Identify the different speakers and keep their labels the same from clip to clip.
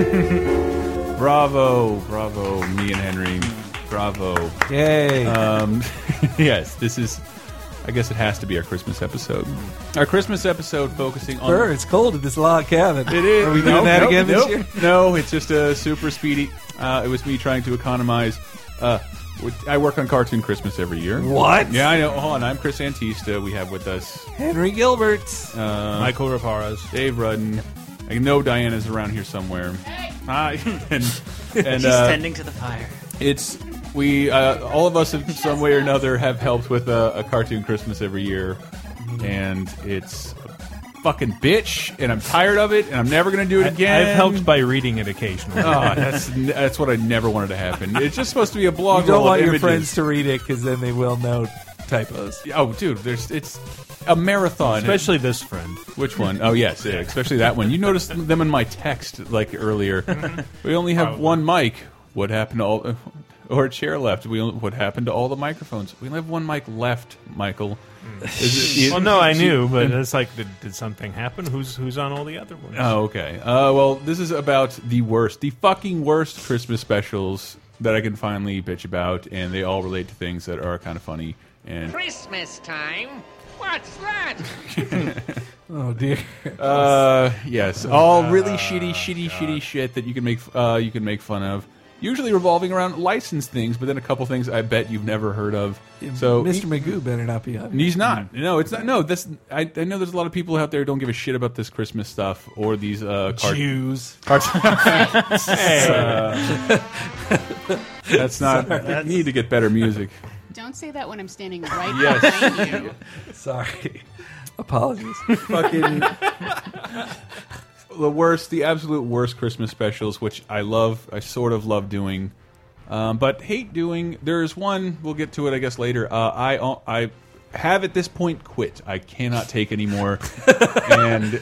Speaker 1: bravo, bravo, me and Henry. Bravo.
Speaker 2: Yay.
Speaker 1: Um, yes, this is. I guess it has to be our Christmas episode. Our Christmas episode focusing on
Speaker 2: Burr, it's cold at this log cabin.
Speaker 1: It is.
Speaker 2: Are we doing
Speaker 1: Nope,
Speaker 2: that
Speaker 1: nope,
Speaker 2: again
Speaker 1: nope.
Speaker 2: this year?
Speaker 1: No, it's just a super speedy. Uh, it was me trying to economize. Uh, with- I work on Cartoon Christmas every year.
Speaker 2: What?
Speaker 1: Yeah, I know. Hold on. I'm Chris Antista. We have with us
Speaker 2: Henry Gilbert.
Speaker 1: uh,
Speaker 3: Michael Raparas.
Speaker 1: Dave Rudden. I know Diana's around here somewhere. Hi. and and
Speaker 4: She's
Speaker 1: uh,
Speaker 4: tending to the fire.
Speaker 1: it's we uh, all of us in some way or another have helped with a, a cartoon Christmas every year, and it's a fucking bitch, and I'm tired of it, and I'm never gonna do it again.
Speaker 3: I've helped by reading it occasionally.
Speaker 1: Oh, that's that's what I never wanted to happen. It's just supposed to be a blog.
Speaker 2: you don't
Speaker 1: roll of
Speaker 2: want your
Speaker 1: images.
Speaker 2: friends to read it because then they will know typos.
Speaker 1: Oh, dude, there's it's a marathon.
Speaker 3: Especially this friend.
Speaker 1: Which one? Oh, yes, yeah, especially that one. You noticed them in my text like earlier.
Speaker 3: Mm-hmm.
Speaker 1: we only have one mic. What happened to all? or a chair left. We only, what happened to all the microphones? We only have one mic left, Michael. Is
Speaker 3: Mm.
Speaker 1: it-
Speaker 3: Well, no, I knew, but it's like, did, did something happen? Who's who's on all the other ones?
Speaker 1: Oh, okay. Uh, well, this is about the worst, the fucking worst Christmas specials that I can finally bitch about, and they all relate to things that are kind of funny. And
Speaker 5: Christmas time? What's that?
Speaker 2: Oh dear. uh,
Speaker 1: uh, yes, all really
Speaker 2: oh,
Speaker 1: shitty, shitty, shitty shit that you can make uh, you can make fun of. Usually revolving around licensed things, but then a couple things I bet you've never heard of. So
Speaker 2: Mr. Magoo better not be on.
Speaker 1: He's not. No, it's not. No, this. I, I know there's a lot of people out there who don't give a shit about this Christmas stuff or these uh, card
Speaker 2: Jews.
Speaker 1: Cards. Uh, that's not. I need to get better music.
Speaker 6: Don't say that when I'm standing right
Speaker 1: Yes.
Speaker 6: behind you.
Speaker 2: Sorry. Apologies.
Speaker 1: Fucking the worst, the absolute worst Christmas specials, which I love. I sort of love doing, um, but hate doing. There is one. We'll get to it, I guess, later. Uh, I I have at this point quit. I cannot take anymore, and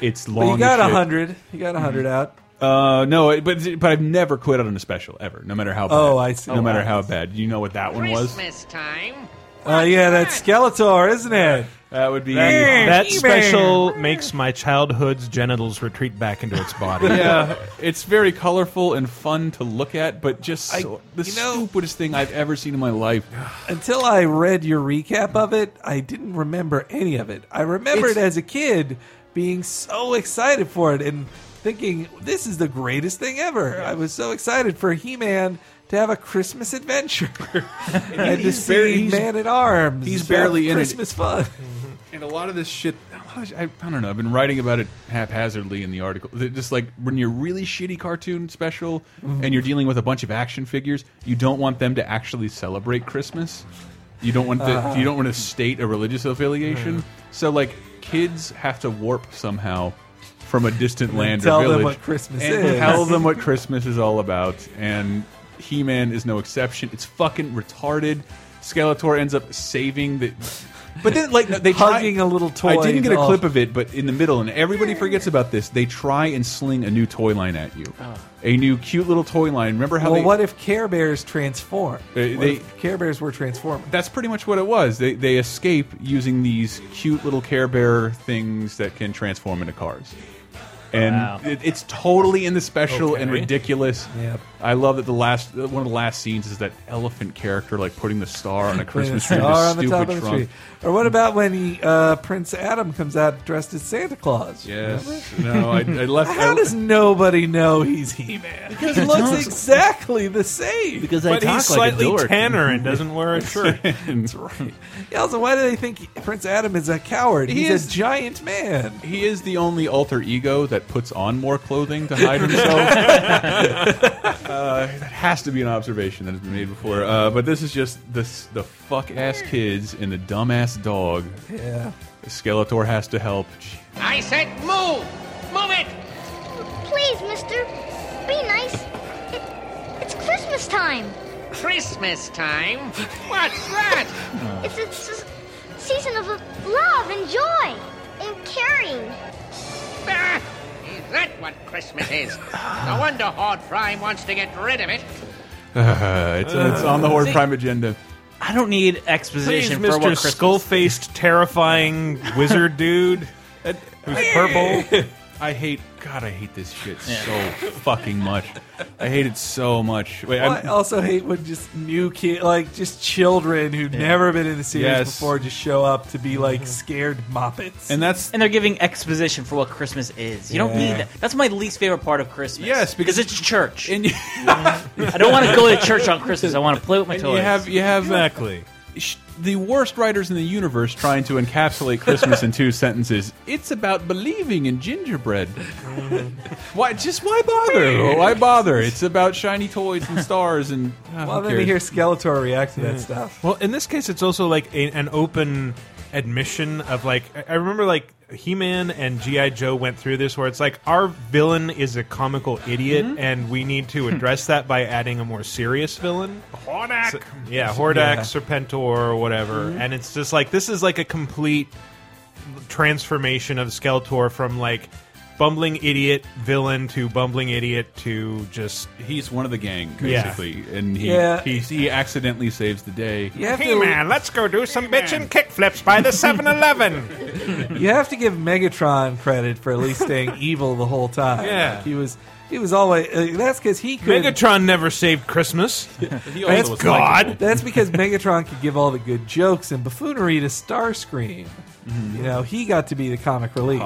Speaker 1: it's long.
Speaker 2: But you got
Speaker 1: as
Speaker 2: a
Speaker 1: shit. Mm-hmm.
Speaker 2: hundred. You got a 100 out.
Speaker 1: Uh, no, it- but but I've never quit on a special ever, no matter how. Bad.
Speaker 2: Oh, I see.
Speaker 1: No
Speaker 2: Oh,
Speaker 1: matter how
Speaker 2: wow.
Speaker 1: bad. You know what that one was?
Speaker 5: Christmas time?
Speaker 2: Oh yeah, that's Skeletor, isn't it?
Speaker 1: That would be.
Speaker 3: That special makes my childhood's genitals retreat back into its body.
Speaker 1: yeah, it's very colorful and fun to look at, but just so, the
Speaker 2: you know-
Speaker 1: stupidest thing I've ever seen in my life.
Speaker 2: Until I read your recap of it, I didn't remember any of it. I remembered
Speaker 1: It's-
Speaker 2: as a kid being so excited for it and thinking, this is the greatest thing ever. I was so excited for He Man to have a Christmas adventure and to
Speaker 1: he's barely-
Speaker 2: see
Speaker 1: he's-
Speaker 2: Man at Arms.
Speaker 1: he's barely
Speaker 2: have
Speaker 1: in it.
Speaker 2: Christmas fun.
Speaker 1: And a lot of this shit, a lot of sh- I, I don't know. I've been writing about it haphazardly in the article. That Just like when you're really shitty cartoon special
Speaker 2: Mm-hmm.
Speaker 1: and you're dealing with a bunch of action figures, you don't want them to actually celebrate Christmas. You don't want
Speaker 2: Uh-huh.
Speaker 1: the, you don't want to state a religious affiliation.
Speaker 2: Mm-hmm.
Speaker 1: So like kids have to warp somehow from a distant land
Speaker 2: tell
Speaker 1: or
Speaker 2: them
Speaker 1: village.
Speaker 2: what Christmas
Speaker 1: and
Speaker 2: is.
Speaker 1: Tell them what Christmas is all about. And He-Man is no exception. It's fucking retarded. Skeletor ends up saving the but then, like, no, they
Speaker 2: Hugging
Speaker 1: try,
Speaker 2: a little toy
Speaker 1: I didn't get a
Speaker 2: and all.
Speaker 1: clip of it, but in the middle, and everybody forgets about this. They try and sling a new toy line at you, a new cute little toy line. Remember how
Speaker 2: Oh. Well,
Speaker 1: they?
Speaker 2: what if Care Bears transform?
Speaker 1: They-
Speaker 2: What
Speaker 1: they-
Speaker 2: if Care Bears were transforming?
Speaker 1: that's pretty much what it was. They they escape using these cute little Care Bear things that can transform into cars, and
Speaker 3: Wow.
Speaker 1: it, it's totally in the special and
Speaker 3: Okay.
Speaker 1: ridiculous.
Speaker 2: Yep.
Speaker 1: I love that the last uh, one of the last scenes is that elephant character like putting the star on a
Speaker 2: Putting a
Speaker 1: Christmas tree, with
Speaker 2: star
Speaker 1: a
Speaker 2: on the top
Speaker 1: stupid
Speaker 2: of the
Speaker 1: trunk.
Speaker 2: tree. Or what about when he, uh, Prince Adam comes out dressed as Santa Claus?
Speaker 1: Yes, no, I, I left.
Speaker 2: How
Speaker 1: I-
Speaker 2: does nobody know he's He Man? Because it looks exactly the same.
Speaker 4: Because I
Speaker 3: But
Speaker 4: talk
Speaker 3: he's
Speaker 4: like a
Speaker 3: slightly
Speaker 4: dork.
Speaker 3: tanner and doesn't wear a shirt.
Speaker 1: That's right.
Speaker 2: Yeah, also, why do they think Prince Adam is a coward?
Speaker 1: He
Speaker 2: he's
Speaker 1: is-
Speaker 2: a giant man.
Speaker 1: He is the only alter ego that puts on more clothing to hide himself. uh, that has to be an observation that has been made before. Uh, but this is just the s- the fuck ass kids and the dumbass dog.
Speaker 2: Yeah.
Speaker 1: Skeletor has to help. Gee,
Speaker 5: I said move! Move it!
Speaker 7: Please, mister, be nice. It, it's Christmas time.
Speaker 5: Christmas time? What's that?
Speaker 7: It's a s- season of love and joy and caring.
Speaker 5: Ah, is that what Christmas is? No wonder Horde Prime wants to get rid of it.
Speaker 1: uh, it's, it's on the Horde Prime agenda.
Speaker 4: I don't need
Speaker 3: Please,
Speaker 4: exposition for what
Speaker 3: Mr.
Speaker 4: Christmas
Speaker 3: Skull-faced, terrifying wizard dude who's purple.
Speaker 1: I hate God. I hate this shit so fucking much. I hate it so much. Wait,
Speaker 2: Well, I
Speaker 1: I'm-
Speaker 2: also hate when just new kid, like just children who've never been in the series
Speaker 1: Yes.
Speaker 2: before, just show up to be like scared moppets.
Speaker 1: and that's
Speaker 4: And they're giving exposition for what Christmas is. You don't
Speaker 2: Yeah.
Speaker 4: need that. That's my least favorite part of Christmas.
Speaker 1: Yes, because-
Speaker 4: it's church.
Speaker 1: and you,
Speaker 4: I don't want to go to church on Christmas. I want to play with my
Speaker 1: and
Speaker 4: toys.
Speaker 1: you have you have uh,
Speaker 3: Exactly.
Speaker 1: sh- the worst writers in the universe trying to encapsulate Christmas in two sentences. It's about believing in gingerbread. why? Just why bother? Why bother? It's about shiny toys and stars and. ah,
Speaker 2: well,
Speaker 1: who
Speaker 2: then we hear
Speaker 1: cares?
Speaker 2: Skeletor react to that stuff.
Speaker 3: Mm. Well, in this case, it's also like a, an open admission of like I- I remember like He-Man and GI Joe went through this where it's like our villain is a comical idiot
Speaker 2: Mm-hmm.
Speaker 3: and we need to address that by adding a more serious villain. Hordak, yeah, Hordak,
Speaker 2: Yeah. Mm-hmm.
Speaker 3: Serpentor, or whatever, and it's just like this is like a complete transformation of Skeletor from like bumbling idiot villain to bumbling idiot to just
Speaker 1: He's one of the gang,
Speaker 3: Yeah.
Speaker 1: basically, and he,
Speaker 2: Yeah.
Speaker 1: he he accidentally saves the day.
Speaker 2: You have,
Speaker 3: Hey
Speaker 2: to,
Speaker 3: man, let's go do some bitchin' kickflips by the 7-Eleven.
Speaker 2: you have to give Megatron credit for at least staying evil the whole time.
Speaker 3: Yeah.
Speaker 2: Like, he was he was always uh, that's because he could.
Speaker 3: Megatron never saved Christmas.
Speaker 1: He also
Speaker 2: That's
Speaker 1: was
Speaker 3: God.
Speaker 1: likable.
Speaker 2: That's because Megatron could give all the good jokes and buffoonery to Starscream. You know, he got to be the comic relief.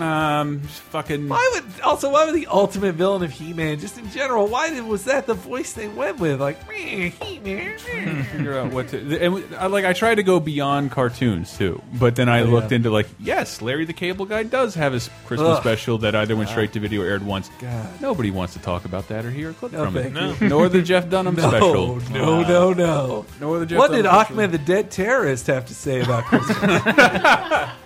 Speaker 1: Um, fucking.
Speaker 2: Why would also why would the ultimate villain of He-Man just in general? Why did, was that the voice they went with? Like "Meh, He-Man. meh."
Speaker 1: figure out what to. And I, like I tried to go beyond cartoons too, but
Speaker 2: Oh,
Speaker 1: then I looked into like, yes, Larry the Cable Guy does have his Christmas
Speaker 2: Ugh.
Speaker 1: special that either went straight to video or aired once.
Speaker 2: God.
Speaker 1: Nobody wants to talk about that or hear a clip
Speaker 2: No,
Speaker 1: from it.
Speaker 2: thank
Speaker 1: Nor the Jeff Dunham
Speaker 2: No,
Speaker 1: special.
Speaker 2: no, no, no.
Speaker 1: Nor the Jeff
Speaker 2: What did
Speaker 1: Dunham special.
Speaker 2: Ahmed the Dead Terrorist have to say about Christmas?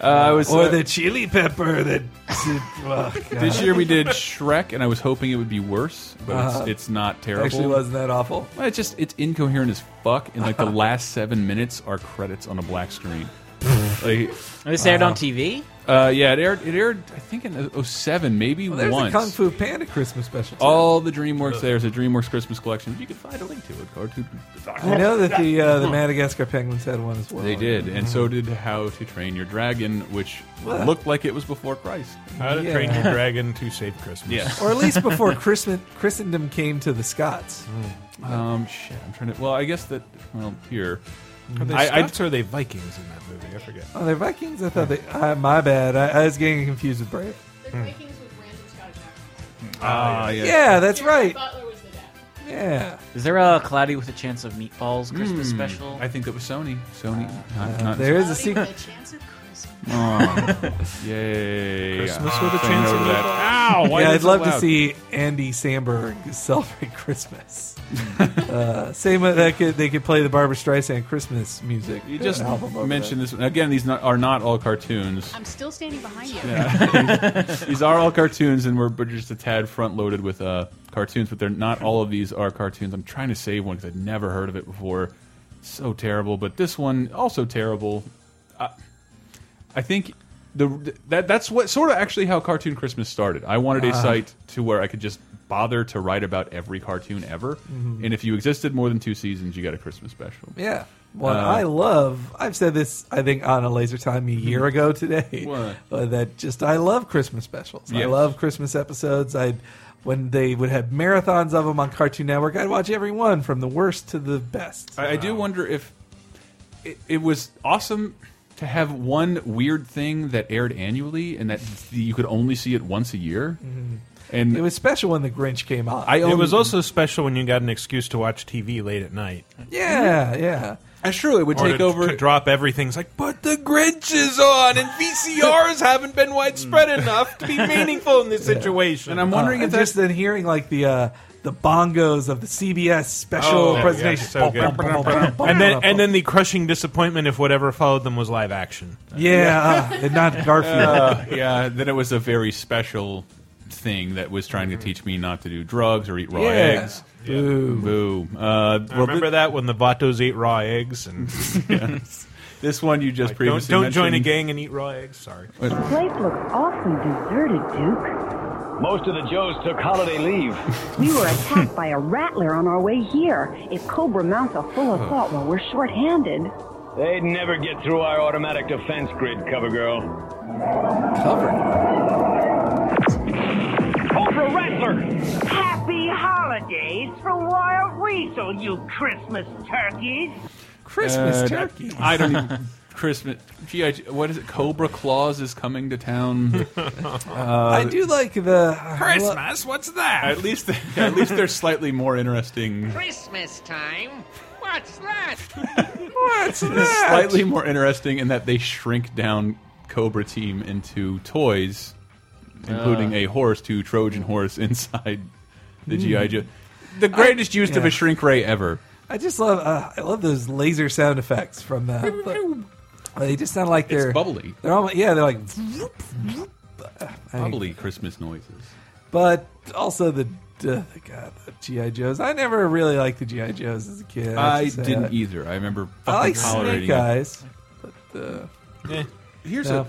Speaker 1: Uh, I was
Speaker 2: or
Speaker 1: uh,
Speaker 2: the Chili Pepper? That oh, God.
Speaker 1: this year we did Shrek, and I was hoping it would be worse, but
Speaker 2: Uh-huh.
Speaker 1: it's, it's not terrible.
Speaker 2: actually wasn't that awful.
Speaker 1: Well, It's just it's incoherent as fuck, and like the last seven minutes are credits on a black screen. like,
Speaker 4: this aired on TV.
Speaker 1: uh, yeah, it aired. It aired, I think, in 07, maybe
Speaker 2: Well, there's
Speaker 1: once.
Speaker 2: a Kung Fu Panda Christmas special. too.
Speaker 1: All the DreamWorks there's a DreamWorks Christmas collection. You can find a link to it. Cartoon.
Speaker 2: I know that the uh, the Madagascar penguins had one as well. mm.
Speaker 1: They did, and so did How to Train Your Dragon, which
Speaker 2: Well.
Speaker 1: looked like it was before Christ.
Speaker 3: How to
Speaker 2: Yeah.
Speaker 3: Train Your Dragon to Save Christmas.
Speaker 2: or at least before Christmas, Christendom came to the Scots. Oh,
Speaker 1: Um. Shit. I'm trying to. Well, I guess that. Well, here.
Speaker 3: Are they
Speaker 1: I- I-
Speaker 3: Scots or are they Vikings in that movie? I forget.
Speaker 2: Oh, they're Vikings. I thought they. Uh, my bad. I, I was getting confused with Brave.
Speaker 6: They're Vikings with random Scottish accents.
Speaker 4: Oh,
Speaker 1: Ah. yeah.
Speaker 2: Yeah, that's right.
Speaker 6: Butler was the dad.
Speaker 2: Yeah,
Speaker 4: Is there a Cloudy with a Chance of Meatballs Christmas special?
Speaker 1: Hmm.
Speaker 4: Uh,
Speaker 1: I think that was Sony. Sony. Not, not
Speaker 2: there is a
Speaker 6: Cloudy
Speaker 2: secret.
Speaker 6: with a chance of Christmas.
Speaker 1: Yay.
Speaker 3: Christmas
Speaker 1: I'm
Speaker 3: with a
Speaker 1: saying
Speaker 3: chance
Speaker 1: no
Speaker 3: of
Speaker 1: to Ah, that. Ow. Why
Speaker 2: Yeah,
Speaker 1: is
Speaker 2: I'd
Speaker 1: it
Speaker 2: love to
Speaker 1: loud?
Speaker 2: see Andy Samberg celebrate Christmas. uh, same with that could they could play the Barbara Streisand Christmas music.
Speaker 1: You just
Speaker 2: album over
Speaker 1: mentioned this one. Again, these not, are not all cartoons.
Speaker 6: I'm still standing behind you.
Speaker 1: These are all cartoons, and we're but just a tad front loaded with uh, cartoons, but they're not all of these are cartoons. I'm trying to save one because I'd never heard of it before. So terrible, but this one also terrible. I, I think the that that's what sort of actually how Cartoon Christmas started. I wanted a
Speaker 2: Uh-huh.
Speaker 1: site to where I could just bother to write about every cartoon ever, and if you existed more than two seasons, you got a Christmas special.
Speaker 2: Mm-hmm. Yeah.
Speaker 1: uh,
Speaker 2: One I love. I've said this, I think, on a laser time a year ago today.
Speaker 1: What?
Speaker 2: uh, That just I love Christmas specials. I
Speaker 1: Yes.
Speaker 2: love Christmas episodes. I when they would have marathons of them on Cartoon Network, I'd watch every one from the worst to the best.
Speaker 1: I, I do wonder if it, it was awesome to have one weird thing that aired annually and that you could only see it once a year. And
Speaker 2: Mm-hmm. It was special when the Grinch came out.
Speaker 1: I
Speaker 3: It
Speaker 1: only,
Speaker 3: was also special when you got an excuse to watch TV late at night.
Speaker 2: yeah, yeah.
Speaker 1: that's true. It would
Speaker 3: Or
Speaker 1: take
Speaker 3: to
Speaker 1: over.
Speaker 3: c- drop everything's like, but the Grinch is on, and VCRs haven't been widespread enough to be meaningful in this situation.
Speaker 1: And I'm wondering
Speaker 3: Oh,
Speaker 2: Uh,
Speaker 1: if
Speaker 2: and
Speaker 1: that's
Speaker 2: just then hearing like the uh, the bongos of the CBS special
Speaker 3: Oh, yeah,
Speaker 2: presentation,
Speaker 3: so good. and then and then the crushing disappointment if whatever followed them was live action.
Speaker 2: yeah, uh, and not Garfield.
Speaker 1: uh, yeah. Then it was a very special thing that was trying to teach me not to do drugs or eat raw
Speaker 2: Yeah.
Speaker 1: eggs.
Speaker 2: Ooh.
Speaker 1: Boo. Uh,
Speaker 3: I remember that when the Vatos ate raw eggs and
Speaker 1: this one you
Speaker 3: like,
Speaker 1: just
Speaker 3: don't,
Speaker 1: previously
Speaker 3: don't join a
Speaker 1: mentioned.
Speaker 3: gang and eat raw eggs. Sorry.
Speaker 8: Place looks awfully deserted, Duke.
Speaker 9: Most of the Joes took holiday leave.
Speaker 8: We were attacked by a rattler on our way here. If Cobra mounts a full assault while we're short-handed,
Speaker 9: They'd never get through our automatic defense grid, cover girl.
Speaker 2: Covered.
Speaker 9: Oprah Rattler!
Speaker 10: Happy holidays from Wild Weasel, you Christmas turkeys.
Speaker 2: Christmas
Speaker 1: Uh,
Speaker 2: turkey.
Speaker 1: I don't even. Christmas. G.I. What is it? Cobra Claus is coming to town. Uh,
Speaker 2: I do like the
Speaker 3: What's that?
Speaker 1: at least, yeah, at least they're slightly more interesting.
Speaker 5: Christmas time? What's that?
Speaker 2: What's that?
Speaker 1: Slightly more interesting in that they shrink down Cobra Team into toys, including a horse to Trojan horse inside the G.I. Joe. The greatest use of
Speaker 2: Hmm. yeah.
Speaker 1: a shrink ray ever.
Speaker 2: I just love uh, I love those laser sound effects from the. They just sound like they're
Speaker 1: bubbly.
Speaker 2: They're almost yeah. They're like vroom, vroom. I-
Speaker 1: Probably Christmas noises.
Speaker 2: but also the. Uh, God, the GI Joes. I never really liked the GI Joes as a kid. I,
Speaker 1: I
Speaker 2: have to say
Speaker 1: didn't
Speaker 2: that.
Speaker 1: either. I remember fucking
Speaker 2: I like
Speaker 1: tolerating
Speaker 2: Snake
Speaker 1: it.
Speaker 2: Eyes, but uh,
Speaker 1: Here's
Speaker 2: no.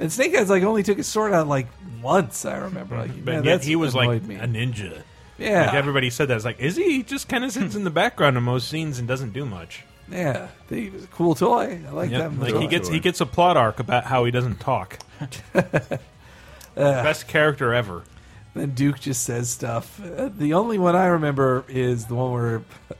Speaker 2: and Snake Eyes like only took his sword out like once. I remember. Like,
Speaker 3: But
Speaker 2: man,
Speaker 3: yet
Speaker 2: that's
Speaker 3: he was like
Speaker 2: annoyed me.
Speaker 3: a ninja.
Speaker 2: yeah,
Speaker 3: Like everybody said that. It's like, is he? He just kind of sits in the background in most scenes and doesn't do much.
Speaker 2: yeah. He was a cool toy. I like
Speaker 3: Yep.
Speaker 2: that.
Speaker 3: Like
Speaker 2: toy.
Speaker 3: he gets he gets a plot arc about how he doesn't talk.
Speaker 2: Uh.
Speaker 3: Best character ever.
Speaker 2: Then Duke just says stuff. Uh, the only one I remember is the one where I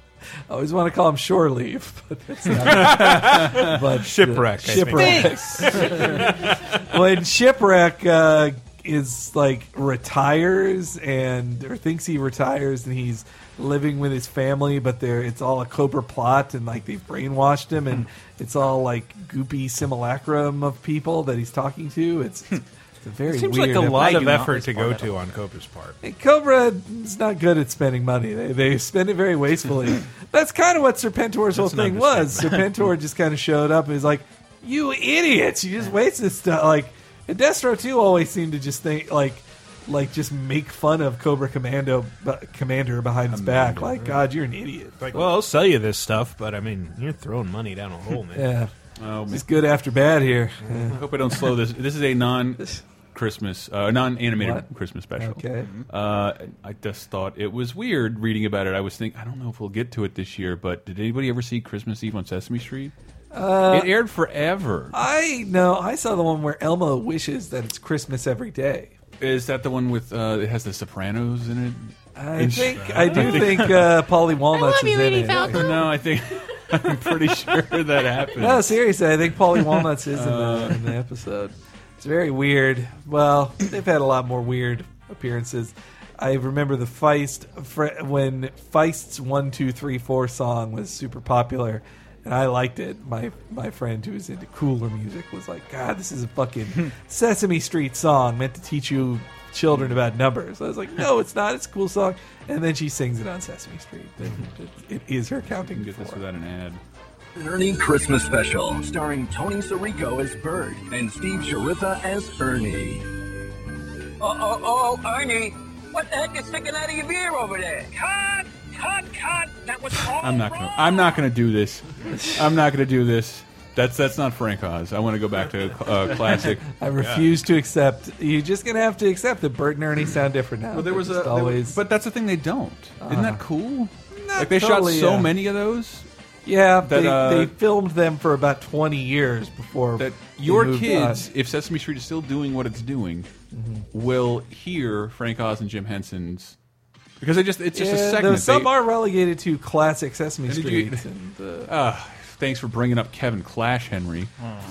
Speaker 2: always want to call him shore leave, but that's not. but uh,
Speaker 3: Shipwreck, I think.
Speaker 2: shipwreck. when shipwreck uh, is like retires and or thinks he retires and he's living with his family, but there it's all a Cobra plot and like they've brainwashed him and it's all like goopy simulacrum of people that he's talking to. It's. it's a Very
Speaker 3: Seems
Speaker 2: weird
Speaker 3: like a lot
Speaker 4: I do
Speaker 3: of
Speaker 4: not
Speaker 3: effort
Speaker 4: like
Speaker 3: to
Speaker 4: this
Speaker 3: go
Speaker 4: part at
Speaker 3: to on Cobra's part.
Speaker 2: and Cobra is not good at spending money. They, they spend it very wastefully. That's kind of what Serpentor's whole
Speaker 3: That's an
Speaker 2: thing was. Serpentor just kind of showed up and was like, "You idiots! You just wasted stuff." Like, and Destro too always seemed to just think like, like just make fun of Cobra Commando but Commander behind his back. Like, God, you're an idiot.
Speaker 3: Like, well, I'll sell you this stuff, but I mean, you're throwing money down a hole, man.
Speaker 2: Yeah,
Speaker 1: Oh, man.
Speaker 2: it's good after bad here.
Speaker 1: I hope I don't slow this. This is a non Christmas, uh, non animated
Speaker 2: What?
Speaker 1: Christmas special.
Speaker 2: Okay.
Speaker 1: Uh, I just thought it was weird reading about it. I was thinking, I don't know if we'll get to it this year, but did anybody ever see Christmas Eve on Sesame Street? Uh, it aired forever.
Speaker 2: I know. I saw the one where Elmo wishes that it's Christmas every day.
Speaker 1: Is that the one with uh, it has the Sopranos in it?
Speaker 2: I
Speaker 1: And-
Speaker 2: think I do think uh, Polly Walnuts
Speaker 6: love you,
Speaker 2: is in
Speaker 6: Edie
Speaker 2: it.
Speaker 6: Falco.
Speaker 1: No, I think I'm pretty sure that happened. Uh,
Speaker 2: No, seriously, I think Paulie Walnuts is in the, in the episode. It's very weird. Well, they've had a lot more weird appearances. I remember the Feist fr- when Feist's one two three four song was super popular, and I liked it. My my friend who was into cooler music was like, "God, this is a fucking Sesame Street song meant to teach you children about numbers." I was like, "No, it's not. It's a cool song." And then she sings it on Sesame Street. Then it- it is her counting.
Speaker 1: You can get this
Speaker 2: four.
Speaker 1: without an ad.
Speaker 11: Ernie Christmas Special, starring Tony Sirico as Bird and Steve Shariffa as Ernie.
Speaker 10: Oh, oh, oh, Ernie. What the heck is sticking out of your ear over there? Cut, cut, cut. That was all
Speaker 1: I'm not gonna. I'm not gonna do this. I'm not gonna do this. That's that's not Frank Oz. I want to go back to uh, classic.
Speaker 2: I refuse to accept. You're just gonna have to accept that Bert and Ernie sound different now.
Speaker 1: Well, there
Speaker 2: They're
Speaker 1: was a,
Speaker 2: just
Speaker 1: there-
Speaker 2: always, Ah.
Speaker 1: but that's the thing they don't. Isn't that cool?
Speaker 2: Not
Speaker 1: like they
Speaker 2: totally,
Speaker 1: shot so
Speaker 2: yeah.
Speaker 1: many of those
Speaker 2: yeah, they,
Speaker 1: uh,
Speaker 2: they filmed them for about 20 years before
Speaker 1: that
Speaker 2: they
Speaker 1: your
Speaker 2: moved
Speaker 1: kids,
Speaker 2: on. Mm-hmm.
Speaker 1: if Sesame Street is still doing what it's doing, will hear Frank Oz and Jim Henson's because they just it's just a
Speaker 2: Yeah,
Speaker 1: segment.
Speaker 2: though some
Speaker 1: They-
Speaker 2: are relegated to classic Sesame
Speaker 1: did you-
Speaker 2: Street. and, uh,
Speaker 1: Ah, thanks for bringing up Kevin Clash, Henry.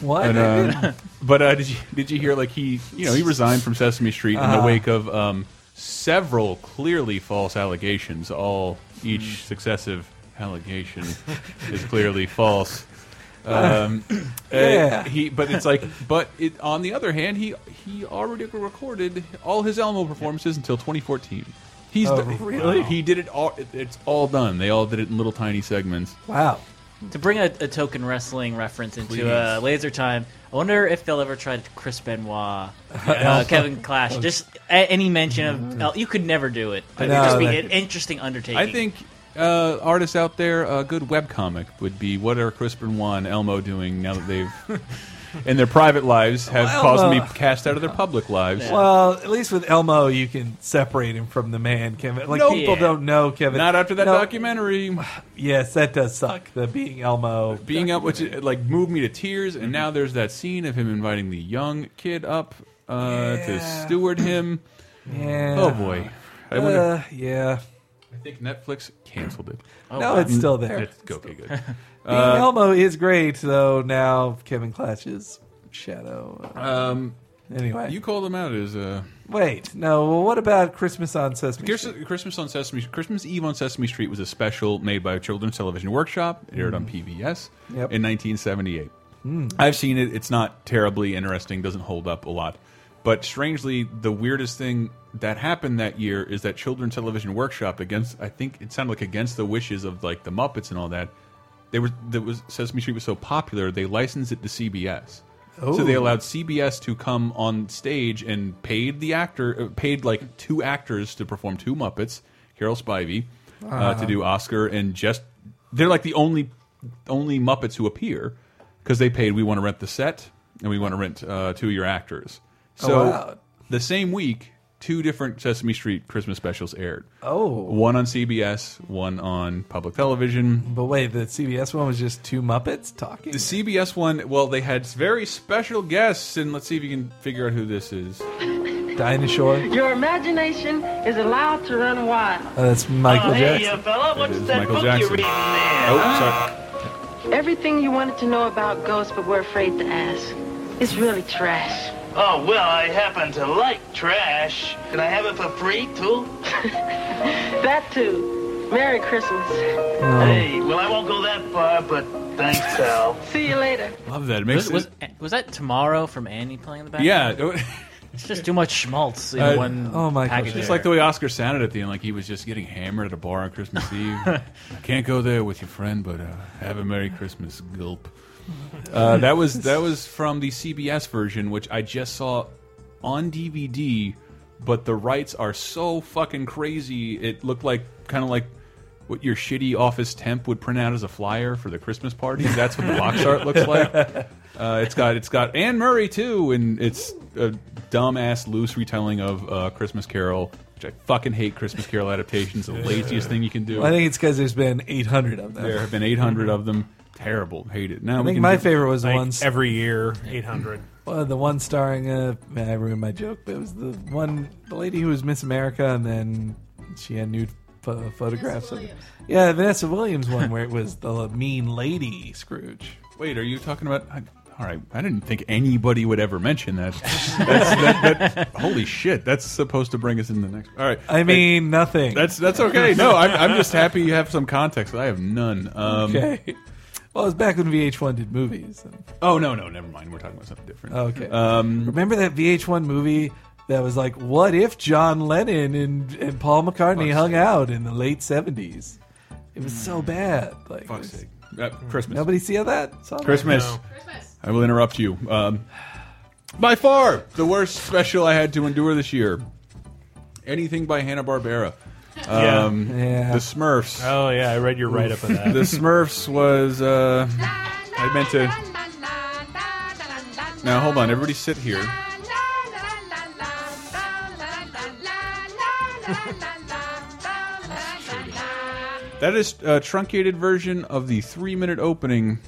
Speaker 2: what?
Speaker 1: But,
Speaker 2: I
Speaker 1: uh, but uh, did you did you hear like he you know he resigned from Sesame Street in
Speaker 2: Uh-huh.
Speaker 1: the wake of um, several clearly false allegations. All each
Speaker 2: Mm-hmm.
Speaker 1: successive allegation is clearly false. Um, uh,
Speaker 2: Yeah.
Speaker 1: he, but it's like, but it, on the other hand, he he already recorded all his Elmo performances until 2014. He's
Speaker 2: Oh,
Speaker 1: done-
Speaker 2: really?
Speaker 1: he did it all. it- it's all done. They all did it in little tiny segments.
Speaker 2: wow.
Speaker 4: To bring a, a token wrestling reference into uh, Laser Time, I wonder if they'll ever try to Chris Benoit, uh, Kevin
Speaker 2: Oh.
Speaker 4: Clash. Just a- any mention of El- you could never do it. But
Speaker 2: No,
Speaker 4: it'd just be
Speaker 2: that-
Speaker 4: an interesting undertaking.
Speaker 1: I think uh, artists out there, a good webcomic would be what are Crispin One Elmo doing now that they've and their private lives have
Speaker 2: Well,
Speaker 1: caused them to
Speaker 2: uh,
Speaker 1: be cast out of their public lives.
Speaker 2: Well, at least with Elmo, you can separate him from the man, Kevin. Like
Speaker 1: Nope.
Speaker 2: people
Speaker 1: Yeah.
Speaker 2: don't know Kevin.
Speaker 1: Not after that
Speaker 2: No.
Speaker 1: documentary.
Speaker 2: Yes, that does suck. The being Elmo,
Speaker 1: being up, which it, like moved me to tears, and now there's that scene of him inviting the young kid up uh, to steward him.
Speaker 2: Yeah.
Speaker 1: Oh boy. I wonder.
Speaker 2: Uh, yeah.
Speaker 1: I think Netflix canceled it.
Speaker 2: no, it's still there.
Speaker 1: It's, okay, good.
Speaker 2: Being
Speaker 1: Uh,
Speaker 2: Elmo is great, though. Now Kevin Clash's shadow.
Speaker 1: Um.
Speaker 2: Anyway,
Speaker 1: you called him out as uh,
Speaker 2: wait. No. Well, what about Christmas on Sesame? Street?
Speaker 1: Christmas, Christmas on Sesame Christmas Eve on Sesame Street was a special made by a children's television workshop. It aired on PBS
Speaker 2: Yep.
Speaker 1: in 1978.
Speaker 2: Hmm.
Speaker 1: I've seen it. It's not terribly interesting. Doesn't hold up a lot. But strangely, the weirdest thing that happened that year is that Children's Television Workshop against I think it sounded like against the wishes of like the Muppets and all that. They were that was Sesame Street was so popular they licensed it to CBS. So they
Speaker 2: Oh.
Speaker 1: allowed CBS to come on stage and paid the actor uh, paid like two actors to perform two Muppets, Carol Spivey, uh, to
Speaker 2: Ah.
Speaker 1: do Oscar and just they're like the only only Muppets who appear because they paid. We want to rent the set and we want to rent uh, two of your actors.
Speaker 2: Oh,
Speaker 1: So
Speaker 2: wow.
Speaker 1: the same week, two different Sesame Street Christmas specials aired.
Speaker 2: Oh.
Speaker 1: One on CBS, one on public television.
Speaker 2: But wait, the CBS one was just two Muppets talking.
Speaker 1: The CBS one, well, they had very special guests, and let's see if you can figure out who this is.
Speaker 2: Dinosaur.
Speaker 12: Your imagination is allowed to run wild.
Speaker 2: Oh, that's Michael Jackson.
Speaker 10: uh,
Speaker 12: fella.
Speaker 1: It is Michael Jackson. Oh, sorry.
Speaker 12: Everything you wanted to know about ghosts but were afraid to ask is really trash.
Speaker 10: Oh, well, I happen to like trash. Can I have it for free, too?
Speaker 12: That too. Merry Christmas.
Speaker 10: Hey, well, I won't go that far, but thanks, pal.
Speaker 12: See you later.
Speaker 1: Love that. It makes
Speaker 4: Was, was, was that Tomorrow from Annie playing in the background?
Speaker 1: Yeah.
Speaker 4: It's just too much schmaltz in
Speaker 1: Uh,
Speaker 4: one
Speaker 2: oh
Speaker 4: package.
Speaker 1: Just like the way Oscar sounded at the end, like he was just getting hammered at a bar on Christmas Eve. I can't go there with your friend, but uh, have a Merry Christmas, gulp. Uh, that was that was from the CBS version, which I just saw on DVD. But the rights are so fucking crazy. It looked like kind of like what your shitty office temp would print out as a flyer for the Christmas party. That's what the box art looks like. Uh, it's got it's got Anne Murray too, and it's a dumbass loose retelling of uh, Christmas Carol, which I fucking hate. Christmas Carol adaptations, the laziest thing you can do.
Speaker 2: I think it's because there's been 800 of them.
Speaker 1: there have been 800 of them. Terrible, hate it. Now
Speaker 2: I
Speaker 1: we
Speaker 2: think
Speaker 1: can
Speaker 2: my
Speaker 1: do-
Speaker 2: favorite was the
Speaker 3: Like,
Speaker 2: one
Speaker 3: every year, 800.
Speaker 2: Well, the one starring uh, man, I ruined my joke, but it was the one the lady who was Miss America, and then she had nude pho- photographs of her. Yeah, the Vanessa Williams one where it was the mean lady Scrooge.
Speaker 1: Wait, are you talking about? I, all right, I didn't think anybody would ever mention that. That's, that, that holy shit, that's supposed to bring us in the next. All right,
Speaker 2: I mean, nothing.
Speaker 1: That's that's okay. No, I'm, I'm just happy you have some context. I have none. Um,
Speaker 2: okay. Well, it was back when VH1 did movies. and-
Speaker 1: Oh no, no, never mind. We're talking about something different.
Speaker 2: Okay.
Speaker 1: Um,
Speaker 2: Remember that VH1 movie that was like, what if John Lennon and, and Paul McCartney hung out in the late 70s? It was so bad.
Speaker 1: Mm.
Speaker 2: Like,
Speaker 1: Fuck's
Speaker 2: it was-
Speaker 1: sake. Uh, Christmas.
Speaker 2: Nobody see that? Saw that?
Speaker 1: Christmas. I will interrupt you. Um, by far the worst special I had to endure this year. Anything by Hanna Barbera.
Speaker 3: Yeah.
Speaker 1: Um,
Speaker 3: Yeah.
Speaker 1: The Smurfs.
Speaker 3: Oh, yeah, I read your write up of that.
Speaker 1: the Smurfs was. Uh, I meant to. Now hold on, everybody, sit here. That is a truncated version of the three-minute opening.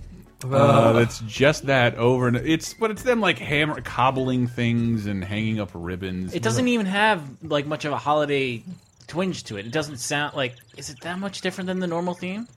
Speaker 1: Uh,
Speaker 2: Ugh.
Speaker 1: that's just that over and it's but it's them like hammer cobbling things and hanging up ribbons.
Speaker 4: It doesn't even have like much of a holiday twinge to it. It doesn't sound like. Is it that much different than the normal theme?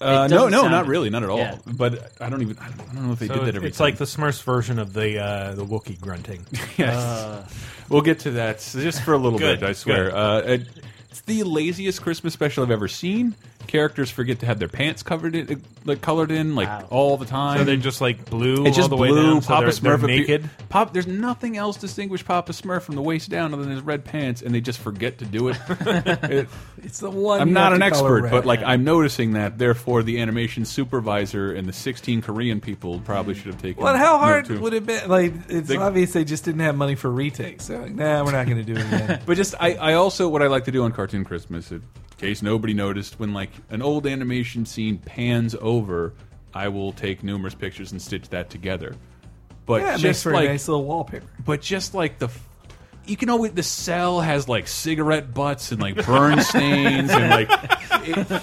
Speaker 1: Uh,
Speaker 4: It
Speaker 1: no,
Speaker 4: doesn't
Speaker 1: no,
Speaker 4: sound
Speaker 1: not
Speaker 4: it.
Speaker 1: really, not at all.
Speaker 4: Yeah.
Speaker 1: Oh, But I don't even I don't, I don't know if they
Speaker 3: So
Speaker 1: did that every
Speaker 3: it's
Speaker 1: time.
Speaker 3: like the Smurfs version of the uh, the Wookiee grunting.
Speaker 1: Yes.
Speaker 3: Uh,
Speaker 1: we'll get to that s- just for a little
Speaker 3: Good,
Speaker 1: bit, I swear.
Speaker 3: good.
Speaker 1: Uh, it- it's the laziest Christmas special I've ever seen. Characters forget to have their pants covered in, uh, like colored in like all the time.
Speaker 3: So they're just like blue
Speaker 1: It's just
Speaker 3: all the way
Speaker 1: blue,
Speaker 3: down. so
Speaker 1: Papa
Speaker 3: they're, they're
Speaker 1: Smurf appear-
Speaker 3: naked.
Speaker 1: Pop, there's nothing else distinguish Papa Smurf from the waist down other than his red pants, and they just forget to do it. It-
Speaker 2: It's the one.
Speaker 1: I'm
Speaker 2: you
Speaker 1: not an
Speaker 2: have to color
Speaker 1: expert,
Speaker 2: red.
Speaker 1: but like I'm noticing that. Therefore, the animation supervisor and the 16 Korean people probably should have taken.
Speaker 2: Well, how
Speaker 1: note,
Speaker 2: hard
Speaker 1: too.
Speaker 2: would it be? Like, it's
Speaker 1: They-
Speaker 2: obvious they just didn't have money for retakes. So, like, nah, we're not going to do it again.
Speaker 1: But just I, I also what I like to do on Cartoon Christmas, in case nobody noticed, when like an old animation scene pans over, I will take numerous pictures and stitch that together. But
Speaker 2: Yeah, it
Speaker 1: just
Speaker 2: makes for a
Speaker 1: like
Speaker 2: nice little wallpaper.
Speaker 1: But just like the, f- you can always the cell has like cigarette butts and like burn stains and like. it-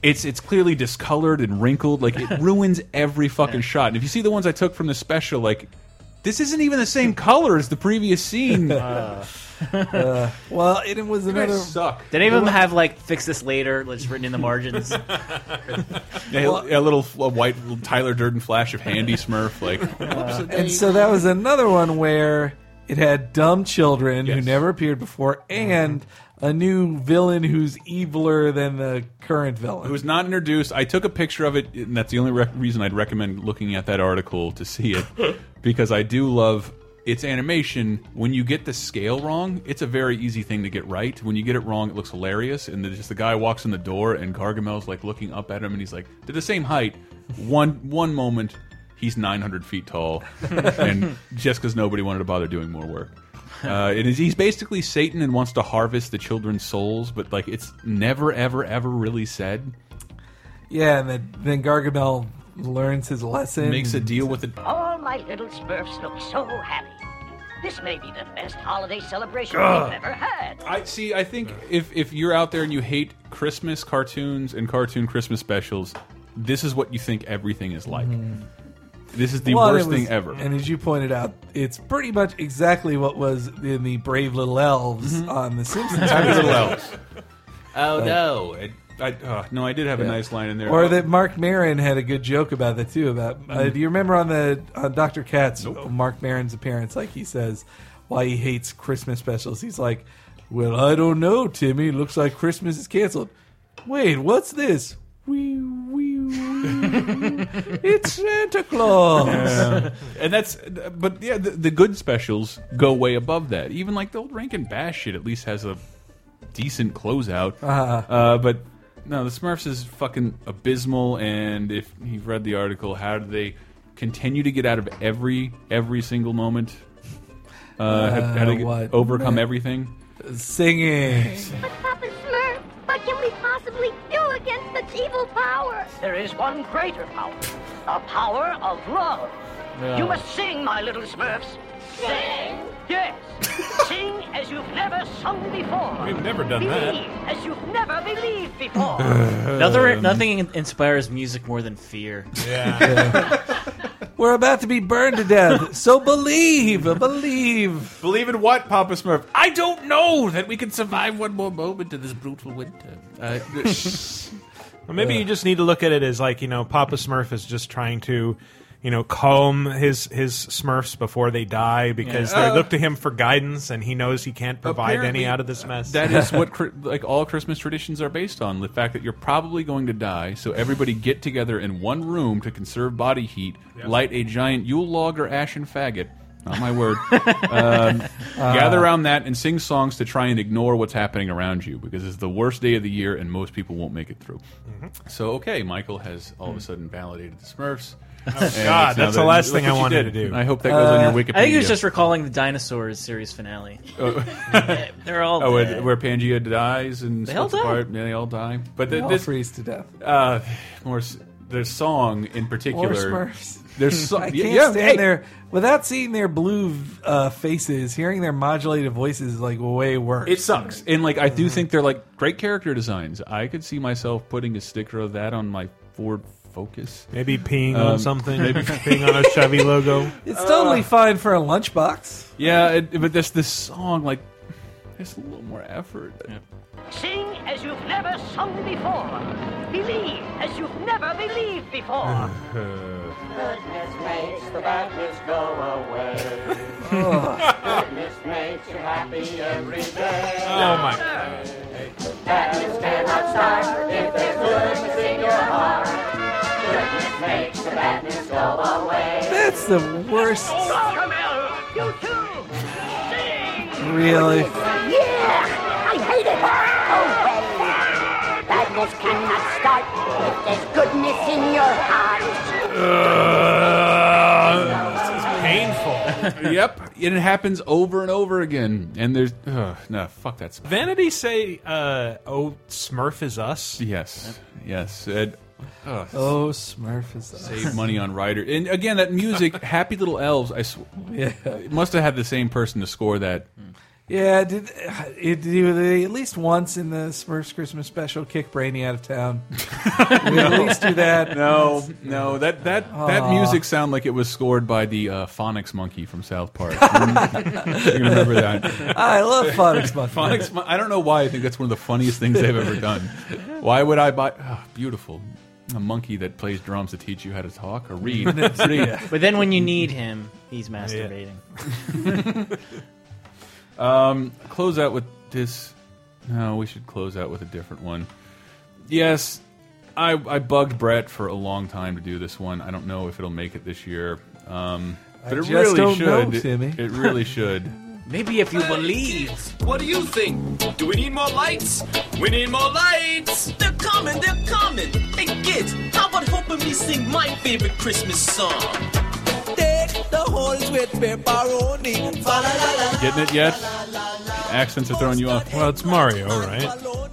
Speaker 1: it's it's clearly discolored and wrinkled. Like it ruins every fucking shot. And if you see the ones I took from the special, like this isn't even the same color as the previous scene.
Speaker 2: Uh, well, it was
Speaker 1: You guys
Speaker 2: another
Speaker 1: suck.
Speaker 4: Did any of them have like "fix this later" like, just written in the margins?
Speaker 1: Yeah, a little f- a white Tyler Durden flash of Handy Smurf, like. uh,
Speaker 2: Uh, and so that was another one where it had dumb children who never appeared before
Speaker 1: Uh-huh.
Speaker 2: and a new villain who's eviler than the current villain.
Speaker 1: It was not introduced. I took a picture of it, and that's the only rec reason I'd recommend looking at that article to see it, because I do love its animation. When you get the scale wrong, it's a very easy thing to get right. When you get it wrong, it looks hilarious. And then just the guy walks in the door, and Gargamel's like looking up at him, and he's like, "They're the same height." One one moment, he's 900 feet tall, and just because nobody wanted to bother doing more work. Uh, it is, he's basically Satan and wants to harvest the children's souls, but like it's never, ever, ever really said.
Speaker 2: Yeah, and then, then Gargamel learns his lesson.
Speaker 1: Makes a deal with it.
Speaker 13: All my little Smurfs look so happy. This may be the best holiday celebration
Speaker 1: Ugh.
Speaker 13: we've ever had.
Speaker 1: I see. I think if if you're out there and you hate Christmas cartoons and cartoon Christmas specials, this is what you think everything is like. This is the
Speaker 2: Hmm. Mm. Well,
Speaker 1: worst
Speaker 2: it was-
Speaker 1: thing ever.
Speaker 2: And as you pointed out, it's pretty much exactly what was in the Brave Little Elves on The Simpsons.
Speaker 1: Happy Mm-hmm. little elves.
Speaker 2: Oh, no.
Speaker 1: I, I, uh, no, I did have a
Speaker 2: Yeah.
Speaker 1: nice line in there.
Speaker 2: Or that Mark Maron had a good joke about that too. About uh,
Speaker 1: Mhm.
Speaker 2: do you remember on the on Doctor Katz uh, Mark Maron's appearance? Like he says why he hates Christmas specials. He's like, "Well, I don't know, Timmy. Looks like Christmas is canceled." Wait, what's this? Wee, wee, wee. it's Santa Claus.
Speaker 1: Yeah. and that's, but yeah, the, the good specials go way above that. Even like the old Rankin Bass shit at least has a decent closeout.
Speaker 2: Uh-huh.
Speaker 1: Uh, but no, the Smurfs is fucking abysmal. And if you've read the article, how do they continue to get out of every every single moment? Uh, how, how do they
Speaker 2: Uh, what?
Speaker 1: overcome
Speaker 2: Man.
Speaker 1: everything?
Speaker 2: Singing.
Speaker 7: Papa Smurf, what can we possibly do against such evil power?
Speaker 13: There is one greater power, the power of love.
Speaker 7: Yeah.
Speaker 13: You must sing, my little Smurfs. Sing? Yes. sing as you've never sung before.
Speaker 3: We've never done that.
Speaker 13: Believe as you've never believed before.
Speaker 4: Nothing, nothing in- inspires music more than fear.
Speaker 2: We're about to be burned to death, so believe, believe.
Speaker 1: Believe in what, Papa Smurf? I don't know that we can survive one more moment of this brutal winter. Uh,
Speaker 3: Well, maybe you just need to look at it as like you know, Papa Smurf is just trying to, you know, calm his his Smurfs before they die because
Speaker 1: Yeah. Oh.
Speaker 3: they look to him for guidance, and he knows he can't provide
Speaker 1: Apparently,
Speaker 3: any out of this mess.
Speaker 1: That is what cri- like all Christmas traditions are based on: the fact that you're probably going to die, so everybody get together in one room to conserve body heat, light a giant Yule log or ashen faggot. Not my word. um, gather around that and sing songs to try and ignore what's happening around you because it's the worst day of the year and most people won't make it through.
Speaker 3: Mm-hmm.
Speaker 1: So okay, Michael has all of a sudden validated the Smurfs. And it's now
Speaker 3: Oh, God, that's the
Speaker 1: that-
Speaker 3: last
Speaker 1: look
Speaker 3: thing
Speaker 1: what
Speaker 3: I
Speaker 1: you
Speaker 3: wanted
Speaker 1: did.
Speaker 3: to do.
Speaker 1: I hope that goes
Speaker 2: Uh,
Speaker 1: on your Wikipedia.
Speaker 4: I think he was just recalling the dinosaurs series finale.
Speaker 1: Oh.
Speaker 4: They're all
Speaker 1: oh,
Speaker 4: dead.
Speaker 1: where, where Pangea dies and
Speaker 4: They all
Speaker 1: splits
Speaker 4: die.
Speaker 1: apart. Yeah, they all die. But
Speaker 2: They
Speaker 1: the,
Speaker 2: all
Speaker 1: this
Speaker 2: freeze to death.
Speaker 1: Uh, more s- their song in particular.
Speaker 2: Smurfs.
Speaker 1: There's so,
Speaker 2: I
Speaker 1: yeah,
Speaker 2: can't
Speaker 1: yeah,
Speaker 2: stand
Speaker 1: hey,
Speaker 2: their without seeing their blue uh, faces, hearing their modulated voices is like way worse.
Speaker 1: It sucks, and like I do think they're like great character designs. I could see myself putting a sticker of that on my Ford Focus.
Speaker 3: Maybe peeing
Speaker 1: Um,
Speaker 3: on something,
Speaker 1: maybe-
Speaker 3: peeing on a Chevy logo.
Speaker 2: It's totally fine for a lunchbox.
Speaker 1: Uh, Yeah, it, but this this song like there's a little more effort.
Speaker 13: Sing as you've never sung before. Believe as you've never believed before. Goodness makes the badness go away. Goodness makes you happy every day.
Speaker 3: Oh my!
Speaker 13: Badness cannot start if there's goodness in your heart. Goodness makes the badness go away.
Speaker 2: That's the worst.
Speaker 13: Gargamel, you too.
Speaker 2: Really?
Speaker 13: Yeah, I hate it. Oh well.
Speaker 7: Badness cannot start if there's goodness in your heart.
Speaker 1: Uh,
Speaker 3: this is painful.
Speaker 1: yep, and it happens over and over again. And there's ugh, no fuck that. song.
Speaker 3: Vanity say, uh, "Oh, Smurf is us."
Speaker 1: Yes, yes. And Ugh.
Speaker 2: Oh, Smurf is the
Speaker 1: uh, Save money on Ryder. And again, that music, Happy Little Elves. I sw
Speaker 2: Yeah.
Speaker 1: it must have had the same person to score that.
Speaker 2: Yeah, did it, did they at least once in the Smurfs Christmas special kick Brainy out of town? we at least do that.
Speaker 1: No, no, that that that
Speaker 2: Aw.
Speaker 1: music sound like it was scored by the uh, phonics monkey from South Park. you remember that?
Speaker 2: I love Phonics Monkey.
Speaker 1: Phonics Mon- I don't know why. I think that's one of the funniest things they've ever done. Why would I buy? ah, beautiful. A monkey that plays drums to teach you how to talk or read. Read.
Speaker 4: But then when you need him, he's masturbating.
Speaker 1: Um, close out with this. No, we should close out with a different one. Yes, I I bugged Brett for a long time to do this one. I don't know if it'll make it this year. Um, but it
Speaker 2: I just
Speaker 1: really
Speaker 2: don't
Speaker 1: should.
Speaker 2: know,
Speaker 1: It-
Speaker 2: Timmy.
Speaker 1: It, really should.
Speaker 4: Maybe if you believe.
Speaker 14: What do you think? Do we need more lights? We need more lights! They're coming, they're coming! Hey kids, how about helping me sing my favorite Christmas song? Take the horns with pepperoni. Fa la la la.
Speaker 1: Getting it yet? Accents are throwing you off.
Speaker 3: Well, it's Mario, right?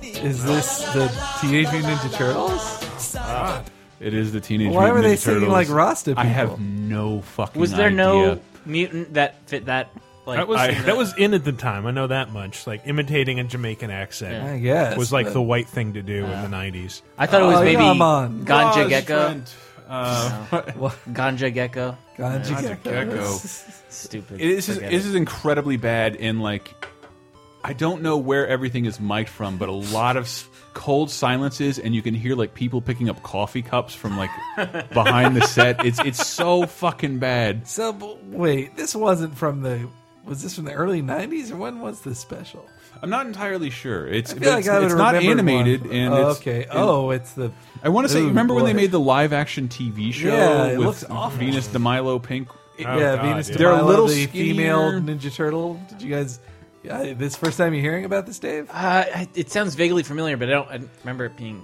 Speaker 2: Is this the Teenage Mutant Ninja Turtles?
Speaker 1: It is the teenage.
Speaker 2: Why
Speaker 1: Mutant
Speaker 2: were they
Speaker 1: Ninja
Speaker 2: singing
Speaker 1: Turtles.
Speaker 2: like Rasta
Speaker 1: I have
Speaker 2: people?
Speaker 1: no fucking.
Speaker 4: Was there
Speaker 1: idea.
Speaker 4: no mutant that fit that? Like
Speaker 3: that was
Speaker 4: I,
Speaker 3: that was in at the time. I know that much. Like imitating a Jamaican accent,
Speaker 4: Yeah. I
Speaker 2: guess,
Speaker 3: was like
Speaker 2: but-
Speaker 3: the white thing to do in the nineties.
Speaker 4: I thought it was
Speaker 2: Oh,
Speaker 4: maybe
Speaker 2: come on.
Speaker 4: Ganja
Speaker 2: Raj
Speaker 4: Gecko.
Speaker 2: Friend.
Speaker 1: Oh, Uh,
Speaker 4: No. Ganja Gecko.
Speaker 2: Ganja
Speaker 4: Yeah.
Speaker 2: Gecko.
Speaker 1: Gecko.
Speaker 4: Stupid.
Speaker 1: It- This is
Speaker 4: Forget
Speaker 1: this
Speaker 4: it.
Speaker 1: is incredibly bad in like I don't know where everything is mic'd from, but a lot of s- cold silences, and you can hear like people picking up coffee cups from like behind the set. It's it's so fucking bad.
Speaker 2: So b- Uh, wait, this wasn't from the. Was this from the early '90s or when was this special?
Speaker 1: I'm not entirely sure. It's
Speaker 2: I feel like
Speaker 1: it's,
Speaker 2: I would
Speaker 1: it's not
Speaker 2: remembered one.
Speaker 1: animated, and
Speaker 2: Oh,
Speaker 1: it's,
Speaker 2: okay.
Speaker 1: and-
Speaker 2: oh, it's the.
Speaker 1: I want to say.
Speaker 2: Ooh,
Speaker 1: remember when they
Speaker 2: boy.
Speaker 1: made the live action TV show
Speaker 2: Yeah, it
Speaker 1: with
Speaker 2: looks awful.
Speaker 1: Venus de Milo Pink? It-
Speaker 2: yeah, Venus de
Speaker 1: They're a
Speaker 2: Milo,
Speaker 1: little
Speaker 2: the female
Speaker 1: skinnier.
Speaker 2: Ninja Turtle. Did you guys? Yeah, this first time you're hearing about this, Dave?
Speaker 4: Uh, I- it sounds vaguely familiar, but I don't I don't remember it being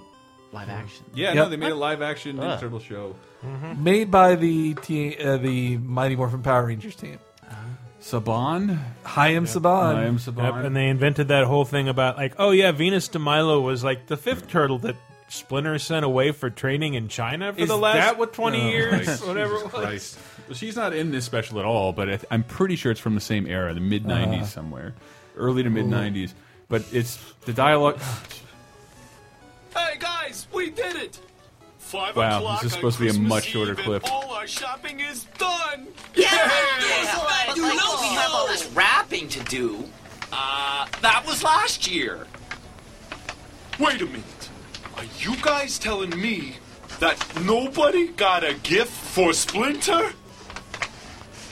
Speaker 4: live action.
Speaker 1: Hmm. Yeah, no,
Speaker 2: Yep.
Speaker 1: they made a live action Ninja
Speaker 4: Ugh.
Speaker 1: Turtle show.
Speaker 14: Mm-hmm.
Speaker 2: Made by the T- uh, the Mighty Morphin Power Rangers team.
Speaker 1: Uh-huh. Saban,
Speaker 2: Hayam Saban.
Speaker 1: Haim Saban.
Speaker 3: Yep, and they invented that whole thing about like, oh yeah, Venus de Milo was like the fifth turtle that Splinter sent away for training in China for
Speaker 1: Is
Speaker 3: the last
Speaker 1: that what-
Speaker 3: twenty
Speaker 1: Oh,
Speaker 3: years,
Speaker 1: Christ.
Speaker 3: whatever.
Speaker 1: Jesus
Speaker 3: it was.
Speaker 1: Christ. Well, she's not in this special at all, but I th- I'm pretty sure it's from the same era, the mid '90s
Speaker 2: Uh.
Speaker 1: somewhere, early to mid '90s. But it's the dialogue.
Speaker 14: Hey guys, we did it! Five
Speaker 1: Wow,
Speaker 14: o'clock
Speaker 1: this is
Speaker 14: on
Speaker 1: supposed to be a
Speaker 14: Christmas
Speaker 1: much shorter
Speaker 14: Eve and
Speaker 1: clip.
Speaker 14: All our shopping is done!
Speaker 13: Yeah, yeah.
Speaker 14: But
Speaker 13: But like, we have all this rapping to do.
Speaker 14: Uh, that was last year. Wait a minute. Are you guys telling me that nobody got a gift for Splinter?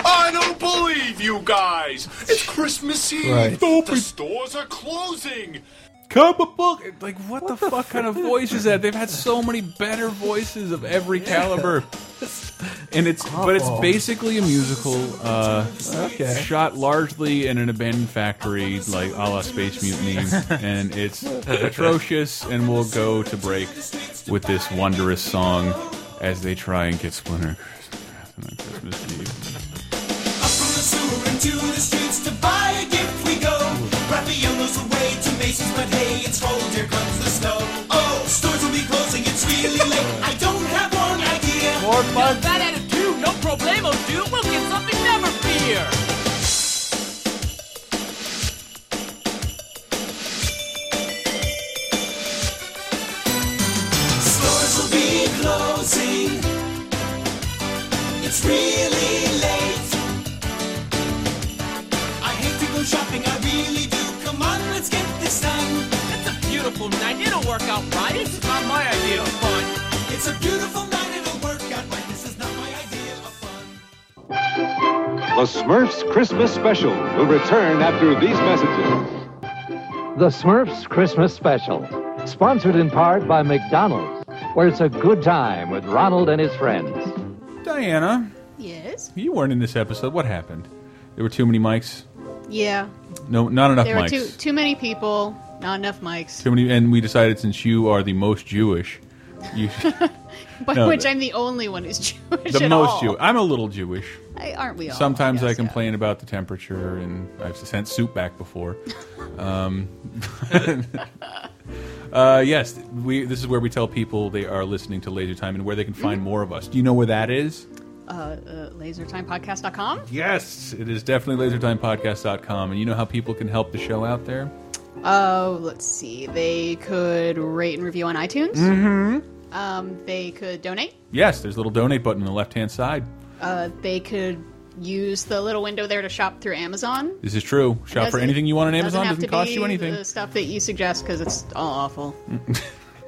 Speaker 14: I don't believe you guys. It's Christmas Eve.
Speaker 2: Right.
Speaker 14: The stores are closing.
Speaker 1: Come a book. Like what, the, fuck kind of voice is that? They've had so many better voices of every caliber. And it's but it's
Speaker 2: Awful.
Speaker 1: basically a musical uh,
Speaker 2: Okay.
Speaker 1: shot largely in an abandoned factory, like a la Space Mutiny, and it's atrocious. And we'll go to break with this wondrous song as they try and get Splinter on Christmas Eve.
Speaker 15: Up from the sewer into the streets to buy a gift we go. Raphaelo's away to Macy's, but hey, it's cold, here comes the snow. Oh, stores will be closing, it's really late. I don't have one idea.
Speaker 13: More fun. That attitude, no problemo, dude. We'll get something never fear.
Speaker 15: Stores will be closing. It's really late. I hate to go shopping, I really do. Come on, let's get this done.
Speaker 13: That's a beautiful night. It'll work out right. This is not my idea of fun.
Speaker 15: It's a beautiful night, it'll work out right. This is not my idea of fun.
Speaker 16: The Smurfs Christmas Special will return after these messages.
Speaker 17: The Smurfs Christmas Special, sponsored in part by McDonald's, where it's a good time with Ronald and his friends.
Speaker 1: Diana,
Speaker 6: Yes.
Speaker 1: you weren't in this episode. What happened? There were too many mics.
Speaker 6: Yeah.
Speaker 1: No, not enough
Speaker 6: there
Speaker 1: mics.
Speaker 6: were too too many people, not enough mics.
Speaker 1: Too many, and we decided since you are the most Jewish, you
Speaker 6: By
Speaker 1: No,
Speaker 6: which
Speaker 1: the-
Speaker 6: I'm the only one who's Jewish.
Speaker 1: the
Speaker 6: at
Speaker 1: most
Speaker 6: all.
Speaker 1: Jewish. I'm a little Jewish.
Speaker 6: Hey, aren't we all?
Speaker 1: Sometimes I complain about the temperature, and I've sent soup back before. um, Uh, yes, we. This is where we tell people they are listening to Laser Time and where they can find
Speaker 6: Mm-hmm.
Speaker 1: more of us. Do you know where that is?
Speaker 6: Uh, uh, LaserTimePodcast.com.
Speaker 1: Yes, it is definitely LaserTimePodcast.com. And you know how people can help the show out there?
Speaker 6: Oh, let's see. They could rate and review on iTunes.
Speaker 1: Mhm.
Speaker 6: Um, they could donate.
Speaker 1: Yes, there's a little donate button on the left hand side.
Speaker 6: Uh, they could use the little window there to shop through Amazon.
Speaker 1: This is true. Shop for
Speaker 6: Doesn't-
Speaker 1: anything you want on Amazon.
Speaker 6: have
Speaker 1: Doesn't
Speaker 6: to
Speaker 1: cost
Speaker 6: be
Speaker 1: you anything.
Speaker 6: The stuff that you suggest because it's all awful.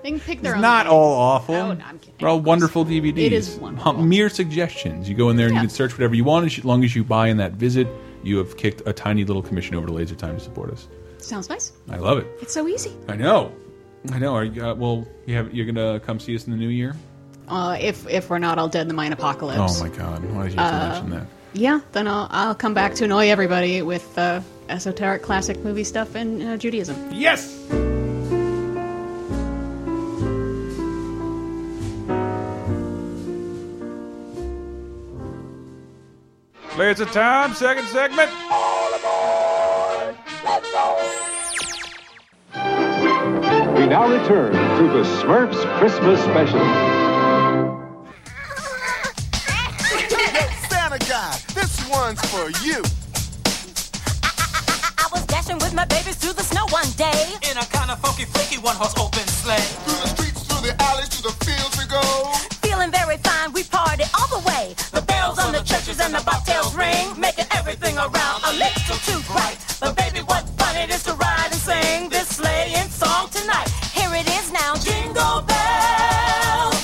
Speaker 6: they can pick their
Speaker 1: It's
Speaker 6: own.
Speaker 1: not
Speaker 6: thing.
Speaker 1: all awful.
Speaker 6: No, no, I'm kidding.
Speaker 1: They're all wonderful DVDs.
Speaker 6: It is
Speaker 1: Uh, Mere suggestions. You go in there and
Speaker 6: Yeah.
Speaker 1: you can search whatever you want as long as you buy in that visit. You have kicked a tiny little commission over to Laser Time to support us.
Speaker 6: Sounds nice.
Speaker 1: I love it.
Speaker 6: It's so easy.
Speaker 1: I know. I know. Are you, uh, well, you have, you're going to come see us in the new year?
Speaker 6: Uh, if if we're not all dead in the mine apocalypse.
Speaker 1: Oh, my God. Why did you have to
Speaker 6: Uh,
Speaker 1: mention that?
Speaker 6: Yeah, then I'll, I'll come back to annoy everybody with uh, esoteric classic movie stuff and uh, Judaism.
Speaker 1: Yes!
Speaker 18: Laser time, second segment.
Speaker 16: We now return to the Smurfs Christmas Special.
Speaker 15: Yo, Santa guy, this one's for you.
Speaker 19: I was dashing with my babies through the snow one day.
Speaker 15: In a kind of funky, freaky one horse open sleigh. Through the streets, through the alleys, through the fields we go.
Speaker 19: Feeling very fine, we party all the way. The bells on the churches and the bobtails ring, making everything around a little too bright. But baby, what fun it is to ride and sing this sleighing song tonight. Here it is now, jingle bells.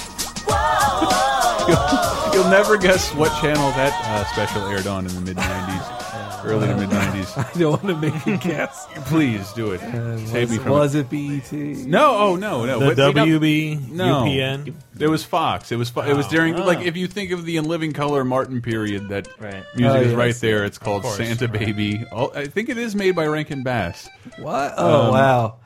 Speaker 1: You'll, you'll never guess what channel that uh, special aired on in the mid 90s, early to mid 90s.
Speaker 2: I don't want to make a guess.
Speaker 1: Please do it. Save
Speaker 2: Uh, was,
Speaker 1: me from
Speaker 2: was it E BET?
Speaker 1: No, oh no, no.
Speaker 3: The
Speaker 1: What- we got-
Speaker 3: WB,
Speaker 1: no.
Speaker 3: UPN?
Speaker 1: It was Fox. It was Fo- it was
Speaker 3: Oh.
Speaker 1: during
Speaker 3: Oh.
Speaker 1: like if you think of the In Living Color Martin period that music
Speaker 2: Oh,
Speaker 1: is
Speaker 2: yes.
Speaker 1: right there. It's
Speaker 2: Of
Speaker 1: called
Speaker 2: course.
Speaker 1: Santa Baby. Oh, I think it is made by Rankin Bass. Um,
Speaker 2: What? Oh, wow.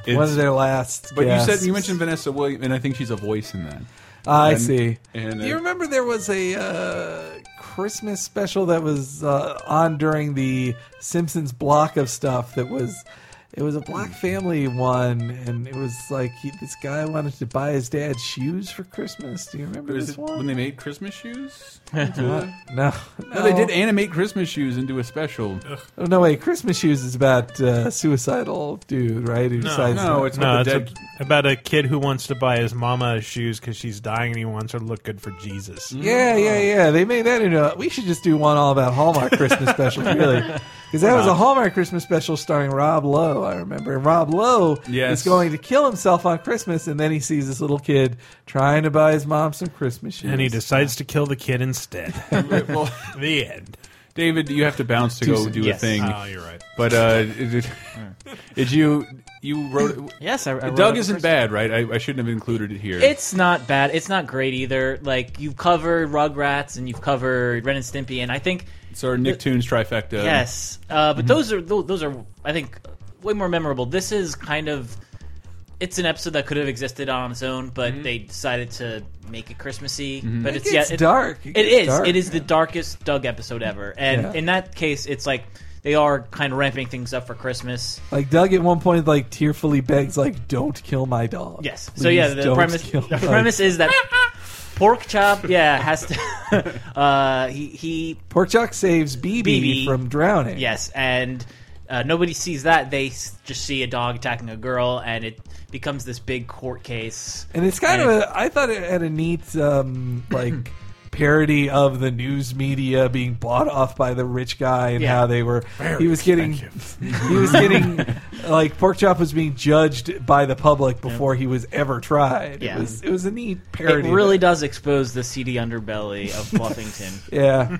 Speaker 1: it's-
Speaker 2: One of their last
Speaker 1: But you
Speaker 2: gasps.
Speaker 1: said you mentioned Vanessa Williams, and I think she's a voice in that.
Speaker 2: I
Speaker 1: And-
Speaker 2: see.
Speaker 1: And
Speaker 2: Do you
Speaker 1: uh,
Speaker 2: remember there was a uh, Christmas special that was uh, on during the Simpsons block of stuff that was. It was a black
Speaker 1: Mm.
Speaker 2: family one, and it was like he, this guy wanted to buy his dad shoes for Christmas. Do you remember
Speaker 1: was
Speaker 2: this
Speaker 1: it
Speaker 2: one?
Speaker 1: when they made Christmas shoes?
Speaker 2: No, no.
Speaker 1: they did animate Christmas shoes into a special.
Speaker 2: Oh, no, wait. Christmas shoes is about uh, suicidal dude, right? Who decides to-
Speaker 3: no, it's a- about a kid who wants to buy his mama shoes because she's dying and he wants her to look good for Jesus.
Speaker 1: Mm.
Speaker 2: Yeah, yeah,
Speaker 3: Mm.
Speaker 2: yeah. They made that into. A, we should just do one all about Hallmark Christmas specials, really, because that was a Hallmark Christmas special starring Rob Lowe. I remember, and Rob Lowe
Speaker 1: Yes.
Speaker 2: is going to kill himself on Christmas, and then he sees this little kid trying to buy his mom some Christmas shoes,
Speaker 3: And he decides to kill the kid instead. the end.
Speaker 1: David, you have to bounce to
Speaker 3: Too
Speaker 1: go
Speaker 3: soon.
Speaker 1: do
Speaker 3: Yes.
Speaker 1: a thing.
Speaker 2: Ah,
Speaker 3: Oh, you're right.
Speaker 1: But uh, did, did you you wrote?
Speaker 4: Yes, I- I wrote
Speaker 1: Doug
Speaker 4: it
Speaker 1: isn't
Speaker 4: first.
Speaker 1: bad, right? I, I shouldn't have included it here.
Speaker 4: It's not bad. It's not great either. Like you've covered Rugrats and you've covered Ren and Stimpy, and I think
Speaker 1: it's our Nicktoons trifecta.
Speaker 4: Yes, uh,
Speaker 2: Mm-hmm.
Speaker 4: but those are tho- those are I think way more memorable. This is kind of it's an episode that could have existed on its own, but they decided to make it Christmassy.
Speaker 2: Mhm.
Speaker 4: But
Speaker 2: Mm-hmm. It
Speaker 4: it's
Speaker 2: gets
Speaker 4: yeah, it-
Speaker 2: dark. It
Speaker 4: it
Speaker 2: gets
Speaker 4: is.
Speaker 2: dark,
Speaker 4: It is the darkest Doug episode ever, and
Speaker 2: Yeah.
Speaker 4: in that case, it's like they are kind of ramping things up for Christmas.
Speaker 2: Like Doug at one point, like tearfully begs, like, "Don't kill my dog."
Speaker 4: Yes. so
Speaker 2: Please
Speaker 4: yeah, the
Speaker 2: don't
Speaker 4: premise
Speaker 2: kill
Speaker 4: the
Speaker 2: my-
Speaker 4: premise is that pork chop yeah has to uh, he he
Speaker 2: Porkchuck saves BB,
Speaker 4: BB.
Speaker 2: from drowning.
Speaker 4: Yes, and uh, nobody sees that. They s- just see a dog attacking a girl, and it becomes this big court case.
Speaker 2: And it's kind
Speaker 4: And
Speaker 2: of a, I thought it had a neat um, like parody of the news media being bought off by the rich guy and
Speaker 4: Yeah.
Speaker 2: how they were
Speaker 4: Very
Speaker 2: he was getting
Speaker 4: expensive.
Speaker 2: he was getting like Porkchop was being judged by the public before he was ever tried.
Speaker 4: Yeah.
Speaker 2: It was it was a neat parody.
Speaker 4: It really does expose the seedy underbelly of Bluffington.
Speaker 2: Yeah.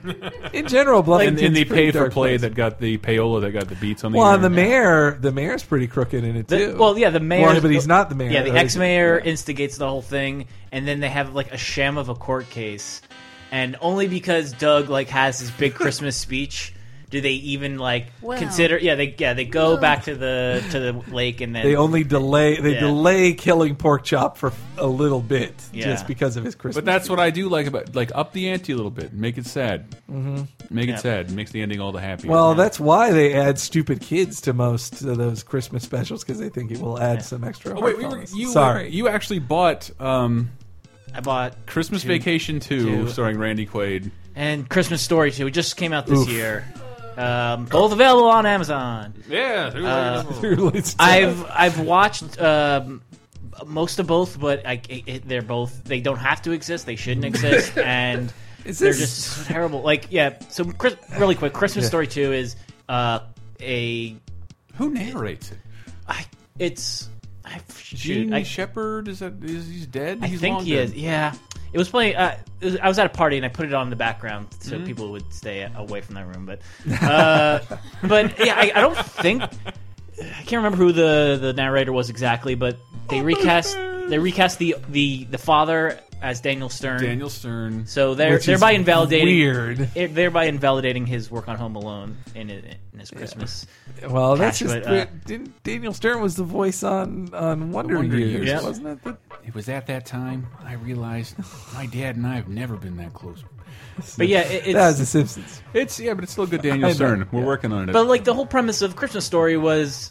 Speaker 2: In general, Bluffington's
Speaker 1: and, and the
Speaker 2: pretty
Speaker 1: pay for
Speaker 2: dark
Speaker 1: play
Speaker 2: place.
Speaker 1: that got the payola that got the beats on the.
Speaker 2: well,
Speaker 1: air.
Speaker 2: and the mayor, the mayor's pretty crooked in it
Speaker 4: The-
Speaker 2: too.
Speaker 4: well, yeah, the mayor.
Speaker 2: Well, but he's not the mayor.
Speaker 4: Yeah, the
Speaker 2: or is he?
Speaker 4: ex mayor instigates the whole thing, and then they have like a sham of a court case, and only because Doug like has his big Christmas speech. do they even like
Speaker 6: Well.
Speaker 4: consider? Yeah, they yeah they go back to the to the lake and then
Speaker 2: They only delay they
Speaker 4: Yeah.
Speaker 2: delay killing pork chop for a little bit
Speaker 1: Yeah.
Speaker 2: just because of his Christmas.
Speaker 1: But that's what I do like about like up the ante a little bit, make it sad,
Speaker 2: Mhm.
Speaker 1: make
Speaker 2: Yeah.
Speaker 1: it sad, makes the ending all the happier.
Speaker 2: well, that's why they add stupid kids to most of those Christmas specials because they think it will add some extra.
Speaker 1: Oh, wait, we were,
Speaker 2: heartfulness.
Speaker 1: you
Speaker 2: Sorry,
Speaker 1: you actually bought um,
Speaker 4: I bought
Speaker 1: Christmas
Speaker 4: two-
Speaker 1: Vacation 2,
Speaker 4: two.
Speaker 1: starring Randy Quaid.
Speaker 4: and Christmas Story too. It just came out this
Speaker 1: Oof.
Speaker 4: year. Um, both available on Amazon.
Speaker 1: Yeah, through
Speaker 4: Uh,
Speaker 1: latest- through latest
Speaker 4: I've I've watched um, most of both, but I, it, it- they're both they don't have to exist. They shouldn't exist, and
Speaker 2: Is
Speaker 4: they're
Speaker 2: this-
Speaker 4: just terrible. Like yeah, so Chris, really quick, Christmas
Speaker 1: Yeah.
Speaker 4: Story Two is uh, a
Speaker 1: who narrates it?
Speaker 4: I it's I,
Speaker 1: Gene
Speaker 4: shoot, I,
Speaker 1: Shepherd is that is he's dead?
Speaker 4: I
Speaker 1: he's
Speaker 4: think
Speaker 1: long
Speaker 4: he
Speaker 1: dead.
Speaker 4: is. Yeah, it was playing. Uh, it was, I was at a party and I put it on in the background so
Speaker 1: Mhm.
Speaker 4: people would stay away from that room. But, uh, but yeah, I, I don't think I can't remember who the the narrator was exactly. But
Speaker 1: Oh,
Speaker 4: they recast they recast the the the father as Daniel Stern.
Speaker 1: Daniel Stern.
Speaker 4: So they're
Speaker 1: Which is
Speaker 4: thereby invalidating
Speaker 1: weird.
Speaker 4: it- thereby invalidating his work on Home Alone in in his Christmas.
Speaker 2: well, that's
Speaker 4: catch,
Speaker 2: just
Speaker 4: but, uh,
Speaker 2: didn't Daniel Stern was the voice on on Wonder,
Speaker 1: Wonder
Speaker 2: Years,
Speaker 1: Years, Yeah.
Speaker 2: wasn't it? But
Speaker 1: It was at that time I realized my dad and I have never been that close.
Speaker 4: But yeah, it- it's-
Speaker 2: that was The Simpsons.
Speaker 1: It's yeah, but it's still good.
Speaker 2: I
Speaker 1: Daniel
Speaker 2: know.
Speaker 1: Stern. We're working on it.
Speaker 4: But like the whole premise of Christmas Story was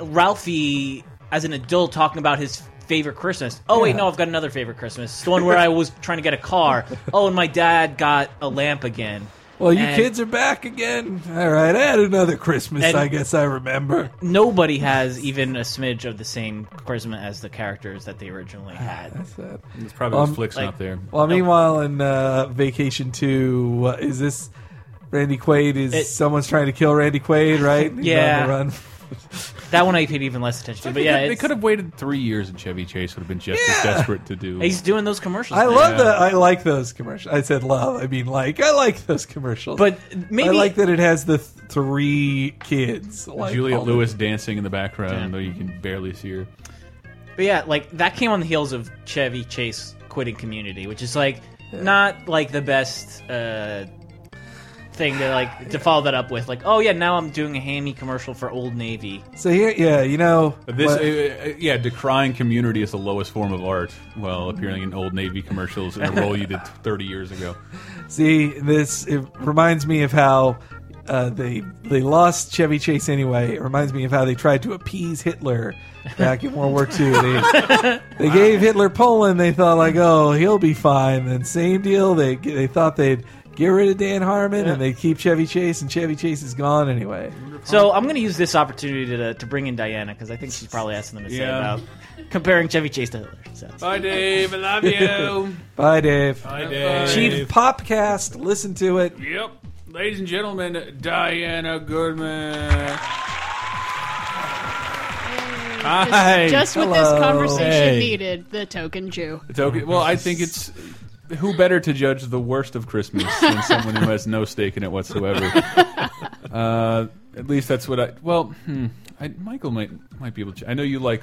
Speaker 4: Ralphie as an adult talking about his favorite Christmas. Oh wait,
Speaker 2: Yeah.
Speaker 4: no, I've got another favorite Christmas. It's the one where I was trying to get a car. Oh, and my dad got a lamp again.
Speaker 2: Well, you
Speaker 4: And
Speaker 2: kids are back again. All right, I had another Christmas.
Speaker 4: And-
Speaker 2: I guess I remember.
Speaker 4: Nobody has even a smidge of the same charisma as the characters that they originally had. That's
Speaker 2: it.
Speaker 1: It's probably
Speaker 2: Um,
Speaker 1: was Flick's
Speaker 4: like-
Speaker 1: not there.
Speaker 2: Well, meanwhile, in uh, Vacation Two, uh, is this Randy Quaid? Is
Speaker 4: It-
Speaker 2: someone's trying to kill Randy Quaid? Right? He's on the
Speaker 4: Yeah.
Speaker 2: run.
Speaker 4: That one I paid even less attention to. But yeah,
Speaker 1: they
Speaker 4: it's,
Speaker 1: could have waited three years, and Chevy Chase would have been just as desperate to do.
Speaker 4: he's doing those commercials.
Speaker 2: I
Speaker 4: now.
Speaker 2: love that. I like those commercials. I said love. I mean, like I like those commercials.
Speaker 4: But maybe-
Speaker 2: I like that it has the th- three kids. Like,
Speaker 1: Juliet
Speaker 2: all the-
Speaker 1: Lewis dancing in the background,
Speaker 4: Yeah.
Speaker 1: though you can barely see her.
Speaker 4: But yeah, like that came on the heels of Chevy Chase quitting Community, which is like not like the best uh, thing to like to follow that up with. Like, oh yeah, now I'm doing a hammy commercial for Old Navy.
Speaker 2: So here, yeah, you know
Speaker 1: This,
Speaker 2: what-
Speaker 1: uh, uh, yeah, decrying community is the lowest form of art while appearing in old Navy commercials in a role you did 30 years ago.
Speaker 2: See, this it reminds me of how uh, they they lost Chevy Chase anyway. It reminds me of how they tried to appease Hitler back in World War II. They, they gave Hitler Poland. They thought like, oh, he'll be fine. Then same deal. They they thought they'd get rid of Dan Harmon and they would keep Chevy Chase, and Chevy Chase is gone anyway.
Speaker 4: So I'm going to use this opportunity to, to bring in Diana because I think she's probably has something to say
Speaker 1: Yeah.
Speaker 4: about comparing Chevy Chase to Hitler. So.
Speaker 1: Bye, Dave. I love you.
Speaker 2: Bye, Dave.
Speaker 1: Bye, Dave.
Speaker 2: Chief Popcast. Listen to it.
Speaker 1: Yep. Ladies and gentlemen, Diana Goodman. Hi.
Speaker 6: Just what this conversation needed, the token Jew.
Speaker 1: It's okay. Well, I think it's who better to judge the worst of Christmas than someone who has no stake in it whatsoever. uh, at least that's what I. Well, hmm, I, Michael might might be able to. I know you like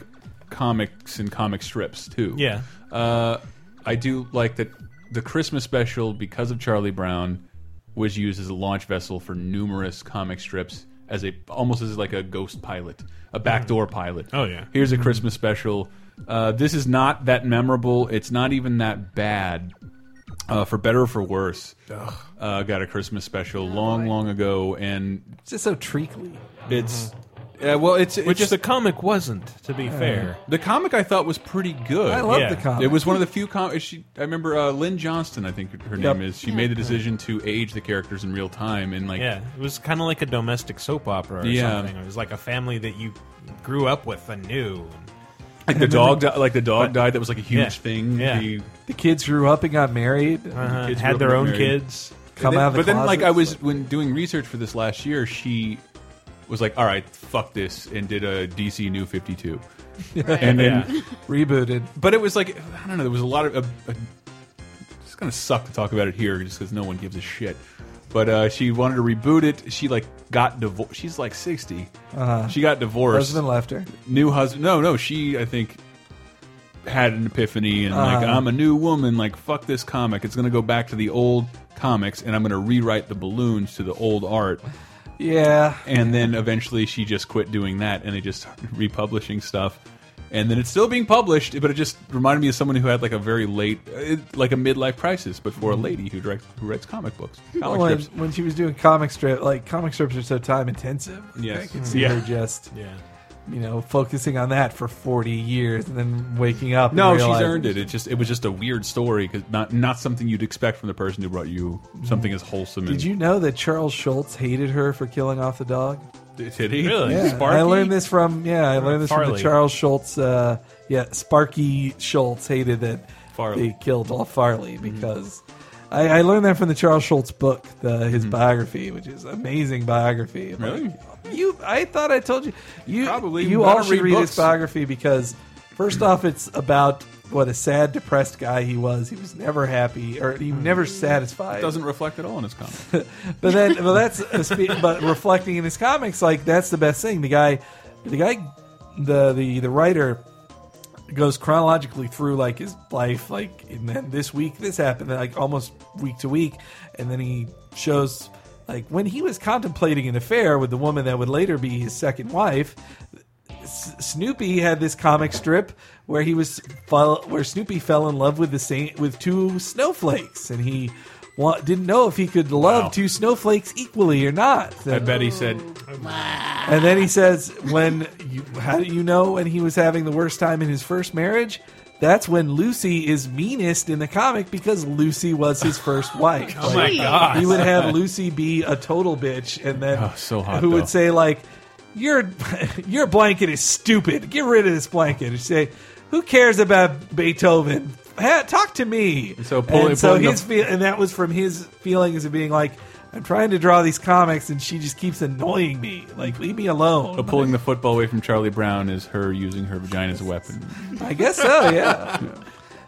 Speaker 1: comics and comic strips too.
Speaker 3: Yeah.
Speaker 1: Uh, I do like that the Christmas special because of Charlie Brown was used as a launch vessel for numerous comic strips as a almost as like a ghost pilot, a backdoor pilot.
Speaker 3: Oh, yeah.
Speaker 1: Here's a Christmas special. Uh, this is not that memorable. It's not even that bad. Uh, for better or for worse, uh, got a Christmas special long, long ago, and
Speaker 2: It's just so treacly.
Speaker 1: it's Mm-hmm. yeah, well, it's
Speaker 3: Which
Speaker 1: it's,
Speaker 3: the comic wasn't, to be fair.
Speaker 1: The comic I thought was pretty good.
Speaker 2: I love Yeah. the comic.
Speaker 1: It was one of the few comics. She, I remember uh, Lynn Johnston. I think her
Speaker 3: Yep.
Speaker 1: name is. She made the decision to age the characters in real time, and like
Speaker 3: yeah, it was kind of like a domestic soap opera or
Speaker 1: Yeah.
Speaker 3: something. It was like a family that you grew up with and knew.
Speaker 1: like the dog, di- like the dog died. That was like a huge
Speaker 3: Yeah.
Speaker 1: thing.
Speaker 3: Yeah.
Speaker 1: The-
Speaker 2: The kids grew up and got married.
Speaker 3: Uh-huh.
Speaker 1: kids
Speaker 3: Had
Speaker 1: grew up
Speaker 3: their
Speaker 1: and
Speaker 3: own
Speaker 1: married.
Speaker 3: kids.
Speaker 1: And
Speaker 2: Come
Speaker 1: then-
Speaker 2: out of the
Speaker 1: But then, like, I
Speaker 2: closet.
Speaker 1: was when doing research for this last year, she was like, "All right, fuck this," and did a DC New Fifty Two, and then
Speaker 2: rebooted.
Speaker 1: But it was like I don't know. There was a lot of. A, a, it's gonna suck to talk about it here, just because no one gives a shit. But uh, she wanted to reboot it. She like got divorced. She's like 60
Speaker 2: Uh-huh.
Speaker 1: She got divorced.
Speaker 2: Husband left her.
Speaker 1: New husband. No, no. She I think had an epiphany and like
Speaker 2: Uh-huh.
Speaker 1: I'm a new woman. Like fuck this comic. It's gonna go back to the old comics, and I'm gonna rewrite the balloons to the old art.
Speaker 2: Yeah.
Speaker 1: And then eventually she just quit doing that and they just started republishing stuff. And then it's still being published, but it just reminded me of someone who had like a very late, uh, like a midlife crisis, but for a lady who directs, who writes comic books, comic
Speaker 2: when,
Speaker 1: strips.
Speaker 2: when she was doing comic strip, like comic strips are so time intensive.
Speaker 1: Yes. Mm-hmm.
Speaker 2: I could see
Speaker 1: Yeah.
Speaker 2: her just,
Speaker 1: Yeah.
Speaker 2: you know, focusing on that for forty years and then waking up.
Speaker 1: No,
Speaker 2: and
Speaker 1: she's
Speaker 2: realizing-
Speaker 1: earned it. It just it was just a weird story because not not something you'd expect from the person who brought you something as wholesome.
Speaker 2: Did
Speaker 1: and,
Speaker 2: you know that Charles Schultz hated her for killing off the dog?
Speaker 1: Did he? Really?
Speaker 2: Yeah.
Speaker 1: Sparky?
Speaker 2: I learned this from yeah. I learned this from the
Speaker 1: Farley.
Speaker 2: Charles Schultz. Uh, yeah, Sparky Schultz hated that
Speaker 1: Farley.
Speaker 2: they killed all Farley because I, I learned that from the Charles Schultz book, the, his biography, which is an amazing biography.
Speaker 1: Mm-hmm. Really?
Speaker 2: you? I thought I told you. You
Speaker 1: probably
Speaker 2: you
Speaker 1: better
Speaker 2: all should
Speaker 1: read
Speaker 2: read his
Speaker 1: books.
Speaker 2: biography because first off, it's about what a sad, depressed guy he was. He was never happy or he never
Speaker 1: It
Speaker 2: satisfied.
Speaker 1: Mm-hmm. doesn't reflect at all in his comic.
Speaker 2: But then, well, that's a spe- but reflecting in his comics, like that's the best thing. The guy, the guy, the the the writer goes chronologically through like his life, like and then this week this happened, then, like almost week to week, and then he shows like when he was contemplating an affair with the woman that would later be his second wife. S- Snoopy had this comic strip where he was fell, where Snoopy fell in love with the same with two snowflakes, and he wa- didn't know if he could love two snowflakes equally or not.
Speaker 1: I bet he said,
Speaker 2: And then he says, "When you, how do you know when he was having the worst time in his first marriage? That's when Lucy is meanest in the comic because Lucy was his first wife.
Speaker 15: Oh my God.
Speaker 2: He would have Lucy be a total bitch, and then
Speaker 1: Oh, so hot,
Speaker 2: who
Speaker 1: though.
Speaker 2: would say like, "Your your blanket is stupid. Get rid of this blanket." And say, "Who cares about Beethoven? Ha, talk to me."
Speaker 1: so pulling-
Speaker 2: and so
Speaker 1: pulling the-
Speaker 2: his feel, and that was from his feelings of being like. I'm trying to draw these comics, and she just keeps annoying me. Like, leave me alone.
Speaker 1: "But pulling the football away from Charlie Brown is her using her vagina as a weapon."
Speaker 2: I guess so. Yeah.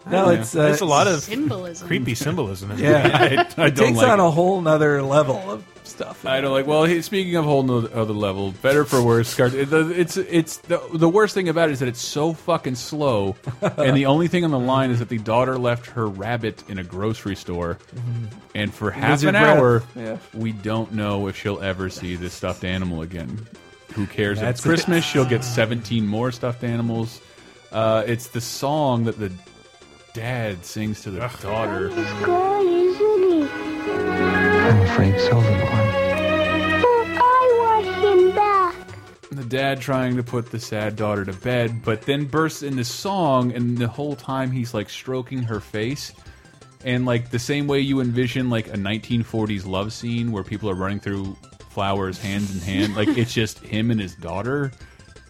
Speaker 2: No,
Speaker 1: Yeah.
Speaker 2: it's uh,
Speaker 3: There's a lot of
Speaker 6: Symbolism.
Speaker 3: creepy symbolism. in it.
Speaker 2: Yeah,
Speaker 1: I don't
Speaker 2: it takes
Speaker 1: like
Speaker 2: on
Speaker 1: it.
Speaker 2: a whole nother level of stuff.
Speaker 1: I don't like. Well, he, speaking of whole no, other level, better for worse. Scar- it- It's it's the, the worst thing about it is that it's so fucking slow, and the only thing on the line is that the daughter left her rabbit in a grocery store,
Speaker 2: Mhm.
Speaker 1: and for
Speaker 2: Lose
Speaker 1: half
Speaker 2: your
Speaker 1: an
Speaker 2: breath.
Speaker 1: hour,
Speaker 2: Yeah.
Speaker 1: we don't know if she'll ever see this stuffed animal again. Who cares? If
Speaker 2: That's
Speaker 1: it's Christmas, she'll get seventeen more stuffed animals. Uh, it's the song that the dad sings to the daughter.
Speaker 15: Guy, isn't he?
Speaker 17: I'm afraid so, little one.
Speaker 15: But I want him back.
Speaker 1: the dad trying to put the sad daughter to bed, but then bursts into song, and the whole time he's like stroking her face. And like the same way you envision like a 1940s love scene where people are running through flowers hands in hand, like it's just him and his daughter.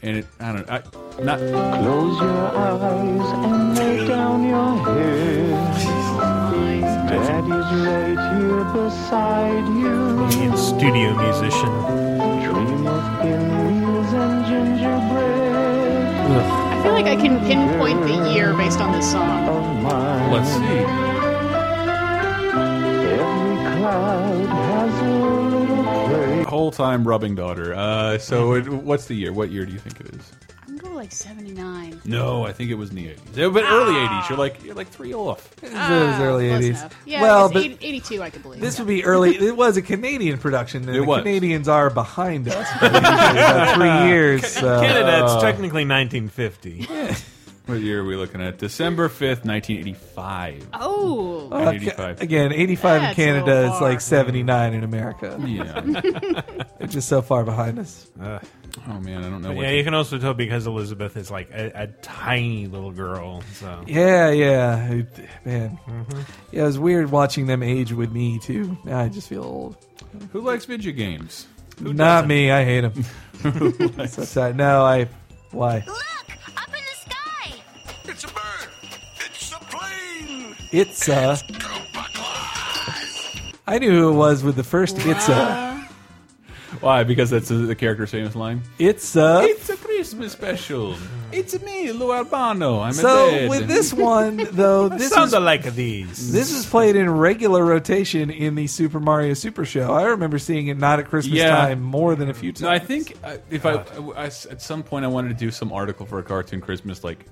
Speaker 1: And it, I don't know, I, not
Speaker 15: Close your eyes and lay down your head. Daddy's right here beside you.
Speaker 3: Being a studio musician.
Speaker 15: Dream of pinwheels and gingerbread.
Speaker 6: I feel like I can pinpoint the year based on this song.
Speaker 1: Let's see.
Speaker 15: Every cloud has a little place.
Speaker 1: whole time rubbing daughter. Uh, so it, what's the year? What year do you think it is?
Speaker 6: I'm going like 79.
Speaker 1: No, I think it was in the 80s. It- But early 80s. You're like you're like three off.
Speaker 2: it was early
Speaker 6: Ah, close
Speaker 2: eighties.
Speaker 6: enough. Yeah,
Speaker 2: well,
Speaker 6: it's
Speaker 2: but
Speaker 6: 80 82, I could believe.
Speaker 2: this would be early. It was a Canadian production. And
Speaker 1: It
Speaker 2: the
Speaker 1: was.
Speaker 2: Canadians are behind us by usually about three years. uh, So.
Speaker 3: Canada, it's technically 1950.
Speaker 1: What year are we looking at? December 5th, 1985.
Speaker 6: Oh.
Speaker 2: Uh, ca-
Speaker 1: 85.
Speaker 2: Again, eighty-five in
Speaker 6: That's a
Speaker 2: Canada
Speaker 6: little
Speaker 2: is
Speaker 6: far.
Speaker 2: like seventy-nine in America.
Speaker 1: Yeah.
Speaker 2: They're just so far behind us.
Speaker 1: Oh man, I don't know.
Speaker 3: Uh, But
Speaker 1: What
Speaker 3: yeah, you can also tell because Elizabeth is like a, a tiny little girl. So
Speaker 2: Yeah, yeah, It- man.
Speaker 1: Mm-hmm.
Speaker 2: Yeah, it was weird watching them age with me too. Now I just feel old.
Speaker 1: Who likes video games? Who doesn't?
Speaker 2: Not me. I hate them. so sad. No, I. Why?
Speaker 15: It's a bird. It's a plane.
Speaker 2: It's uh. I knew who it was with the first it's uh.
Speaker 1: Why? Because that's the the character's famous line.
Speaker 2: It's uh.
Speaker 1: It's a Christmas special. It's me, Lou Albano. I'm
Speaker 2: so
Speaker 1: a dead.
Speaker 2: with this one though, this
Speaker 3: sounds
Speaker 2: is,
Speaker 3: like these.
Speaker 2: this is played in regular rotation in the Super Mario Super Show. I remember seeing it not at Christmas
Speaker 1: Yeah.
Speaker 2: time more than a few times.
Speaker 1: No, I think uh, if I, I- I- at some point I wanted to do some article for a cartoon Christmas like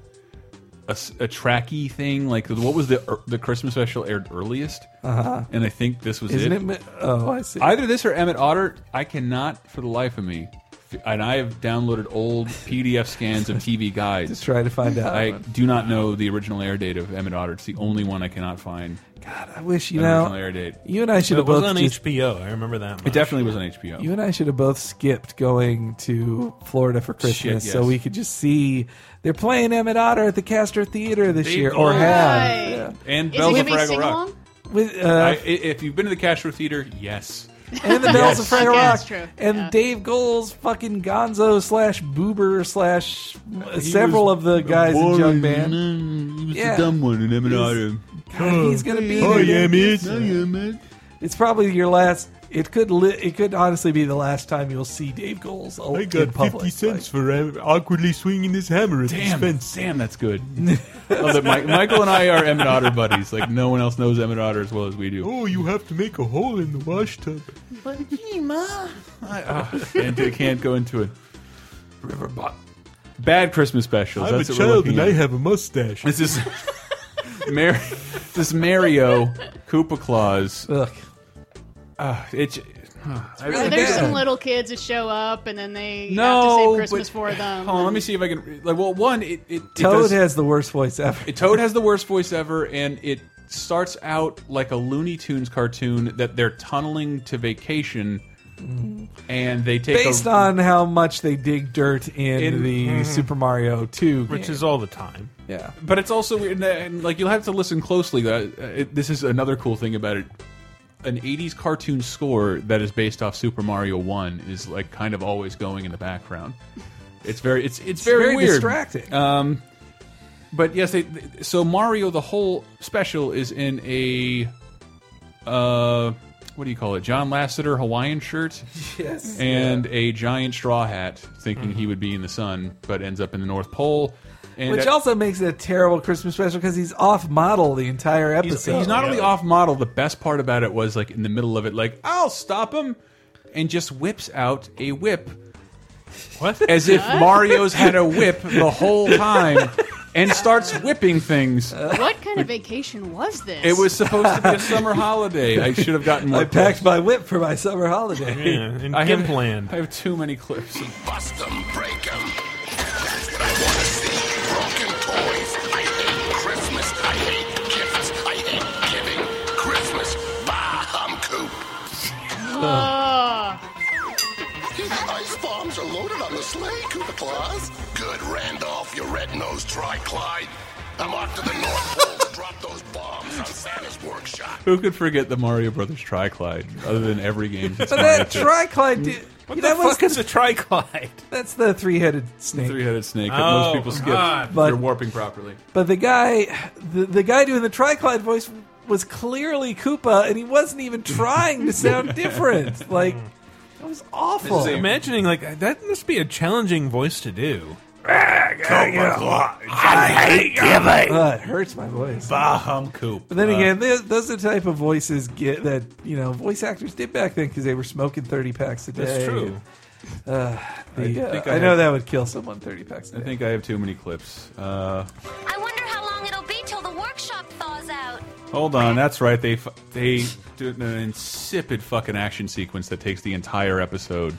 Speaker 1: a, s- a tracky thing. Like what was the er, the Christmas special aired earliest?
Speaker 2: Uh-huh.
Speaker 1: And I think this was
Speaker 2: Isn't
Speaker 1: it.
Speaker 2: it mi- oh, I see.
Speaker 1: Either this or Emmett Otter. I cannot for the life of me. f- And I have downloaded old PDF scans of TV guides
Speaker 2: To try to find out.
Speaker 1: I do not know the original air date of Emmett Otter. It's the only one I cannot find.
Speaker 2: God, I wish you
Speaker 1: an
Speaker 2: know.
Speaker 1: original air date.
Speaker 2: You and I should have
Speaker 3: it was
Speaker 2: both
Speaker 3: on
Speaker 2: just-
Speaker 3: HBO. I remember that.
Speaker 1: It definitely was on HBO.
Speaker 2: You and I should have both skipped going to Florida for Christmas
Speaker 1: Shit,
Speaker 2: so
Speaker 1: yes.
Speaker 2: we could just see they're playing Emmett Otter at the Castor Theater this
Speaker 1: They
Speaker 2: year, or
Speaker 1: are.
Speaker 2: have.
Speaker 1: And
Speaker 2: Is it
Speaker 1: Bells
Speaker 2: gonna
Speaker 1: of
Speaker 2: be
Speaker 1: Fraggle
Speaker 2: sing-along?
Speaker 1: Rock.
Speaker 2: With, uh,
Speaker 1: I- i- if you've been to the Castro Theater, yes.
Speaker 2: And the Bells of Fraggle
Speaker 1: Yes.
Speaker 2: Rock. And Dave Gold's fucking Gonzo slash Boober slash
Speaker 1: He
Speaker 2: Uh, several
Speaker 1: was
Speaker 2: of the guys in
Speaker 1: boring,
Speaker 2: Junk Band.
Speaker 1: mm, He was
Speaker 2: Yeah.
Speaker 1: the dumb one in Emmett Otter.
Speaker 2: God, he's gonna be.
Speaker 1: Oh, yeah,
Speaker 2: mate.
Speaker 1: Oh, yeah, mate.
Speaker 2: It's probably your last. It could. Li- it could honestly be the last time you'll see Dave Goles al-
Speaker 3: I
Speaker 2: in
Speaker 3: got fifty
Speaker 2: public.
Speaker 3: cents for uh, awkwardly swinging this hammer at
Speaker 1: Damn,
Speaker 3: this fence.
Speaker 1: Damn, that's good. Love that Mi- Michael and I are Emmett Otter buddies. Like, no one else knows Emmett Otter as well as we do.
Speaker 3: Oh, you have to make a hole in the washtub.
Speaker 15: But gee, ma.
Speaker 1: Ah, uh, and they can't go into it. Riverbot. Bad Christmas specials.
Speaker 3: I'm a
Speaker 1: That's what we're
Speaker 3: child
Speaker 1: looking
Speaker 3: and I
Speaker 1: at.
Speaker 3: have a mustache.
Speaker 1: This is Mar- this is Mario Koopa Claus.
Speaker 2: Ugh.
Speaker 1: Uh, it, I-
Speaker 6: Are there some little kids that show up and then they have to
Speaker 1: no,
Speaker 6: save Christmas
Speaker 1: but-
Speaker 6: for them?
Speaker 1: Hold on, let me see if I can. Like, well, one, it, it it
Speaker 2: Toad
Speaker 1: does-
Speaker 2: has the worst voice ever.
Speaker 1: it- Toad has the worst voice ever, and it starts out like a Looney Tunes cartoon that they're tunneling to vacation, and they take
Speaker 2: Mm. Based
Speaker 1: a,
Speaker 2: on how much they dig dirt in,
Speaker 1: In-
Speaker 2: the
Speaker 1: Mhm.
Speaker 2: Super Mario Two,
Speaker 1: Which
Speaker 2: game.
Speaker 1: is
Speaker 3: all the time.
Speaker 2: Yeah.
Speaker 1: But it's also weird, and, and like you'll have to listen closely. Uh, it, this is another cool thing about it. An '80s cartoon score that is based off Super Mario One is like kind of always going in the background. It's very, it's it's, very,
Speaker 2: very
Speaker 1: weird.
Speaker 2: distracting.
Speaker 1: Um, but yes, they, so Mario the whole special is in a, uh, what do you call it? John Lasseter Hawaiian shirt.
Speaker 2: Yes. Mm-hmm.
Speaker 1: And a giant straw hat, thinking he would be in the sun, but ends up in the North Pole. And
Speaker 2: which also makes it a terrible Christmas special because he's off model the entire
Speaker 1: He's,
Speaker 2: episode.
Speaker 1: he's not only off model. The best part about it was like in the middle of it, like I'll stop him, and just whips out a whip.
Speaker 3: What?
Speaker 1: As if
Speaker 6: What?
Speaker 1: Mario's had a whip the whole time, and starts whipping things.
Speaker 6: What kind of vacation was this?
Speaker 1: It was supposed to be a summer holiday. I should have gotten more.
Speaker 2: I packed my whip for my summer holiday.
Speaker 3: in
Speaker 1: I have-
Speaker 3: Gimpland.
Speaker 1: I have too many clips.
Speaker 15: Bust them, break them. That's what I want to see. Broken toys. I hate Christmas. I hate gifts. I hate giving. Christmas. Bah, I'm coop.
Speaker 1: uh,
Speaker 15: These ice bombs are loaded on the sleigh, Koopa Claus. Good, Randolph, you red-nosed tri-Clyde. I'm off to the North Pole to drop those bombs on Santa's workshop.
Speaker 1: Who could forget the Mario Brothers Triclide? Other than every game. since
Speaker 2: But
Speaker 1: Mario
Speaker 2: that
Speaker 1: two?
Speaker 2: triclide, dude,
Speaker 3: What
Speaker 2: that
Speaker 3: the
Speaker 2: was
Speaker 3: fuck is a triclide?
Speaker 2: that's the three-headed snake.
Speaker 1: Three-headed snake that
Speaker 3: Oh,
Speaker 1: most people skip.
Speaker 3: God.
Speaker 1: if
Speaker 2: But-
Speaker 1: They're warping properly.
Speaker 2: But the guy, the, the guy doing the triclide voice was clearly Koopa, and he wasn't even trying to sound different. Like that was awful.
Speaker 3: I'm imagining like that must be a challenging voice to do.
Speaker 15: I hate giving.
Speaker 2: Uh, it hurts my voice.
Speaker 1: Bah humcoop.
Speaker 2: But then again, th those are the type of voices get that you know voice actors did back then because they were smoking thirty packs a day.
Speaker 3: That's true.
Speaker 2: Uh, the,
Speaker 1: I
Speaker 2: uh,
Speaker 1: think I
Speaker 2: I, know
Speaker 1: have-
Speaker 2: that would kill someone thirty packs a
Speaker 1: I
Speaker 2: day.
Speaker 1: think I have too many clips. Uh,
Speaker 7: I wonder how long it'll be till the workshop thaws out.
Speaker 1: hold on, that's right. They f they do an insipid fucking action sequence that takes the entire episode.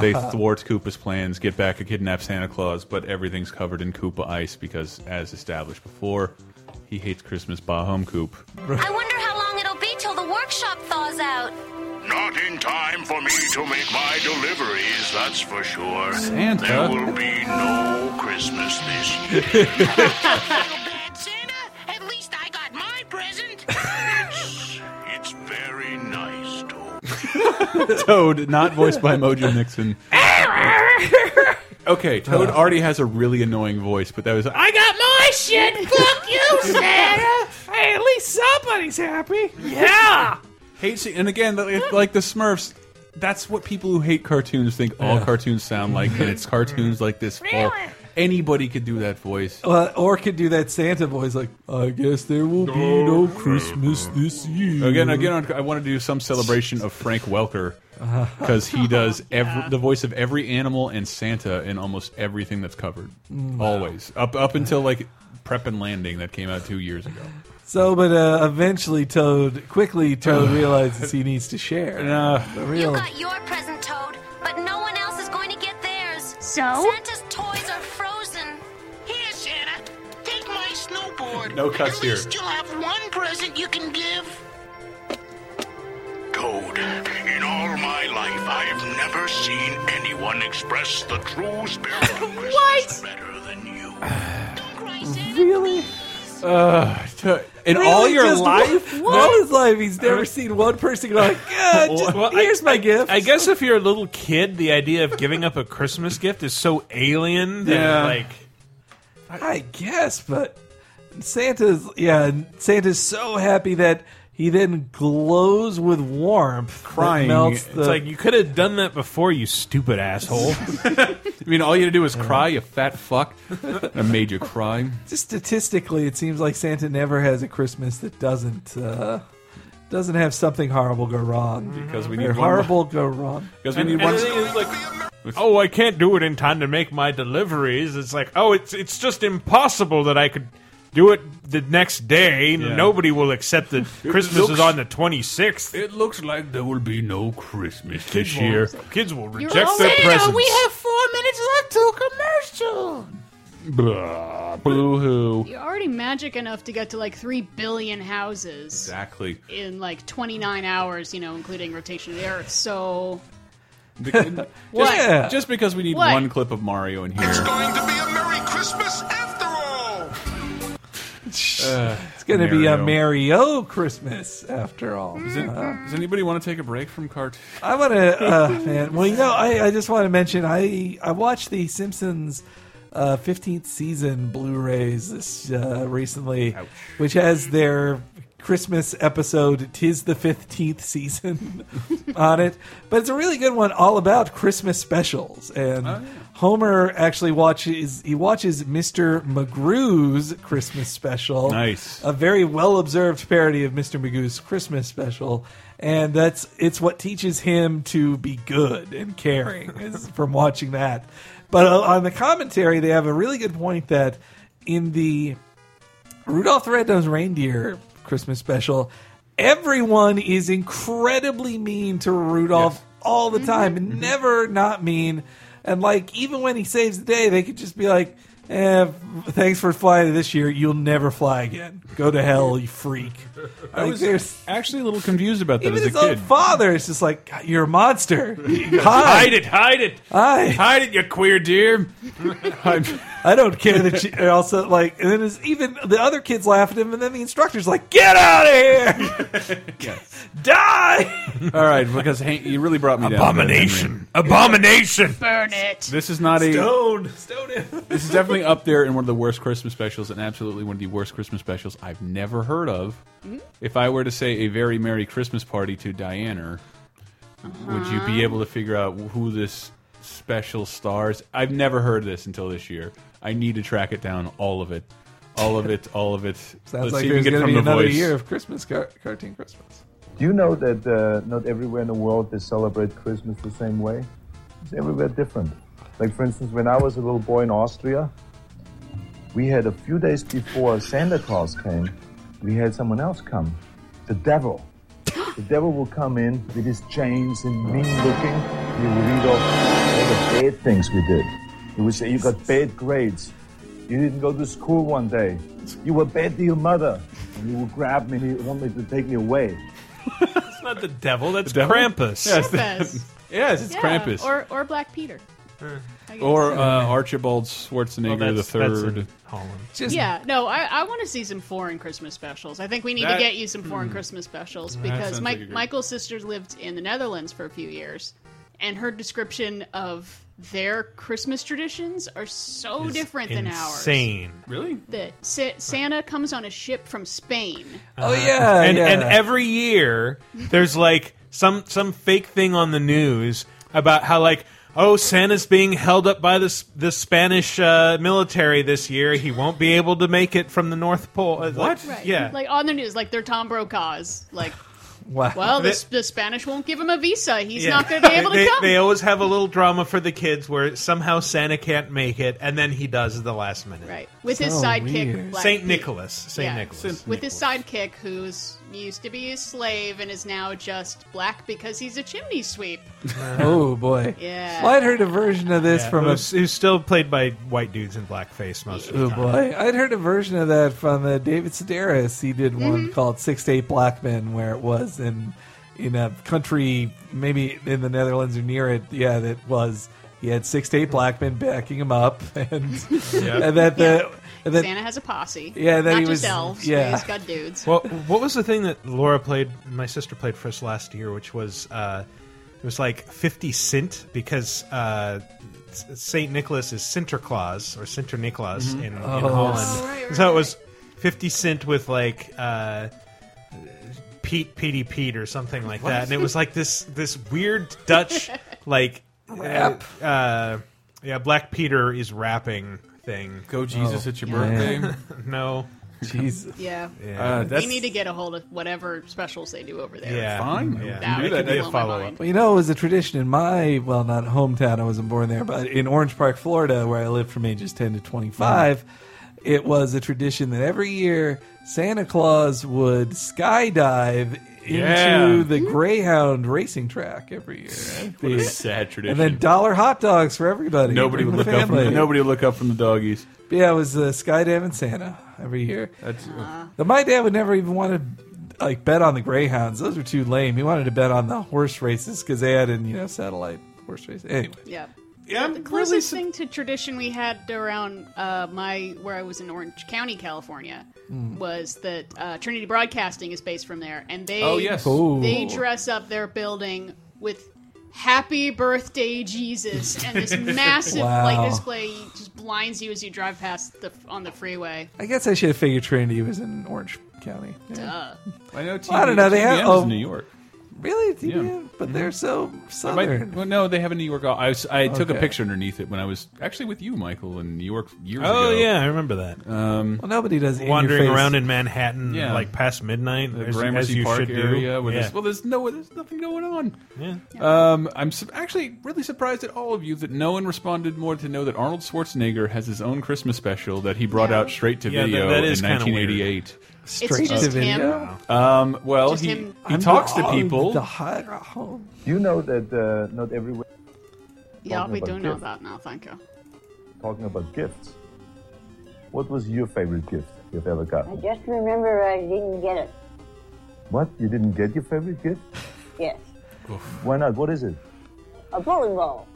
Speaker 1: they thwart Koopa's plans, get back and kidnap Santa Claus, but everything's covered in Koopa ice because, as established before, he hates Christmas. Bah hum Koop.
Speaker 7: I wonder how long it'll be till the workshop thaws out.
Speaker 15: Not in time for me to make my deliveries, that's for sure.
Speaker 1: Santa.
Speaker 15: There will be no Christmas this year.
Speaker 13: bad, Santa. At least I got my present.
Speaker 15: It's, it's very nice, Toad.
Speaker 1: Toad, not voiced by Mojo Nixon. Okay, Toad already has a really annoying voice, but that was I got
Speaker 13: my shit. Fuck you, Santa.
Speaker 2: Hey, at least somebody's happy.
Speaker 13: Yeah.
Speaker 1: hate se- and again like- like the smurfs that's what people who hate cartoons think all cartoons sound like and it's cartoons like this fall. anybody could do that voice
Speaker 2: Well, or could do that Santa voice, like I guess there will be no Christmas this
Speaker 3: Mm-hmm.
Speaker 2: year.
Speaker 1: again again on- i want to do some celebration of frank welker because he does every, the voice of
Speaker 3: Mm.
Speaker 1: every animal and santa in almost everything that's covered always up up until like Prep and Landing that came out two years ago.
Speaker 2: So, but uh, eventually, Toad quickly Toad realizes he needs to share.
Speaker 1: No.
Speaker 2: the real.
Speaker 8: your present, Toad, but no one else is going to get theirs.
Speaker 7: So?
Speaker 8: Santa's toys are frozen.
Speaker 10: Here, Santa, take my snowboard.
Speaker 1: No cuts
Speaker 10: At
Speaker 1: here.
Speaker 10: least you'll have one present you can give.
Speaker 20: Toad, in all my life, I have never seen anyone express the true spirit of Christmas better than you.
Speaker 2: Really?
Speaker 1: Uh, to- in all your
Speaker 2: just
Speaker 1: life,
Speaker 2: one- all his life, he's never seen one person go like, "Yeah, just- here's my gift."
Speaker 3: I guess if you're a little kid, the idea of giving up a Christmas gift is so alien that
Speaker 2: Yeah.
Speaker 3: like
Speaker 2: I guess, but Santa's yeah, Santa's so happy that he then glows with warmth, that melts the,
Speaker 3: It's like you could have done that before, you stupid asshole.
Speaker 1: I mean, all you had to do was cry, you fat fuck. I made you cry.
Speaker 2: just statistically, it seems like Santa never has a Christmas that doesn't uh, doesn't have something horrible go wrong.
Speaker 1: Because we
Speaker 2: Or
Speaker 1: need one more-
Speaker 2: horrible go wrong.
Speaker 1: Because we need one.
Speaker 3: oh, I can't do it in time to make my deliveries. It's like, oh, it's it's just impossible that I could do it the next day. Nobody will accept that Christmas is
Speaker 1: looks-
Speaker 3: on the twenty sixth.
Speaker 1: It looks like there will be no Christmas
Speaker 3: Kids
Speaker 1: this
Speaker 3: will-
Speaker 1: year.
Speaker 3: kids will
Speaker 1: You're
Speaker 3: reject
Speaker 1: all
Speaker 3: their
Speaker 1: Santa,
Speaker 3: presents.
Speaker 1: we
Speaker 15: have four minutes left till commercial.
Speaker 1: Blah, boo hoo.
Speaker 6: You're already magic enough to get to like 3 billion houses
Speaker 1: Exactly.
Speaker 6: in like 29 hours, you know, including rotation of the earth. So.
Speaker 1: Be- just,
Speaker 6: What?
Speaker 1: just because we need
Speaker 6: What?
Speaker 1: one clip of Mario in here. Uh,
Speaker 2: It's going to be a
Speaker 1: Mario.
Speaker 2: Mario Christmas after all.
Speaker 1: Does, it-
Speaker 2: Uh,
Speaker 1: does anybody want to take a break from cartoons?
Speaker 2: I want to, uh, man. Well, you know, I, I just want to mention I I watched the Simpsons uh, 15th season Blu-rays this uh, recently, which has their Christmas episode "Tis the 15th Season" on it. But it's a really good one, all about Christmas specials. And Homer actually watches he watches Mister McGrew's Christmas special.
Speaker 1: Nice.
Speaker 2: a very well observed parody of Mister McGrew's Christmas special. And that's it's what teaches him to be good and caring is from watching that. But uh, on the commentary, they have a really good point that in the Rudolph the Red-Nosed Reindeer Christmas special, everyone is incredibly mean to Rudolph all the time and
Speaker 1: Mm-hmm.
Speaker 2: never not mean. And like even when he saves the day, they could just be like, eh, "Thanks for flying this year. You'll never fly again. Go to hell, you freak."
Speaker 1: I
Speaker 2: Like,
Speaker 1: was
Speaker 2: there's-
Speaker 1: actually a little confused about that
Speaker 2: even
Speaker 1: as a
Speaker 2: his own
Speaker 1: kid.
Speaker 2: father is just like, "God, "You're a monster. Hide,
Speaker 3: Hide it, hide it,
Speaker 2: Hi.
Speaker 3: hide it, you queer deer.
Speaker 2: I'm, I do not care that you and also like, and then it's even the other kids laugh at him, and then the instructor's like, "Get out of here, die!"
Speaker 1: All right, because Hank, you really brought me down.
Speaker 3: Abomination. Abomination.
Speaker 6: Burn it!
Speaker 1: This is not a.
Speaker 2: Stone, stone him.
Speaker 1: This is definitely up there in one of the worst Christmas specials, and absolutely one of the worst Christmas specials I've never heard of. If I were to say a very Merry Christmas party to Diana, would you be able to figure out who this special stars? I've never heard this until this year. I need to track it down, all of it, all of it, all of it.
Speaker 2: Sounds
Speaker 1: Let's
Speaker 2: like
Speaker 1: see if we can
Speaker 2: there's
Speaker 1: get
Speaker 2: going to
Speaker 1: from
Speaker 2: be
Speaker 1: the
Speaker 2: another
Speaker 1: voice.
Speaker 2: year of Christmas car- cartoon Christmas.
Speaker 21: Do you know that uh, not everywhere in the world they celebrate Christmas the same way? It's everywhere different. Like, for instance, when I was a little boy in Austria, we had a few days before Santa Claus came, we had someone else come the devil. The devil will come in with his chains and mean looking. He will read off all the bad things we did. He will say, You got bad grades. You didn't go to school one day. You were bad to your mother. And he will grab me and he wanted to take me away.
Speaker 3: That's not the devil. That's
Speaker 1: devil?
Speaker 3: Krampus.
Speaker 1: Yes.
Speaker 6: Krampus.
Speaker 1: Yes, it's
Speaker 6: Yeah,
Speaker 1: Krampus.
Speaker 6: Or, or Black Peter. I guess.
Speaker 1: Or uh, Archibald Schwarzenegger
Speaker 3: Well,
Speaker 1: the
Speaker 3: that's- that's
Speaker 1: third.
Speaker 3: in Holland.
Speaker 6: yeah, no, I, I want to see some foreign Christmas specials. I think we need
Speaker 1: That-
Speaker 6: to get you some foreign
Speaker 1: Hmm.
Speaker 6: Christmas specials
Speaker 1: That
Speaker 6: because
Speaker 1: sounds
Speaker 6: Mike,
Speaker 1: like a good-
Speaker 6: Michael's sister lived in the Netherlands for a few years, and her description of their Christmas traditions are so
Speaker 3: It's
Speaker 6: different than ours.
Speaker 3: Insane.
Speaker 1: Really?
Speaker 6: That Sa- Santa comes on a ship from Spain.
Speaker 2: Oh,
Speaker 3: Uh, and and every year there's like some some fake thing on the news about how like oh Santa's being held up by this the Spanish uh, military this year. He won't be able to make it from the North Pole. Uh, like-
Speaker 6: Right.
Speaker 3: Yeah.
Speaker 6: Like on the news, like they're Tom Brokaw's like
Speaker 2: Wow.
Speaker 6: Well, the, the Spanish won't give him a visa. He's not going to be able to
Speaker 3: they,
Speaker 6: come.
Speaker 3: They always have a little drama for the kids where somehow Santa can't make it, and then he does at the last minute.
Speaker 6: Right. With his So sidekick, weird. Black
Speaker 3: Saint
Speaker 6: Pete.
Speaker 3: Nicholas. Saint
Speaker 6: Yeah.
Speaker 3: Nicholas.
Speaker 6: With his sidekick, who's used to be a slave and is now just black because he's a chimney sweep.
Speaker 2: oh boy.
Speaker 6: Yeah.
Speaker 2: Well, I'd heard a version of this
Speaker 3: Yeah,
Speaker 2: from a
Speaker 3: who's, who's still played by white dudes in blackface most of
Speaker 2: Oh
Speaker 3: the time.
Speaker 2: boy! I'd heard a version of that from uh, David Sedaris. He did one called Six to Eight Black Men, where it was in in a country, maybe in the Netherlands or near it. Yeah, that was he had six to eight black men backing him up, and and that the and that,
Speaker 6: Santa has a posse.
Speaker 2: Yeah, that
Speaker 6: not
Speaker 2: he
Speaker 6: just
Speaker 2: was-
Speaker 6: elves.
Speaker 2: yeah.
Speaker 6: he's got dudes.
Speaker 3: Well, what was the thing that Laura played? My sister played for us last year, which was uh, it was like fifty cent because uh, Saint Nicholas is Sinterklaas or Sinterklaas
Speaker 2: Mhm.
Speaker 3: in, in
Speaker 2: Oh.
Speaker 3: Holland,
Speaker 2: Oh, right, right,
Speaker 3: so it was fifty cent with like. Uh, Pete, Petey, Pete, or something like
Speaker 2: What?
Speaker 3: that, and it was like this this weird Dutch like uh,
Speaker 2: Rap.
Speaker 3: Uh, yeah, Black Peter is rapping thing.
Speaker 1: Go Jesus, Oh, it's your yeah. birthday.
Speaker 3: no,
Speaker 2: Jesus.
Speaker 6: Yeah.
Speaker 1: Uh,
Speaker 6: they need to get a hold of whatever specials they do over there.
Speaker 3: Yeah.
Speaker 1: Fine.
Speaker 3: Yeah.
Speaker 6: That
Speaker 3: Do
Speaker 6: would
Speaker 3: that.
Speaker 6: blow
Speaker 3: Yeah,
Speaker 6: my
Speaker 3: follow
Speaker 6: mind.
Speaker 2: Well, you know, it was a tradition in my, well, not hometown, I wasn't born there, but in Orange Park, Florida, where I lived from ages 10 to 25, it was a tradition that every year Santa Claus would skydive
Speaker 1: Yeah.
Speaker 2: into the Greyhound racing track every year.
Speaker 1: What a sad
Speaker 2: And
Speaker 1: tradition.
Speaker 2: then dollar hot dogs for everybody.
Speaker 1: nobody
Speaker 2: Bring
Speaker 1: would
Speaker 2: the
Speaker 1: look up. From,
Speaker 2: family.
Speaker 1: nobody would look up from the doggies.
Speaker 2: But yeah, it was uh, skydiving Santa every year.
Speaker 1: That's
Speaker 2: But my dad would never even want to like bet on the greyhounds; those were too lame. He wanted to bet on the horse races because they had in you know satellite horse races. Anyway,
Speaker 6: Yeah.
Speaker 3: Yeah,
Speaker 6: the closest thing to tradition we had around uh, my where I was in Orange County, California,
Speaker 2: Hmm.
Speaker 6: was that uh, Trinity Broadcasting is based from there, and they
Speaker 1: Oh, yes. Ooh.
Speaker 6: they dress up their building with "Happy Birthday Jesus" and this massive
Speaker 2: Wow.
Speaker 6: light display just blinds you as you drive past the on the freeway.
Speaker 2: I guess I should have figured Trinity was in Orange County.
Speaker 6: Duh.
Speaker 1: I know. TV,
Speaker 2: Well, I don't know. They
Speaker 1: TBM
Speaker 2: have
Speaker 1: is
Speaker 2: oh,
Speaker 1: in New York.
Speaker 2: Really, TBM? But they're so
Speaker 1: Hmm. Might-
Speaker 2: southern.
Speaker 1: well, no, they have a New York. I, was- I took a
Speaker 2: Okay.
Speaker 1: picture underneath it when I was actually with you, Michael, in New York years ago.
Speaker 3: Oh, yeah, I remember that.
Speaker 1: Um,
Speaker 2: well, nobody does
Speaker 3: Wandering around in Manhattan,
Speaker 1: Yeah.
Speaker 3: like past midnight,
Speaker 1: the
Speaker 3: as, as
Speaker 1: Gramercy
Speaker 3: you
Speaker 1: Park
Speaker 3: should
Speaker 1: area.
Speaker 3: do.
Speaker 1: Where
Speaker 3: Yeah.
Speaker 1: there's, well, there's no, there's nothing going on.
Speaker 3: Yeah.
Speaker 1: Um, I'm su actually really surprised at all of you that no one responded more to know that Arnold Schwarzenegger has his own Christmas special that he brought out straight to
Speaker 3: Yeah, that-
Speaker 1: video
Speaker 3: that is
Speaker 1: in
Speaker 3: kinda weird.
Speaker 1: 1988.
Speaker 6: Straight It's just to him. video?
Speaker 1: Um, well,
Speaker 6: Just
Speaker 1: he
Speaker 6: him.
Speaker 1: he
Speaker 6: I'm
Speaker 1: talks
Speaker 6: the-
Speaker 1: to people.
Speaker 2: the hot home.
Speaker 21: You know that uh, not everywhere
Speaker 6: Yeah,
Speaker 21: Talking
Speaker 6: we
Speaker 21: about
Speaker 6: do know
Speaker 21: gift.
Speaker 6: that now. Thank you.
Speaker 21: talking about gifts. What was your favorite gift you've ever
Speaker 9: I
Speaker 21: gotten?
Speaker 9: just remember I didn't get it.
Speaker 21: What? You didn't get your favorite gift?
Speaker 9: Yes.
Speaker 21: Why not? What is it?
Speaker 9: A bowling ball.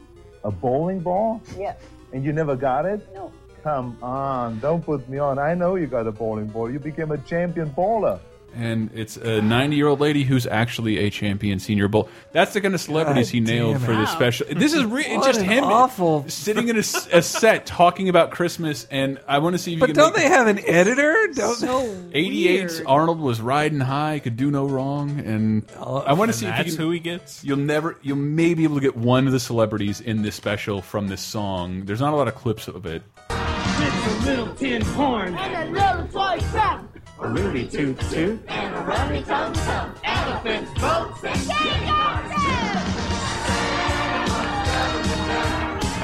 Speaker 21: A bowling ball?
Speaker 9: Yes.
Speaker 21: And you never got it?
Speaker 9: No.
Speaker 21: Come on, don't put me on. I know you got a bowling ball. You became a champion bowler.
Speaker 1: And it's a 90 year old lady who's actually a champion senior bowl. That's the kind of celebrities he nailed
Speaker 2: damn
Speaker 1: for
Speaker 2: it.
Speaker 1: this
Speaker 2: Wow.
Speaker 1: special. This is re-
Speaker 2: What
Speaker 1: just
Speaker 2: an
Speaker 1: him
Speaker 2: awful-
Speaker 1: sitting in a, s- a set talking about Christmas. And I want to see if you
Speaker 2: But
Speaker 1: can.
Speaker 2: don't
Speaker 1: make-
Speaker 2: they have an editor? Don't
Speaker 6: so
Speaker 1: 88 Arnold was riding high, could do no wrong, and
Speaker 2: Oh,
Speaker 1: I want to
Speaker 3: and
Speaker 1: see if
Speaker 3: that's
Speaker 1: you
Speaker 3: who he gets.
Speaker 1: You'll never, you'll may be able to get one of the celebrities in this special from this song. There's not a lot of clips of it.
Speaker 15: It's a little tin horn.
Speaker 19: And a little toy truck.
Speaker 15: A Rudy toot toot.
Speaker 19: And a rummy tum tum. Elephants, boats, and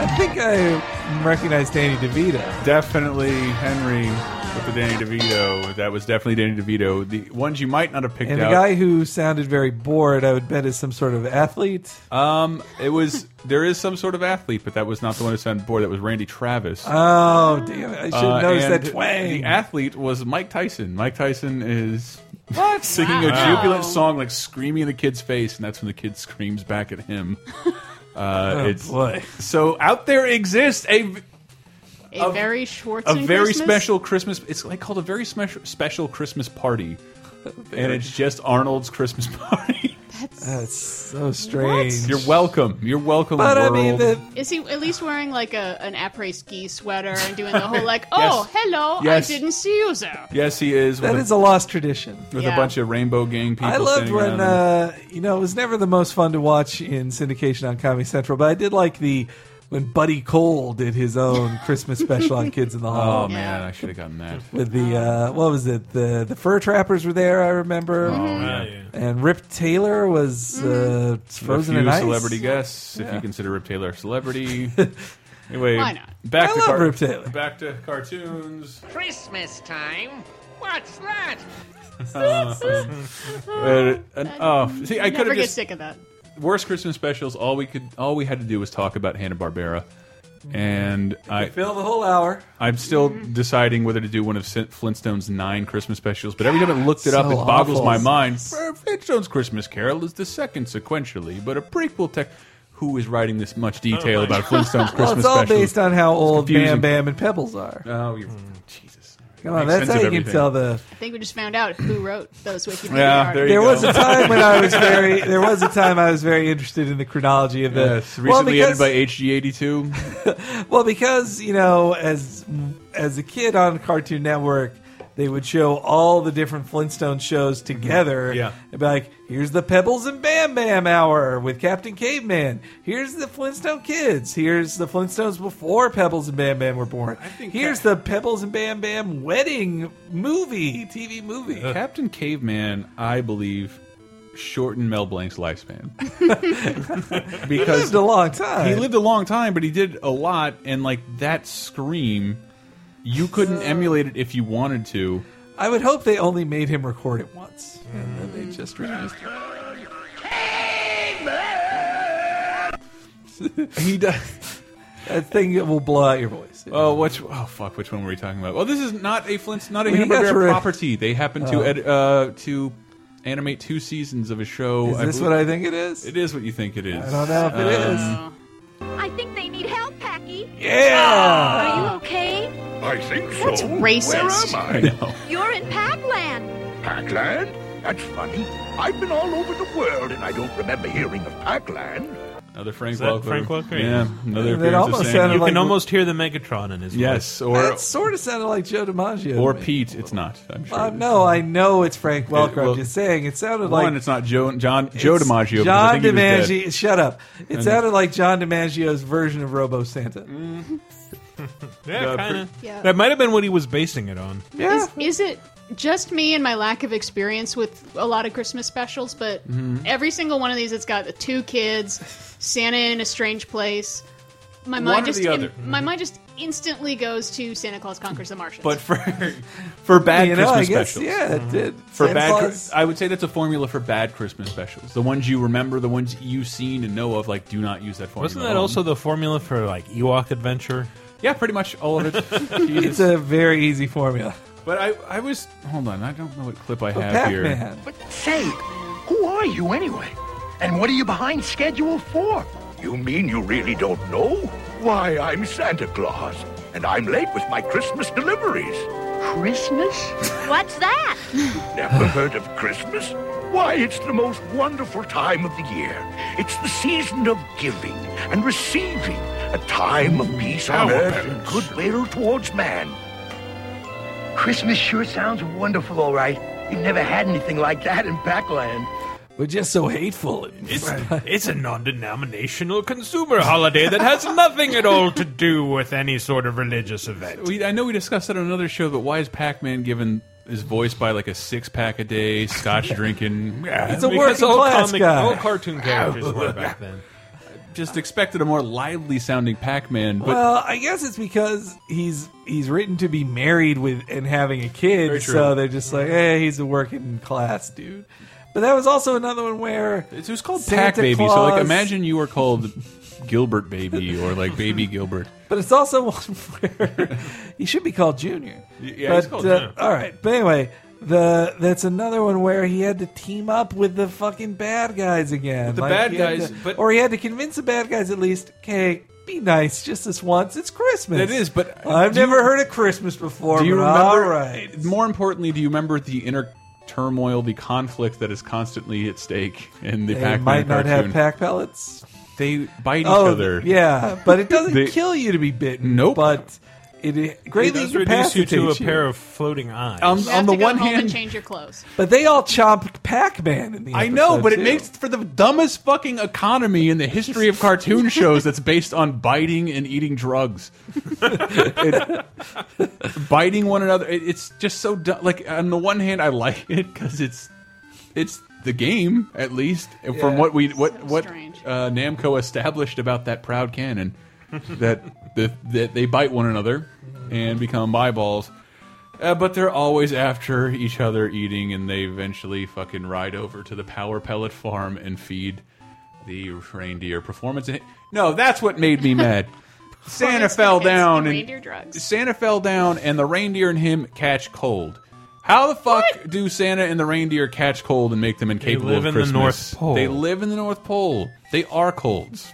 Speaker 2: I think I recognize Danny DeVito.
Speaker 1: Definitely Henry with the Danny DeVito. That was definitely Danny DeVito. The ones you might not have picked
Speaker 2: And the
Speaker 1: out.
Speaker 2: guy who sounded very bored, I would bet, is some sort of athlete.
Speaker 1: um, it was there is some sort of athlete, but that was not the one who sounded bored. That was Randy Travis.
Speaker 2: Oh, damn it. I should have
Speaker 1: Uh,
Speaker 2: noticed that
Speaker 1: and
Speaker 2: twang.
Speaker 1: The athlete was Mike Tyson. Mike Tyson is
Speaker 2: What?
Speaker 1: singing
Speaker 2: Wow.
Speaker 1: a jubilant song, like screaming in the kid's face, and that's when the kid screams back at him. Uh,
Speaker 2: Oh,
Speaker 1: it's
Speaker 2: boy.
Speaker 1: so out there exists a
Speaker 6: A, very Schwartz.
Speaker 1: a very
Speaker 6: Christmas?
Speaker 1: special Christmas. It's like called a very special special Christmas party, and it's just Arnold's Christmas party.
Speaker 2: That's so strange.
Speaker 1: You're welcome. You're welcome.
Speaker 2: But I
Speaker 1: world.
Speaker 2: mean, the,
Speaker 6: Is he at least wearing like a an après ski sweater and doing the whole like, oh,
Speaker 1: Yes.
Speaker 6: hello,
Speaker 1: Yes.
Speaker 6: I didn't see you there.
Speaker 1: yes, he is.
Speaker 2: that
Speaker 1: with
Speaker 2: is a lost tradition.
Speaker 1: with
Speaker 6: Yeah.
Speaker 1: a bunch of Rainbow Gang people.
Speaker 2: I loved
Speaker 1: standing around.
Speaker 2: when uh, you know it was never the most fun to watch in syndication on Comedy Central, but I did like the when Buddy Cole did his own Christmas special on Kids in the Hall.
Speaker 1: Oh man, I should have gotten that.
Speaker 2: With the uh, what was it? The the fur trappers were there. I remember.
Speaker 1: yeah. Oh, Yeah,
Speaker 2: And Rip Taylor was uh, frozen
Speaker 1: a few
Speaker 2: in ice.
Speaker 1: celebrity guests, if you consider Rip Taylor a celebrity. anyway,
Speaker 15: Why not?
Speaker 1: back
Speaker 15: I
Speaker 1: to
Speaker 15: love
Speaker 1: car-
Speaker 15: Rip Taylor.
Speaker 1: Back to cartoons.
Speaker 15: Christmas time? What's that?
Speaker 1: Uh, uh, and- oh, see, I could
Speaker 6: never
Speaker 1: have
Speaker 6: get
Speaker 1: just
Speaker 6: sick of that.
Speaker 1: worst Christmas specials. All we could, all we had to do was talk about Hanna Barbera, and I
Speaker 2: Fill the whole hour.
Speaker 1: I'm still
Speaker 2: Mm-hmm.
Speaker 1: deciding whether to do one of Sin- Flintstone's nine Christmas specials, but every time I looked it up,
Speaker 2: So
Speaker 1: it boggles
Speaker 2: awful.
Speaker 1: my mind. Flintstone's Christmas Carol is the second sequentially, but a prequel tech. Who is writing this
Speaker 2: Oh,
Speaker 1: much detail about Flintstone's Christmas
Speaker 2: well, it's all
Speaker 1: specials?
Speaker 2: based on how old Bam
Speaker 1: confusing.
Speaker 2: Bam and Pebbles are.
Speaker 1: Oh, you're, Jesus!
Speaker 2: Come on,
Speaker 1: Makes
Speaker 2: that's
Speaker 1: sense
Speaker 2: how
Speaker 1: of
Speaker 2: you can
Speaker 1: everything.
Speaker 2: tell the.
Speaker 6: I think we just found out who wrote those Wikipedia
Speaker 1: Yeah,
Speaker 6: articles.
Speaker 1: there you
Speaker 2: there
Speaker 1: go.
Speaker 2: was a time when I was very. There was a time I was very interested in the chronology of the.
Speaker 1: Yes, recently
Speaker 2: well,
Speaker 1: edited
Speaker 2: because,
Speaker 1: by HG82.
Speaker 2: well, because you know, as as a kid on Cartoon Network, they would show all the different Flintstone
Speaker 1: Mm-hmm.
Speaker 2: shows together.
Speaker 3: Yeah.
Speaker 2: It'd be like, here's the Pebbles and Bam Bam Hour with Captain Caveman. Here's the Flintstone Kids. Here's the Flintstones before Pebbles and Bam Bam were born. here's the Pebbles and Bam Bam wedding movie, TV movie.
Speaker 1: Captain Caveman, I believe, shortened Mel Blanc's lifespan because
Speaker 2: he lived a long time.
Speaker 1: He lived a long time, but he did a lot, and like that scream, you couldn't emulate it if you wanted to.
Speaker 2: I would hope they only made him record it once, and then they just released it.
Speaker 1: he does
Speaker 2: that thing that will blow out your voice.
Speaker 1: Oh, which oh fuck, which one were we talking about? Well, this is not a Flint's not a
Speaker 2: We
Speaker 1: Hanna
Speaker 2: got
Speaker 1: Barbera
Speaker 2: rid-
Speaker 1: property. They happen to
Speaker 2: Oh.
Speaker 1: edit uh, to animate two seasons of a show.
Speaker 2: Is this
Speaker 1: believe-
Speaker 2: what I think it is?
Speaker 1: It is what you think it is. Um,
Speaker 2: I don't know if it is.
Speaker 8: I think they need help, Packy.
Speaker 1: Yeah.
Speaker 8: Are you okay?
Speaker 20: I think so.
Speaker 8: That's racist.
Speaker 20: Where am I?
Speaker 1: I know.
Speaker 8: You're in Packland.
Speaker 20: Packland? That's funny. I've been all over the world and I don't remember hearing of Packland.
Speaker 1: Another Frank
Speaker 3: Is that
Speaker 1: Welker.
Speaker 3: Frank Welker?
Speaker 1: Yeah, another
Speaker 2: That
Speaker 1: appearance
Speaker 2: almost
Speaker 1: of Sam.
Speaker 2: sounded
Speaker 3: You
Speaker 2: like-
Speaker 3: can almost hear the Megatron in his
Speaker 1: yes,
Speaker 3: voice.
Speaker 1: or
Speaker 2: that sort of sounded like Joe DiMaggio.
Speaker 1: or
Speaker 2: to me.
Speaker 1: Pete. It's not. I'm sure.
Speaker 2: Uh, no, I know it's Frank Welker.
Speaker 1: well,
Speaker 2: I'm just saying it sounded
Speaker 1: One,
Speaker 2: like
Speaker 1: it's not Joe, John Joe
Speaker 2: it's
Speaker 1: DiMaggio. because I
Speaker 2: John
Speaker 1: think he was dead.
Speaker 2: DiMaggio. Shut up! It
Speaker 1: And-
Speaker 2: sounded like John DiMaggio's version of Robo Santa.
Speaker 3: Yeah,
Speaker 1: Uh,
Speaker 3: kind of.
Speaker 6: Yeah.
Speaker 3: That might have been what he was basing it on.
Speaker 2: Yeah.
Speaker 6: Is, is it just me and my lack of experience with a lot of Christmas specials? But
Speaker 1: Mm-hmm.
Speaker 3: Mhm.
Speaker 6: every single one of these, it's got the two kids, Santa in a strange place. My
Speaker 1: One
Speaker 6: mind
Speaker 1: or
Speaker 6: just
Speaker 1: the
Speaker 6: in-
Speaker 1: other. Mm-hmm.
Speaker 6: my mind just instantly goes to Santa Claus conquers the Martians.
Speaker 1: But for for bad
Speaker 2: You know,
Speaker 1: Christmas
Speaker 2: I guess,
Speaker 1: specials,
Speaker 2: yeah, it did.
Speaker 1: For
Speaker 2: Santa
Speaker 1: bad,
Speaker 2: Claus.
Speaker 1: Chri- I would say that's a formula for bad Christmas specials. The ones you remember, the ones you've seen and know of. Like, do not use that formula. Um,
Speaker 3: Wasn't that also the formula for like Ewok Adventure?
Speaker 1: Yeah, pretty much all of it.
Speaker 2: It's
Speaker 1: Jesus.
Speaker 2: a very easy formula.
Speaker 1: but I, I was hold on. I don't know what clip I
Speaker 2: But
Speaker 1: have here.
Speaker 2: Pac-Man.
Speaker 20: But say, who are you anyway? And what are you behind schedule for? You mean you really don't know? Why, I'm Santa Claus, and I'm late with my Christmas deliveries.
Speaker 8: Christmas? What's that?
Speaker 20: Never heard of Christmas? Why, it's the most wonderful time of the year. It's the season of giving and receiving, a time of peace on
Speaker 5: Our
Speaker 20: earth and
Speaker 5: parents.
Speaker 20: goodwill towards man.
Speaker 5: Christmas sure sounds wonderful, all right. You've never had anything like that in Packland.
Speaker 2: We're just so hateful.
Speaker 3: It's, it's a non-denominational consumer holiday that has nothing at all to do with any sort of religious event.
Speaker 1: We, I know we discussed that on another show, but why is Pac-Man given his voice by like a six pack a day, scotch drinking?
Speaker 2: It's a
Speaker 3: Because
Speaker 2: working
Speaker 3: all
Speaker 2: class
Speaker 3: comic,
Speaker 2: guy.
Speaker 3: all cartoon characters were back then.
Speaker 1: Just expected a more lively sounding Pac-Man, but
Speaker 2: well, I guess it's because he's he's written to be married with and having a
Speaker 1: Very
Speaker 2: kid,
Speaker 1: true.
Speaker 2: so they're just like, hey, he's a working class dude. But that was also another one where
Speaker 1: it was called
Speaker 2: Santa
Speaker 1: Pac Baby. So
Speaker 2: Claus-
Speaker 1: like, imagine you were called Gilbert Baby or like Baby Gilbert.
Speaker 2: But it's also one where he should be called Junior.
Speaker 1: yeah, he's
Speaker 2: But, uh,
Speaker 1: called Junior.
Speaker 2: All right, but anyway, the that's another one where he had to team up with the fucking bad guys again.
Speaker 1: With the
Speaker 2: Like,
Speaker 1: bad
Speaker 2: he had
Speaker 1: guys,
Speaker 2: to-
Speaker 1: but-
Speaker 2: or he had to convince the bad guys at least. Okay, be nice just this once. It's Christmas.
Speaker 1: That is, but
Speaker 2: I've
Speaker 1: do you-
Speaker 2: never heard of Christmas before.
Speaker 1: Do you
Speaker 2: but
Speaker 1: remember?
Speaker 2: All right.
Speaker 1: More importantly, do you remember the inner turmoil, the conflict that is constantly at stake in the
Speaker 2: They
Speaker 1: Pac-Man
Speaker 2: might not
Speaker 1: cartoon?
Speaker 2: have pack pellets.
Speaker 1: They bite each
Speaker 2: oh,
Speaker 1: other.
Speaker 2: yeah, but it doesn't
Speaker 1: They-
Speaker 2: kill you to be bitten.
Speaker 1: Nope.
Speaker 2: But it, greatly
Speaker 3: it does reduce you to a
Speaker 2: incapacitates you.
Speaker 3: pair of floating eyes.
Speaker 2: Um,
Speaker 6: You have to go home and change your clothes.
Speaker 2: but they all chomp Pac-Man in the.
Speaker 1: I know,
Speaker 2: episode,
Speaker 1: but it
Speaker 2: too.
Speaker 1: makes for the dumbest fucking economy in the history of cartoon shows that's based on biting and eating drugs. It- biting one another. It, it's just so dumb. Like, on the one hand, I like it because it's, it's the game, at least, and from
Speaker 2: Yeah.
Speaker 1: what we, what, what uh, Namco established about that proud cannon, that, the, that they bite one another and become eyeballs. Uh, but they're always after each other eating, and they eventually fucking ride over to the power pellet farm and feed the reindeer performance. No, that's what made me mad. Santa
Speaker 6: Performance
Speaker 1: fell
Speaker 6: tickets
Speaker 1: down
Speaker 6: and
Speaker 1: and
Speaker 6: reindeer drugs.
Speaker 1: Santa fell down, and the reindeer and him catch cold. How the fuck do Santa and the reindeer catch cold and make them incapable
Speaker 3: live
Speaker 1: of
Speaker 3: in the
Speaker 1: Christmas?
Speaker 3: North Pole.
Speaker 1: They live in the North Pole. They are colds.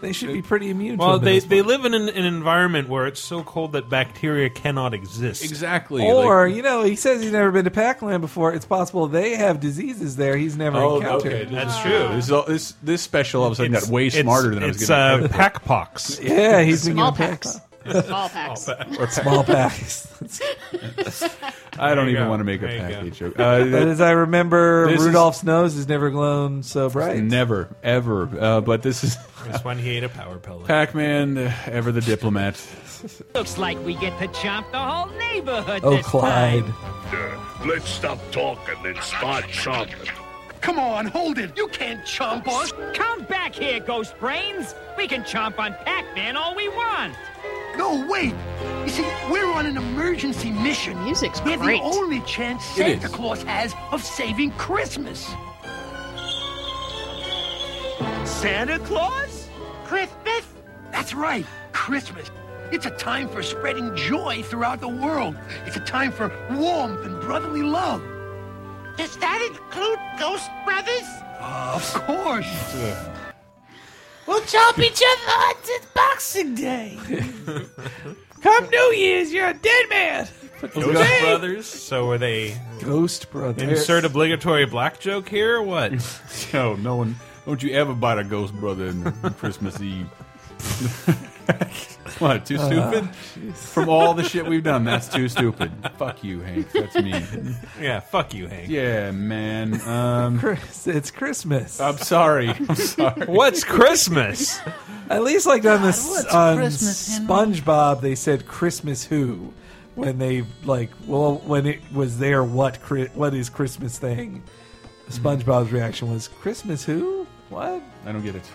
Speaker 2: they should be pretty immune.
Speaker 3: Well,
Speaker 2: to them at
Speaker 3: they,
Speaker 2: this
Speaker 3: they live in an, an environment where it's so cold that bacteria cannot exist.
Speaker 1: Exactly.
Speaker 2: Or you know, he says he's never been to Pac-Land before. It's possible they have diseases there he's never
Speaker 1: Oh,
Speaker 2: encountered. uh,
Speaker 1: okay, that's true. This, is all- this this special all of a sudden
Speaker 3: It's-
Speaker 1: got way
Speaker 3: it's-
Speaker 1: smarter than I was
Speaker 3: it's,
Speaker 1: getting.
Speaker 3: uh,
Speaker 1: credit for.
Speaker 3: pack pox.
Speaker 2: Yeah, he's been
Speaker 6: Small
Speaker 2: getting
Speaker 6: packs.
Speaker 2: Pac-
Speaker 6: Small packs.
Speaker 1: Or pack.
Speaker 2: Small packs.
Speaker 1: I don't
Speaker 2: There you
Speaker 1: even
Speaker 2: go.
Speaker 1: want to make a
Speaker 2: There you
Speaker 1: package
Speaker 2: go.
Speaker 1: joke. Uh,
Speaker 2: but as I remember,
Speaker 1: this is-
Speaker 2: Rudolph's nose has never glown so bright.
Speaker 1: Never, ever. Uh, but this is
Speaker 3: That's when he ate a power pellet.
Speaker 1: Pac-Man, uh, ever the diplomat.
Speaker 11: Looks like we get to chomp the whole neighborhood
Speaker 1: Oh,
Speaker 11: this
Speaker 1: Clyde.
Speaker 11: time.
Speaker 20: Uh, Let's stop talking and start chomping.
Speaker 11: Come on, hold it. You can't chomp us. Come back here, Ghost Brains. We can chomp on Pac-Man all we want.
Speaker 5: No, wait. You see, we're on an emergency mission.
Speaker 6: Music's
Speaker 5: we're
Speaker 11: great.
Speaker 5: the only chance
Speaker 11: It
Speaker 5: Santa
Speaker 11: is.
Speaker 5: Claus has of saving Christmas.
Speaker 11: Santa Claus?
Speaker 5: Christmas? That's right, Christmas. It's a time for spreading joy throughout the world. It's a time for warmth and brotherly love. Does that include Ghost Brothers? of course.
Speaker 19: We'll chop each other on this Boxing Day. Come New Year's, you're a dead man.
Speaker 3: Ghost Brothers. So were they
Speaker 2: Ghost Brothers?
Speaker 3: Insert obligatory black joke here. Or what?
Speaker 1: no, no one. Don't you ever bite a ghost brother on Christmas Eve? what? Too
Speaker 3: Uh,
Speaker 2: Ah,
Speaker 1: stupid.
Speaker 2: jeez.
Speaker 1: From all the shit we've done, that's too stupid. Fuck you, Hank. That's me.
Speaker 3: Yeah, fuck you, Hank.
Speaker 1: Yeah, man. Um,
Speaker 2: Chris, it's Christmas.
Speaker 1: I'm sorry. I'm sorry.
Speaker 3: What's Christmas?
Speaker 2: At least, like on this
Speaker 1: what's
Speaker 2: on
Speaker 1: Christmas,
Speaker 2: SpongeBob, they said Christmas who when they like well when it was their what Chri- what is Christmas thing. SpongeBob's reaction was Christmas who what?
Speaker 1: Mm-hmm. I don't get it.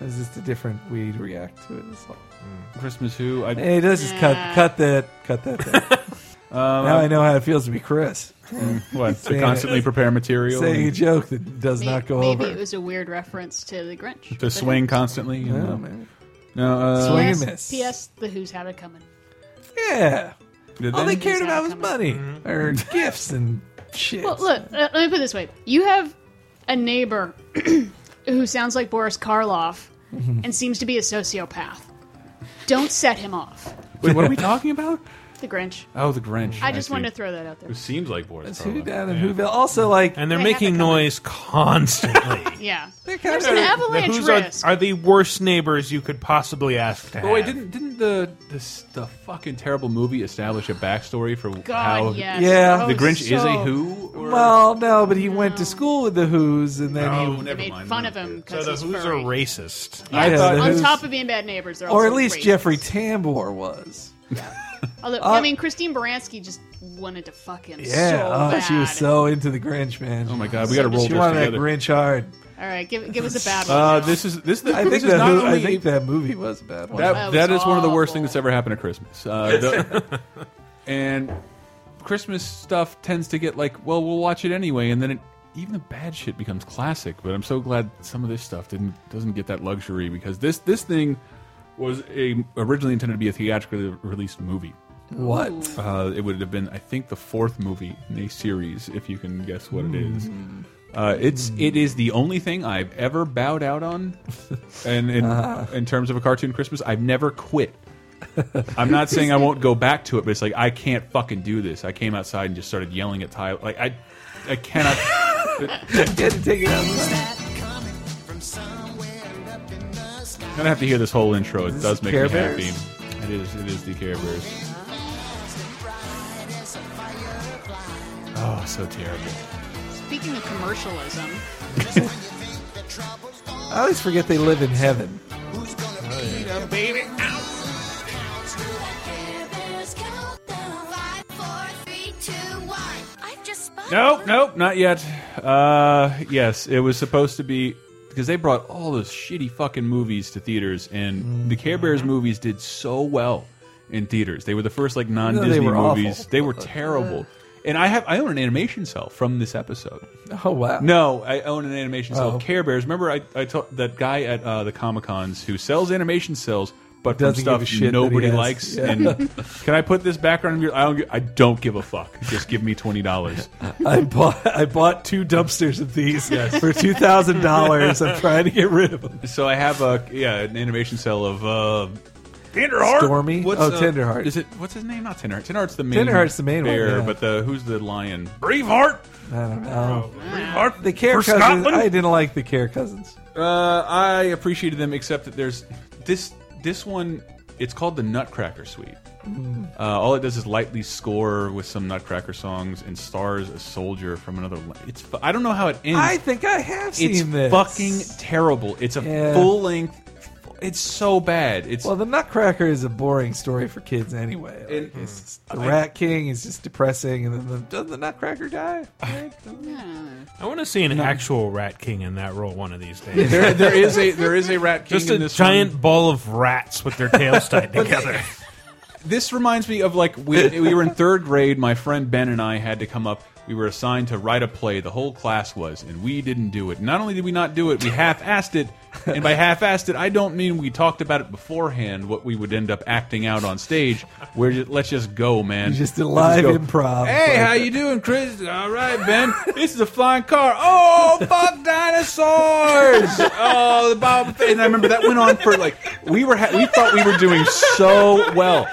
Speaker 2: It's just a different way to react to it. It's like-
Speaker 3: Hmm.
Speaker 1: Christmas who? I,
Speaker 2: Hey, let's just cut cut that cut that. Thing. now I know how it feels to be Chris.
Speaker 1: Um, Mm, What, to
Speaker 2: Saying-
Speaker 1: constantly prepare material
Speaker 2: Saying a
Speaker 1: and-
Speaker 2: joke that does not go
Speaker 6: Maybe
Speaker 2: over.
Speaker 6: it was a weird reference to the Grinch.
Speaker 1: to swing constantly. You
Speaker 2: Yeah,
Speaker 1: know?
Speaker 2: man.
Speaker 1: No, uh,
Speaker 2: Swing
Speaker 6: P.S.
Speaker 2: and miss.
Speaker 6: P.S. The Who's have it coming.
Speaker 2: Yeah.
Speaker 1: Did
Speaker 2: All
Speaker 1: they? Mm-hmm.
Speaker 2: they cared about was money or gifts and shit.
Speaker 6: Well, look, uh, let me put it this way: you have a neighbor who sounds like Boris Karloff
Speaker 1: Mm-hmm.
Speaker 6: and seems to be a sociopath. Don't set him off.
Speaker 1: Wait, what are we talking about?
Speaker 6: The Grinch.
Speaker 1: Oh, the Grinch.
Speaker 6: I just wanted to
Speaker 1: see.
Speaker 6: throw that out there.
Speaker 1: It seems like Boris.
Speaker 2: Who
Speaker 1: Karloff.
Speaker 2: down in Whoville? Also, like,
Speaker 3: And they're
Speaker 6: I have
Speaker 3: making
Speaker 6: it
Speaker 3: noise constantly.
Speaker 6: Yeah,
Speaker 2: kind
Speaker 6: there's an
Speaker 3: The
Speaker 6: avalanche
Speaker 3: Who's are,
Speaker 6: risk.
Speaker 3: are the worst neighbors you could possibly ask to
Speaker 1: But Oh, wait,
Speaker 3: have.
Speaker 1: didn't didn't the the the fucking terrible movie establish a backstory for how
Speaker 6: God, yes. Oh,
Speaker 2: Yeah.
Speaker 1: the Grinch is a
Speaker 6: so-
Speaker 1: who? Or...
Speaker 2: well, no, but he went to school with the Who's, and then
Speaker 1: No,
Speaker 2: he,
Speaker 1: never
Speaker 6: Made
Speaker 1: mind.
Speaker 6: fun of him
Speaker 3: Oh, So
Speaker 6: because
Speaker 3: the
Speaker 6: he's
Speaker 3: Who's
Speaker 6: furry.
Speaker 3: are racist.
Speaker 2: I Yeah, thought- the
Speaker 6: on
Speaker 2: Who's-
Speaker 6: top of being bad neighbors, they're
Speaker 2: or
Speaker 6: also
Speaker 2: at least
Speaker 6: racist.
Speaker 2: Jeffrey Tambor was.
Speaker 6: Although,
Speaker 2: Uh,
Speaker 6: I mean, Christine Baranski just wanted to fuck him.
Speaker 2: Yeah,
Speaker 6: so
Speaker 2: oh,
Speaker 6: bad.
Speaker 2: she was so into the Grinch, man. Oh
Speaker 1: my God, we gotta roll
Speaker 2: She
Speaker 1: this
Speaker 2: wanted that
Speaker 1: together.
Speaker 2: Grinch hard.
Speaker 6: All right, give give us a bad one.
Speaker 1: Uh, this is this.
Speaker 2: I
Speaker 1: this
Speaker 2: think
Speaker 1: is
Speaker 2: that
Speaker 1: not
Speaker 2: who-
Speaker 1: only
Speaker 2: I think that movie was a bad one.
Speaker 1: That, that is one of the worst things that's ever happened at Christmas. Uh, the- and Christmas stuff tends to get like, well, we'll watch it anyway, and then it, even the bad shit becomes classic. But I'm so glad some of this stuff didn't doesn't get that luxury because this this thing was a originally intended to be a theatrically released movie.
Speaker 2: What?
Speaker 1: Uh, it would have been, I think, the fourth movie in a series, if you can guess what it is.
Speaker 2: Hmm.
Speaker 1: Uh, it's it is the only thing I've ever bowed out on, and in
Speaker 2: Uh-huh.
Speaker 1: in terms of a cartoon Christmas, I've never quit. I'm not saying I won't go back to it, but it's like I can't fucking do this. I came outside and just started yelling at Tyler. Like I, I cannot. I'm gonna have to hear this whole intro. It does make
Speaker 2: Care
Speaker 1: me
Speaker 2: Bears?
Speaker 1: happy. It is. It is the Care Bears. Oh, so terrible.
Speaker 6: Speaking of commercialism,
Speaker 2: I always forget they live in heaven.
Speaker 1: Nope, nope, not yet. Uh, yes, it was supposed to be because they brought all those shitty fucking movies to theaters, and the Care
Speaker 2: Mm-hmm.
Speaker 1: Bears movies did so well in theaters. They were the first like non
Speaker 2: No, they
Speaker 1: Disney
Speaker 2: were awful.
Speaker 1: movies. They were terrible. And I have I own an animation cell from this episode.
Speaker 2: Oh wow!
Speaker 1: No, I own an animation cell.
Speaker 2: Oh.
Speaker 1: Care Bears. Remember, I I told that guy at uh, the Comic Cons who sells animation cells, but from
Speaker 2: Doesn't give
Speaker 1: stuff
Speaker 2: a shit that he
Speaker 1: nobody
Speaker 2: has.
Speaker 1: likes.
Speaker 2: Yeah.
Speaker 1: And can I put this background? in your- I don't. gi- I don't give a fuck. Just give me twenty dollars.
Speaker 2: I bought I bought two dumpsters of these
Speaker 1: Yes.
Speaker 2: for two thousand dollars. I'm trying to get rid of them.
Speaker 1: So I have a yeah an animation cell of uh, Tenderheart.
Speaker 2: Stormy. oh,
Speaker 1: uh,
Speaker 2: Tenderheart.
Speaker 1: Is it what's his name? Not Tenderheart. Tenderheart's the main.
Speaker 2: Tenderheart's the main one,
Speaker 1: bear,
Speaker 2: yeah.
Speaker 1: But the who's the lion?
Speaker 2: Braveheart. I don't know. The Care
Speaker 1: For
Speaker 2: Cousins.
Speaker 1: Scotland?
Speaker 2: I didn't like the Care Cousins.
Speaker 1: Uh, I appreciated them, except that there's this this one. It's called the Nutcracker Suite.
Speaker 2: Mm.
Speaker 1: Uh, all it does is lightly score with some Nutcracker songs and stars a soldier from another. la- It's fu- I don't know how it ends.
Speaker 2: I think I have seen
Speaker 1: it's
Speaker 2: this.
Speaker 1: fucking terrible. It's a
Speaker 2: Yeah.
Speaker 1: full length. It's so bad. It's
Speaker 2: Well, the Nutcracker is a boring story for kids anyway. Like,
Speaker 1: And-
Speaker 2: it's just- the
Speaker 1: I-
Speaker 2: Rat King is just depressing, and then the, doesn't the Nutcracker die?
Speaker 3: I want to see an actual Rat King in that role one of these days.
Speaker 1: there, there is a there is a rat king
Speaker 3: Just
Speaker 1: in
Speaker 3: a
Speaker 1: this
Speaker 3: giant
Speaker 1: one.
Speaker 3: ball of rats with their tails tied together.
Speaker 1: This reminds me of like we we were in third grade. My friend Ben and I had to come up. We were assigned to write a play. The whole class was, and we didn't do it. Not only did we not do it, we half-assed it. And by half-assed it, I don't mean we talked about it beforehand. What we would end up acting out on stage. We're just, let's just go, man.
Speaker 2: You just did
Speaker 1: Let's
Speaker 2: live
Speaker 1: go.
Speaker 2: improv.
Speaker 1: Hey,
Speaker 2: Like-
Speaker 1: how you doing, Chris? All right, Ben. this is a flying car. Oh, fuck dinosaurs! Oh, the Bob. And I remember that went on for like we were ha we thought we were doing so well.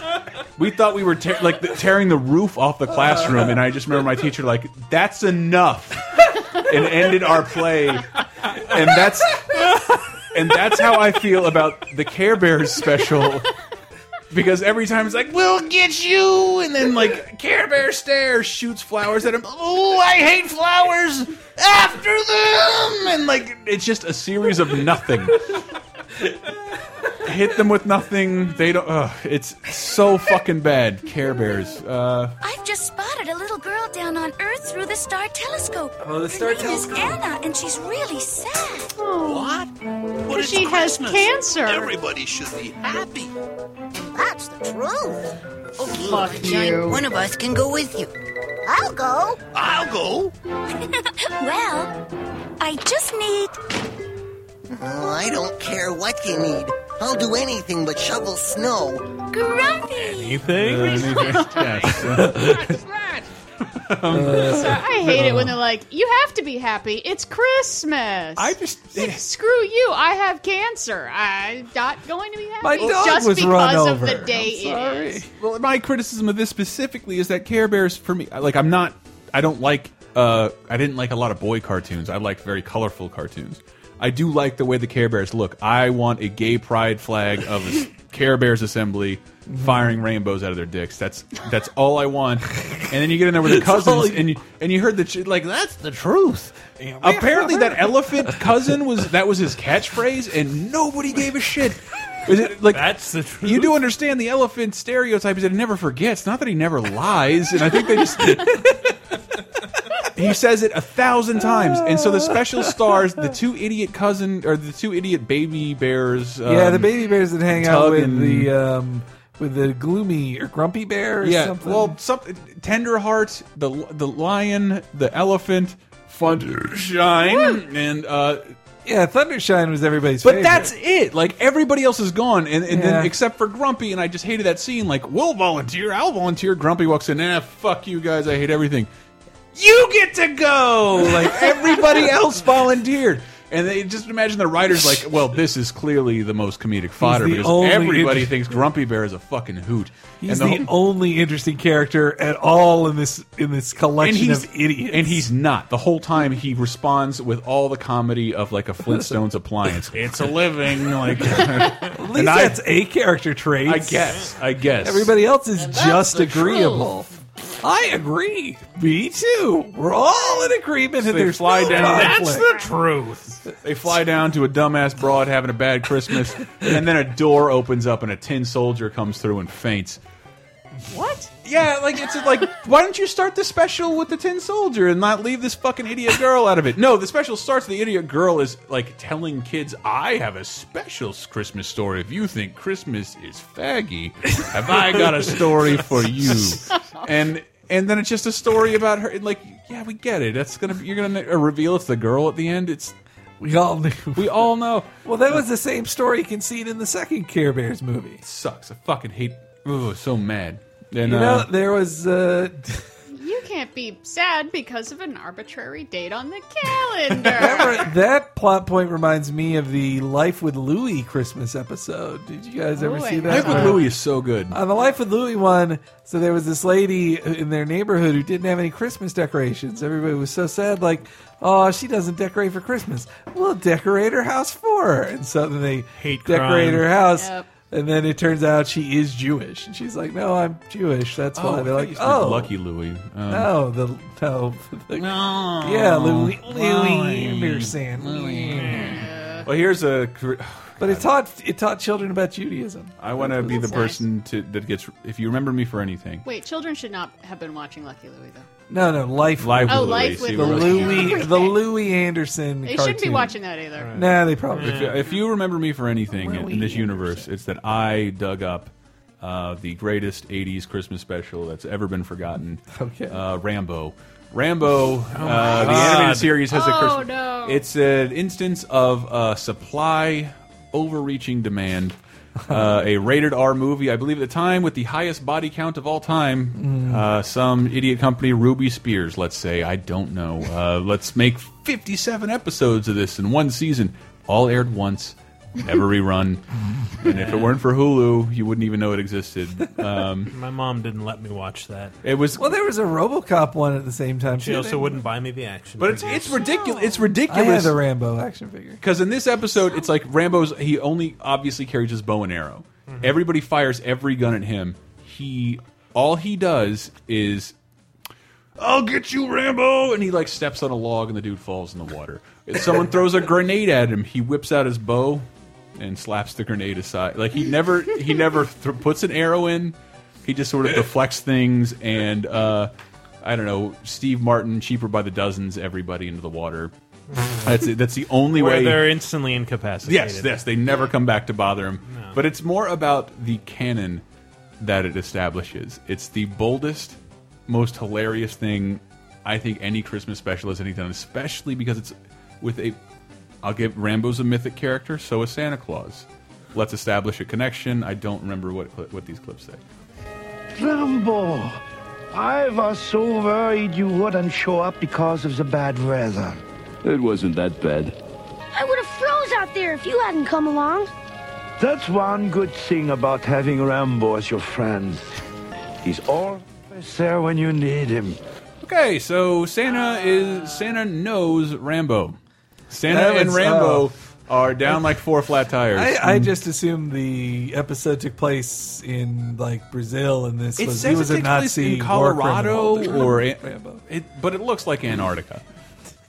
Speaker 1: We thought we were tear like the, tearing the roof off the classroom, and I just remember my teacher like, "That's enough," and ended our play. And that's and that's how I feel about the Care Bears special. Because every time it's like, we'll get you! And then, like, Care Bear stare shoots flowers at him. Oh, I hate flowers! After them! And, like, it's just a series of nothing. Hit them with nothing. They don't. Ugh, it's so fucking bad. Care Bears. Uh,
Speaker 8: I've just spotted a little girl down on Earth through the Star Telescope.
Speaker 1: Oh, the
Speaker 8: Her
Speaker 1: Star
Speaker 8: name
Speaker 1: Telescope.
Speaker 8: is Anna, and she's really sad.
Speaker 6: What?
Speaker 8: But it's
Speaker 6: she has
Speaker 8: Christmas.
Speaker 6: cancer.
Speaker 8: Everybody should be happy. That's the truth.
Speaker 10: Oh,
Speaker 8: Okay,
Speaker 9: Fuck you.
Speaker 8: One of us can go with you. I'll go. I'll go. well, I just need.
Speaker 12: Oh, I don't care what you need. I'll do anything but shovel snow.
Speaker 8: Grumpy!
Speaker 1: Uh,
Speaker 3: Anything?
Speaker 1: Um,
Speaker 6: So I hate it when they're like, "You have to be happy. It's Christmas."
Speaker 1: I just eh.
Speaker 6: Like, screw you. I have cancer. I'm not going to be happy
Speaker 1: My dog
Speaker 6: just
Speaker 1: was
Speaker 6: because
Speaker 1: run
Speaker 6: of the
Speaker 1: over.
Speaker 6: day
Speaker 1: I'm
Speaker 6: it is.
Speaker 1: well, my criticism of this specifically is that Care Bears, for me, like, I'm not. I don't like. Uh, I didn't like a lot of boy cartoons. I liked very colorful cartoons. I do like the way the Care Bears look. I want a gay pride flag of a Care Bears assembly firing rainbows out of their dicks. That's that's all I want. And then you get in there with the
Speaker 15: That's all
Speaker 1: cousins,
Speaker 15: you-
Speaker 1: and you and you heard that shit like that's the truth. Apparently, that elephant cousin was that was his catchphrase, and nobody gave a shit. Is it, like that's
Speaker 3: the
Speaker 1: truth. You do understand the elephant stereotype is that he never forgets. Not that he never lies, and I think they just he says it a thousand times. And so the special stars, the two idiot cousin or the two idiot baby bears.
Speaker 2: yeah,
Speaker 1: um,
Speaker 2: the baby bears that hang out
Speaker 1: Tug
Speaker 2: with
Speaker 1: and-
Speaker 2: the um, with the gloomy or grumpy bear or
Speaker 1: yeah,
Speaker 2: something.
Speaker 1: well, something Tenderheart, the the lion, the elephant, Funshine, and uh,
Speaker 2: yeah, Thundershine was everybody's.
Speaker 1: But
Speaker 2: favorite.
Speaker 1: that's it. Like everybody else is gone, and, and
Speaker 2: Yeah.
Speaker 1: then except for Grumpy, and I just hated that scene. Like, we'll volunteer. I'll volunteer. Grumpy walks in. Nah, fuck you guys. Oh, I hate everything. You get to go. Like everybody else volunteered. And they just imagine the writers like, well, this is clearly the most comedic fodder
Speaker 2: the
Speaker 1: because
Speaker 2: only
Speaker 1: everybody
Speaker 2: inter-
Speaker 1: thinks Grumpy Bear is a fucking hoot.
Speaker 2: He's
Speaker 1: and
Speaker 2: the, only interesting character at all in this in this collection
Speaker 1: he's-
Speaker 2: of idiots.
Speaker 1: And he's not. The whole time he responds with all the comedy of like a Flintstones appliance. It's a living. Like,
Speaker 2: At least that's a character trait.
Speaker 1: I guess. I guess.
Speaker 2: Everybody else is just
Speaker 1: the
Speaker 2: agreeable. I agree. Me too. We're all in agreement.
Speaker 1: So
Speaker 2: and
Speaker 1: they
Speaker 2: there's
Speaker 1: fly
Speaker 2: no
Speaker 1: down.
Speaker 2: conflict.
Speaker 1: truth. They fly down to a dumbass broad having a bad Christmas, and then a door opens up and a tin soldier comes through and faints.
Speaker 15: What?
Speaker 1: Yeah, like it's like why don't you start the special with the tin soldier and not leave this fucking idiot girl out of it? No, the special starts. The idiot girl is like telling kids, "I have a special Christmas story. If you think Christmas is faggy, have I got a story for you?" And and then it's just a story about her. And like, yeah, we get it. That's gonna be, you're gonna uh, reveal it's the girl at the end. It's
Speaker 2: we all knew.
Speaker 1: We all know.
Speaker 2: Well, that was the same story conceit in the second Care Bears movie. It
Speaker 1: sucks. I fucking hate. Ooh, so mad. And,
Speaker 2: you
Speaker 1: uh,
Speaker 2: know, there was. Uh,
Speaker 6: You can't be sad because of an arbitrary date on the calendar.
Speaker 2: that plot point reminds me of the Life with Louie Christmas episode. Did you guys ever
Speaker 6: Oh, I
Speaker 2: see that?
Speaker 1: Life with Louie is so good.
Speaker 2: On the Life with Louie one, so there was this lady in their neighborhood who didn't have any Christmas decorations. Everybody was so sad, like, oh, she doesn't decorate for Christmas. We'll decorate her house for her. And so then they
Speaker 3: Hate
Speaker 2: decorate
Speaker 3: crime.
Speaker 2: her house.
Speaker 3: Yep.
Speaker 2: And then it turns out she is Jewish. And she's like, no, I'm Jewish. That's
Speaker 1: Oh, I
Speaker 2: why. They're
Speaker 1: thought
Speaker 2: like,
Speaker 1: you said
Speaker 2: oh.
Speaker 1: Lucky Louie. Um,
Speaker 3: Oh,
Speaker 2: no, the, no. the-
Speaker 1: No.
Speaker 2: Yeah, Louis.
Speaker 1: Louie.
Speaker 2: Louis Anderson.
Speaker 1: Well, here's a.
Speaker 2: But it taught it taught children about Judaism.
Speaker 1: I want to be the person to that gets. If you remember me for anything,
Speaker 6: Wait, children should not have been watching Lucky Louie though.
Speaker 2: No, no, life.
Speaker 1: Life
Speaker 6: Oh, with Life Louis, with see,
Speaker 2: the
Speaker 6: we're
Speaker 2: Louis,
Speaker 6: looking-
Speaker 2: the Louis Anderson.
Speaker 6: They shouldn't be
Speaker 2: cartoon.
Speaker 6: watching that either.
Speaker 2: Nah, they probably.
Speaker 1: If, if you remember me for anything in, in this universe, it's that I dug up uh, the greatest '80s Christmas special that's ever been forgotten.
Speaker 2: Okay. Oh
Speaker 1: Uh, Rambo. Rambo, uh,
Speaker 2: my
Speaker 1: the
Speaker 2: God.
Speaker 1: animated series has a
Speaker 2: Oh,
Speaker 1: Christmas.
Speaker 2: no.
Speaker 1: It's an instance of uh, supply overreaching demand. Uh, a rated R movie, I believe, at the time with the highest body count of all time.
Speaker 2: Mm.
Speaker 1: Uh, some idiot company, Ruby Spears, let's say. I don't know. Uh, let's make 57 episodes of this in one season, all aired once, never rerun. and if it weren't for Hulu, you wouldn't even know it existed. Um,
Speaker 3: My mom didn't let me watch that.
Speaker 1: it was.
Speaker 2: Well, there was a RoboCop one at the same time.
Speaker 3: She
Speaker 2: too.
Speaker 3: also wouldn't buy me the action.
Speaker 1: But it's, it's ridiculous. It's ridiculous.
Speaker 2: I had the Rambo action figure.
Speaker 1: Because in this episode, it's like Rambo's. He only obviously carries his bow and arrow. Everybody fires every gun at him. He all he does is, "I'll get you, Rambo," and he like steps on a log and the dude falls in the water. If someone throws a grenade at him, he whips out his bow and slaps the grenade aside. Like he never he never th puts an arrow in. He just sort of deflects things and. uh I don't know, Steve Martin, cheaper by the dozens, everybody into the water. That's it. That's the only
Speaker 3: Where
Speaker 1: way
Speaker 3: they're instantly incapacitated.
Speaker 1: Yes, yes, they never come back to bother him. But it's more about the canon that it establishes. It's the boldest, most hilarious thing I think any Christmas special has anything, especially because it's with a. I'll give Rambo's a mythic character, so is Santa Claus. Let's establish a connection. I don't remember what cli- what these clips say.
Speaker 14: Rambo, I was so worried you wouldn't show up because of the bad weather.
Speaker 22: It wasn't that bad.
Speaker 7: I would have froze out there if you hadn't come along.
Speaker 14: That's one good thing about having Rambo as your friend. He's always there when you need him.
Speaker 1: Okay, so Santa is Santa knows Rambo. Santa
Speaker 2: That
Speaker 1: and
Speaker 2: was-
Speaker 1: Rambo
Speaker 2: oh.
Speaker 1: are down like four flat tires.
Speaker 2: I, I just assumed the episode took place in like Brazil, and this
Speaker 1: it
Speaker 2: was
Speaker 1: says
Speaker 2: he was
Speaker 1: it
Speaker 2: a
Speaker 1: takes place
Speaker 2: Nazi
Speaker 1: in
Speaker 2: war
Speaker 1: Colorado
Speaker 2: criminal.
Speaker 1: or it, but it looks like Antarctica.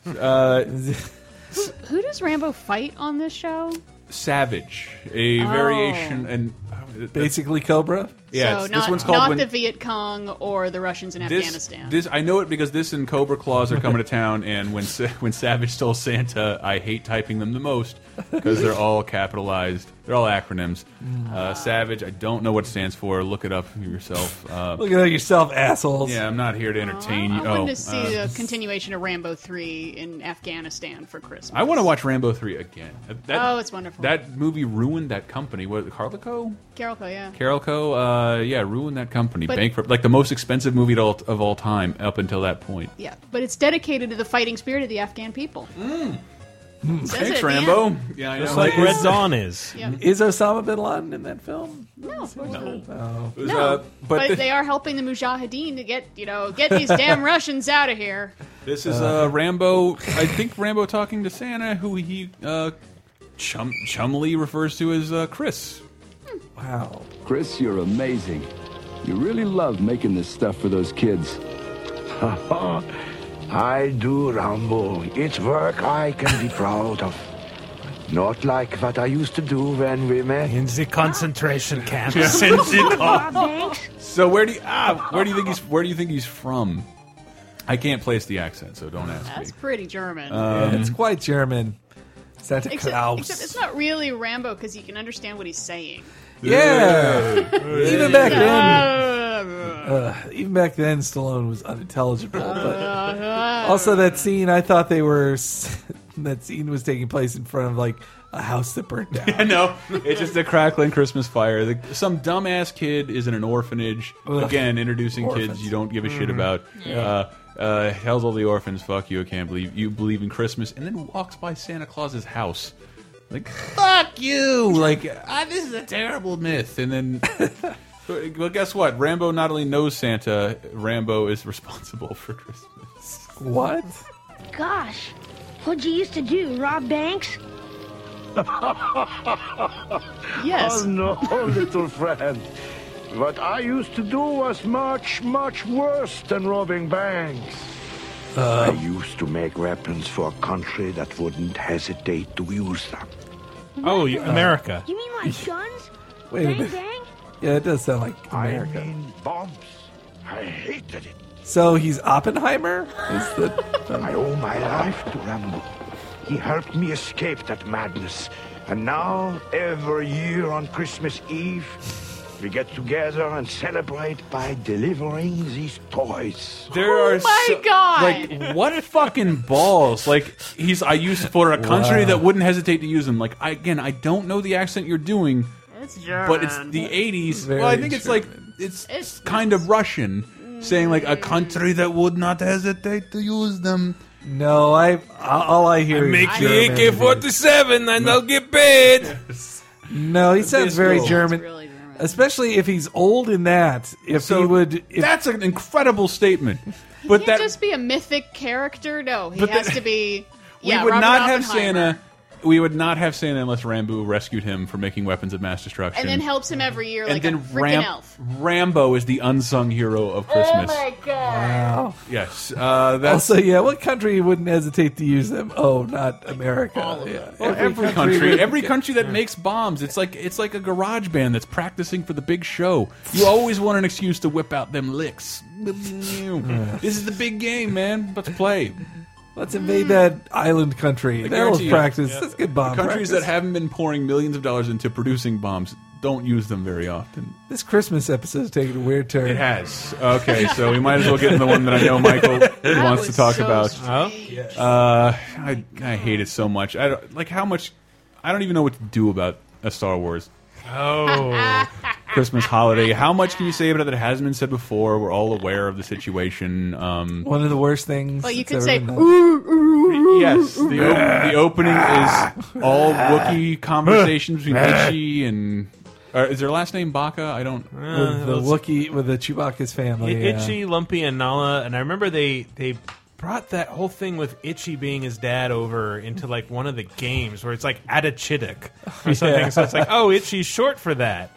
Speaker 1: Uh,
Speaker 6: Who does Rambo fight on this show?
Speaker 1: Savage, a
Speaker 6: Oh.
Speaker 1: variation and
Speaker 2: basically Cobra.
Speaker 1: Yeah,
Speaker 6: so
Speaker 1: it's-
Speaker 6: not,
Speaker 1: this one's called
Speaker 6: not
Speaker 1: when-
Speaker 6: the Viet Cong or the Russians in Afghanistan.
Speaker 1: This I know it because this and Cobra Claws are coming to town, and when Sa- when Savage stole Santa, I hate typing them the most because they're all capitalized. They're all acronyms. Uh, Savage, I don't know what it stands for. Look it up yourself. Uh,
Speaker 2: Look it up yourself, assholes.
Speaker 1: Yeah, I'm not here to entertain
Speaker 6: I
Speaker 1: you.
Speaker 6: wanted
Speaker 1: Oh,
Speaker 6: to see
Speaker 1: uh,
Speaker 6: a continuation of Rambo 3 in Afghanistan for Christmas.
Speaker 1: I want to watch Rambo three again.
Speaker 6: Oh, it's wonderful.
Speaker 1: That movie ruined that company. What Carlico?
Speaker 6: Carolco, yeah.
Speaker 1: Carolco, uh, yeah, ruined that company.
Speaker 6: But-
Speaker 1: Bankrupt, like the most expensive movie at all, of all time up until that point. Hmm.
Speaker 6: Yeah, but it's dedicated to the fighting spirit of the Afghan people. Says it
Speaker 1: Thanks,
Speaker 6: at the
Speaker 1: Rambo.
Speaker 6: end.
Speaker 1: Yeah, I
Speaker 3: Just
Speaker 1: know.
Speaker 3: like Red Dawn is.
Speaker 6: Yep.
Speaker 2: Is Osama bin Laden in that film?
Speaker 6: No, of course not.
Speaker 2: Oh.
Speaker 1: uh,
Speaker 6: No, but, they are helping the Mujahideen to get you know get these damn Russians out of here.
Speaker 1: This is uh, Rambo. I think Rambo talking to Santa, who he uh, chum chumly refers to as uh, Chris.
Speaker 2: Wow.
Speaker 22: Chris, you're amazing. You really love making this stuff for those kids.
Speaker 14: I do, Rambo. It's work I can be proud of. Not like what I used to do when we met.
Speaker 3: In the concentration camp.
Speaker 1: So where do you ah, where do you think he's where do you think he's from? I can't place the accent, so don't ask
Speaker 6: That's
Speaker 1: me.
Speaker 6: pretty German.
Speaker 1: Um,
Speaker 2: it's quite German. Santa
Speaker 6: except,
Speaker 2: Claus.
Speaker 6: except it's not really Rambo because you can understand what he's saying.
Speaker 2: yeah. even back then.
Speaker 6: Uh,
Speaker 2: Uh, even back then, Stallone was unintelligible. But also, that scene, I thought they were. s- That scene was taking place in front of like a house that burnt down.
Speaker 1: I know. It's just a crackling Christmas fire. The, some dumbass kid is in an orphanage.
Speaker 2: Ugh.
Speaker 1: Again, introducing
Speaker 2: Orphans.
Speaker 1: kids you don't give a shit
Speaker 2: Mhm.
Speaker 1: about.
Speaker 2: Yeah.
Speaker 1: Uh, uh, hell's all the orphans. Fuck you. I can't believe you believe in Christmas. And then walks by Santa Claus's house. Like, fuck you. Like, ah, this is a terrible myth. And then. Well, guess what? Rambo not only knows Santa, Rambo is responsible for Christmas.
Speaker 2: What?
Speaker 7: Gosh, what'd you used to do, rob banks?
Speaker 14: Oh no, little friend. What I used to do was much, much worse than robbing banks. I used to make weapons for a country that wouldn't hesitate to use them.
Speaker 3: Oh, you- America.
Speaker 7: You mean like guns?
Speaker 2: Uh, Wait a
Speaker 7: bang
Speaker 2: minute.
Speaker 7: bang?
Speaker 2: Yeah, it does sound like America.
Speaker 14: I mean bombs. I hated it.
Speaker 2: So he's Oppenheimer? Is the,
Speaker 14: I owe my life to Rambo. He helped me escape that madness. And now, every year on Christmas Eve, we get together and celebrate by delivering these toys.
Speaker 1: There are
Speaker 14: Oh my
Speaker 1: so-
Speaker 14: God.
Speaker 1: Like what fucking balls? Like he's I used for a country
Speaker 2: Wow.
Speaker 1: that wouldn't hesitate to use him. Like I, again, I don't know the accent you're doing,
Speaker 6: it's German.
Speaker 1: but it's the '80s. Well, I
Speaker 2: Very
Speaker 1: think it's like it's, kind of Russian, saying like a country that would not hesitate to use them.
Speaker 2: no, I all I hear is German.
Speaker 1: AK-47 and I'll get paid.
Speaker 2: No, he sounds
Speaker 1: This
Speaker 2: very
Speaker 1: rule.
Speaker 2: German. Especially if he's old in that. If he would if,
Speaker 1: That's an incredible statement. But
Speaker 6: Can't
Speaker 1: that
Speaker 6: just be a mythic character. No, he
Speaker 1: But
Speaker 6: has
Speaker 1: that-
Speaker 6: to be.
Speaker 1: we
Speaker 6: Yeah,
Speaker 1: would
Speaker 6: Robert
Speaker 1: not have
Speaker 6: Oppenheimer.
Speaker 1: Santa. We would not have Santa unless Rambo rescued him for making weapons of mass destruction.
Speaker 6: and then helps him every year
Speaker 1: and
Speaker 6: like a
Speaker 1: then
Speaker 6: freaking
Speaker 1: Ram-
Speaker 6: elf. Oh
Speaker 1: Rambo is the unsung hero of Christmas.
Speaker 2: Wow.
Speaker 1: Yes, uh, that's
Speaker 2: also, yeah, what country wouldn't hesitate to use them? Oh, not America. Yeah.
Speaker 1: every, country. every country that makes bombs, it's like it's like a garage band that's practicing for the big show. You always want an excuse to whip out them licks. this is the big game, man. Let's play.
Speaker 2: Let's invade
Speaker 6: Hmm.
Speaker 2: that island country.
Speaker 1: I
Speaker 2: That was
Speaker 1: guarantee you.
Speaker 2: practice.
Speaker 1: Yeah.
Speaker 2: That's good bomb
Speaker 1: Countries
Speaker 2: practice.
Speaker 1: that haven't been pouring millions of dollars into producing bombs don't use them very often.
Speaker 2: this Christmas episode is taking a weird turn.
Speaker 1: It has. Okay, so we might as well get in the one that I know Michael
Speaker 2: That
Speaker 1: wants to
Speaker 2: was
Speaker 1: talk
Speaker 2: so
Speaker 1: about.
Speaker 2: strange. Oh? Yes.
Speaker 1: Uh, I, I hate it so much. I don't, like how much. I don't even know what to do about a Star Wars
Speaker 3: Oh.
Speaker 1: Christmas holiday. How much can you say about it that hasn't been said before? We're all aware of the situation. Um,
Speaker 2: One of the worst things.
Speaker 6: Well, you
Speaker 2: that's
Speaker 6: could
Speaker 2: ever
Speaker 6: say,
Speaker 2: been done.
Speaker 1: yes, the, op the opening is all Wookiee conversation between Itchy and. Or is their last name Baka? I don't.
Speaker 2: with the Wookiee, with the Chewbacca's family.
Speaker 3: Uh, I- Itchy, Lumpy, and Nala, and I remember they they brought that whole thing with Itchy being his dad over into like one of the games where it's like Atachittic or something.
Speaker 2: Yeah.
Speaker 3: So it's like, oh, Itchy's short for that.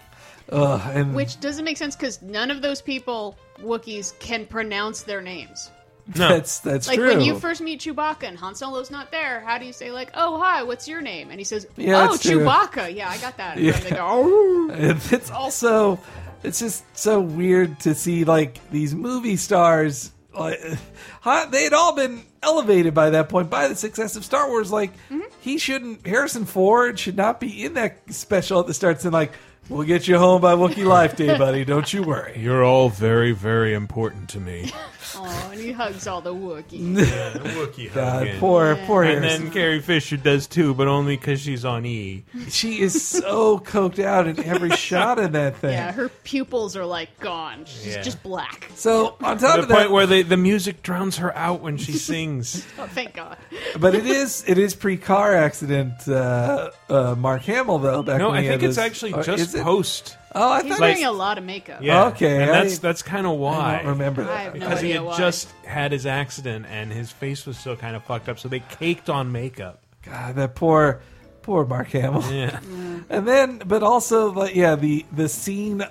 Speaker 2: Ugh, and
Speaker 6: Which doesn't make sense because none of those people, Wookiees, can pronounce their names.
Speaker 2: that's that's
Speaker 6: like
Speaker 2: true.
Speaker 6: when you first meet Chewbacca and Han Solo's not there, how do you say like, "Oh hi, what's your name?" And he says,
Speaker 2: Yeah,
Speaker 6: "Oh
Speaker 2: that's true.
Speaker 6: Chewbacca." Yeah, I got that. And
Speaker 2: Yeah.
Speaker 6: They go, "Oh."
Speaker 2: it's also it's just so weird to see like these movie stars like huh, they had all been elevated by that point by the success of Star Wars like
Speaker 6: Mm-hmm.
Speaker 2: he shouldn't Harrison Ford should not be in that special that starts in like we'll get you home by Wookiee Life Day buddy don't you worry
Speaker 3: You're all very, very important to me.
Speaker 6: Oh, and he hugs all the Wookiees.
Speaker 3: Yeah, the Wookiee
Speaker 2: God,
Speaker 3: hug in.
Speaker 2: Uh, poor- poor
Speaker 3: And
Speaker 2: Harrison.
Speaker 3: then Carrie Fisher does too, but only because she's on E.
Speaker 2: She is so coked out in every shot in that thing.
Speaker 6: Yeah, her pupils are like gone. She's
Speaker 3: Yeah.
Speaker 6: just black.
Speaker 2: So on top
Speaker 3: the
Speaker 2: of
Speaker 3: point
Speaker 2: that,
Speaker 3: where they, the music drowns her out when she sings.
Speaker 6: Oh, thank God.
Speaker 2: but it is it is pre car accident uh, uh, Mark Hamill though. Back
Speaker 3: no,
Speaker 2: when
Speaker 3: I
Speaker 2: he had
Speaker 3: think it's
Speaker 2: his-
Speaker 3: actually
Speaker 2: or
Speaker 3: just
Speaker 2: is it?
Speaker 3: post.
Speaker 2: Oh, I
Speaker 6: He's
Speaker 2: thought
Speaker 6: wearing a lot of makeup.
Speaker 3: Yeah.
Speaker 2: Okay,
Speaker 3: and
Speaker 2: I-
Speaker 3: that's that's kind of why.
Speaker 2: don't remember that. I have no
Speaker 3: because he
Speaker 6: idea
Speaker 3: had
Speaker 6: why.
Speaker 3: just had his accident and his face was still kind of fucked up, so they caked on makeup.
Speaker 2: God, that poor poor Mark Hamill.
Speaker 3: Yeah.
Speaker 2: and then, but also, like, yeah, the the scene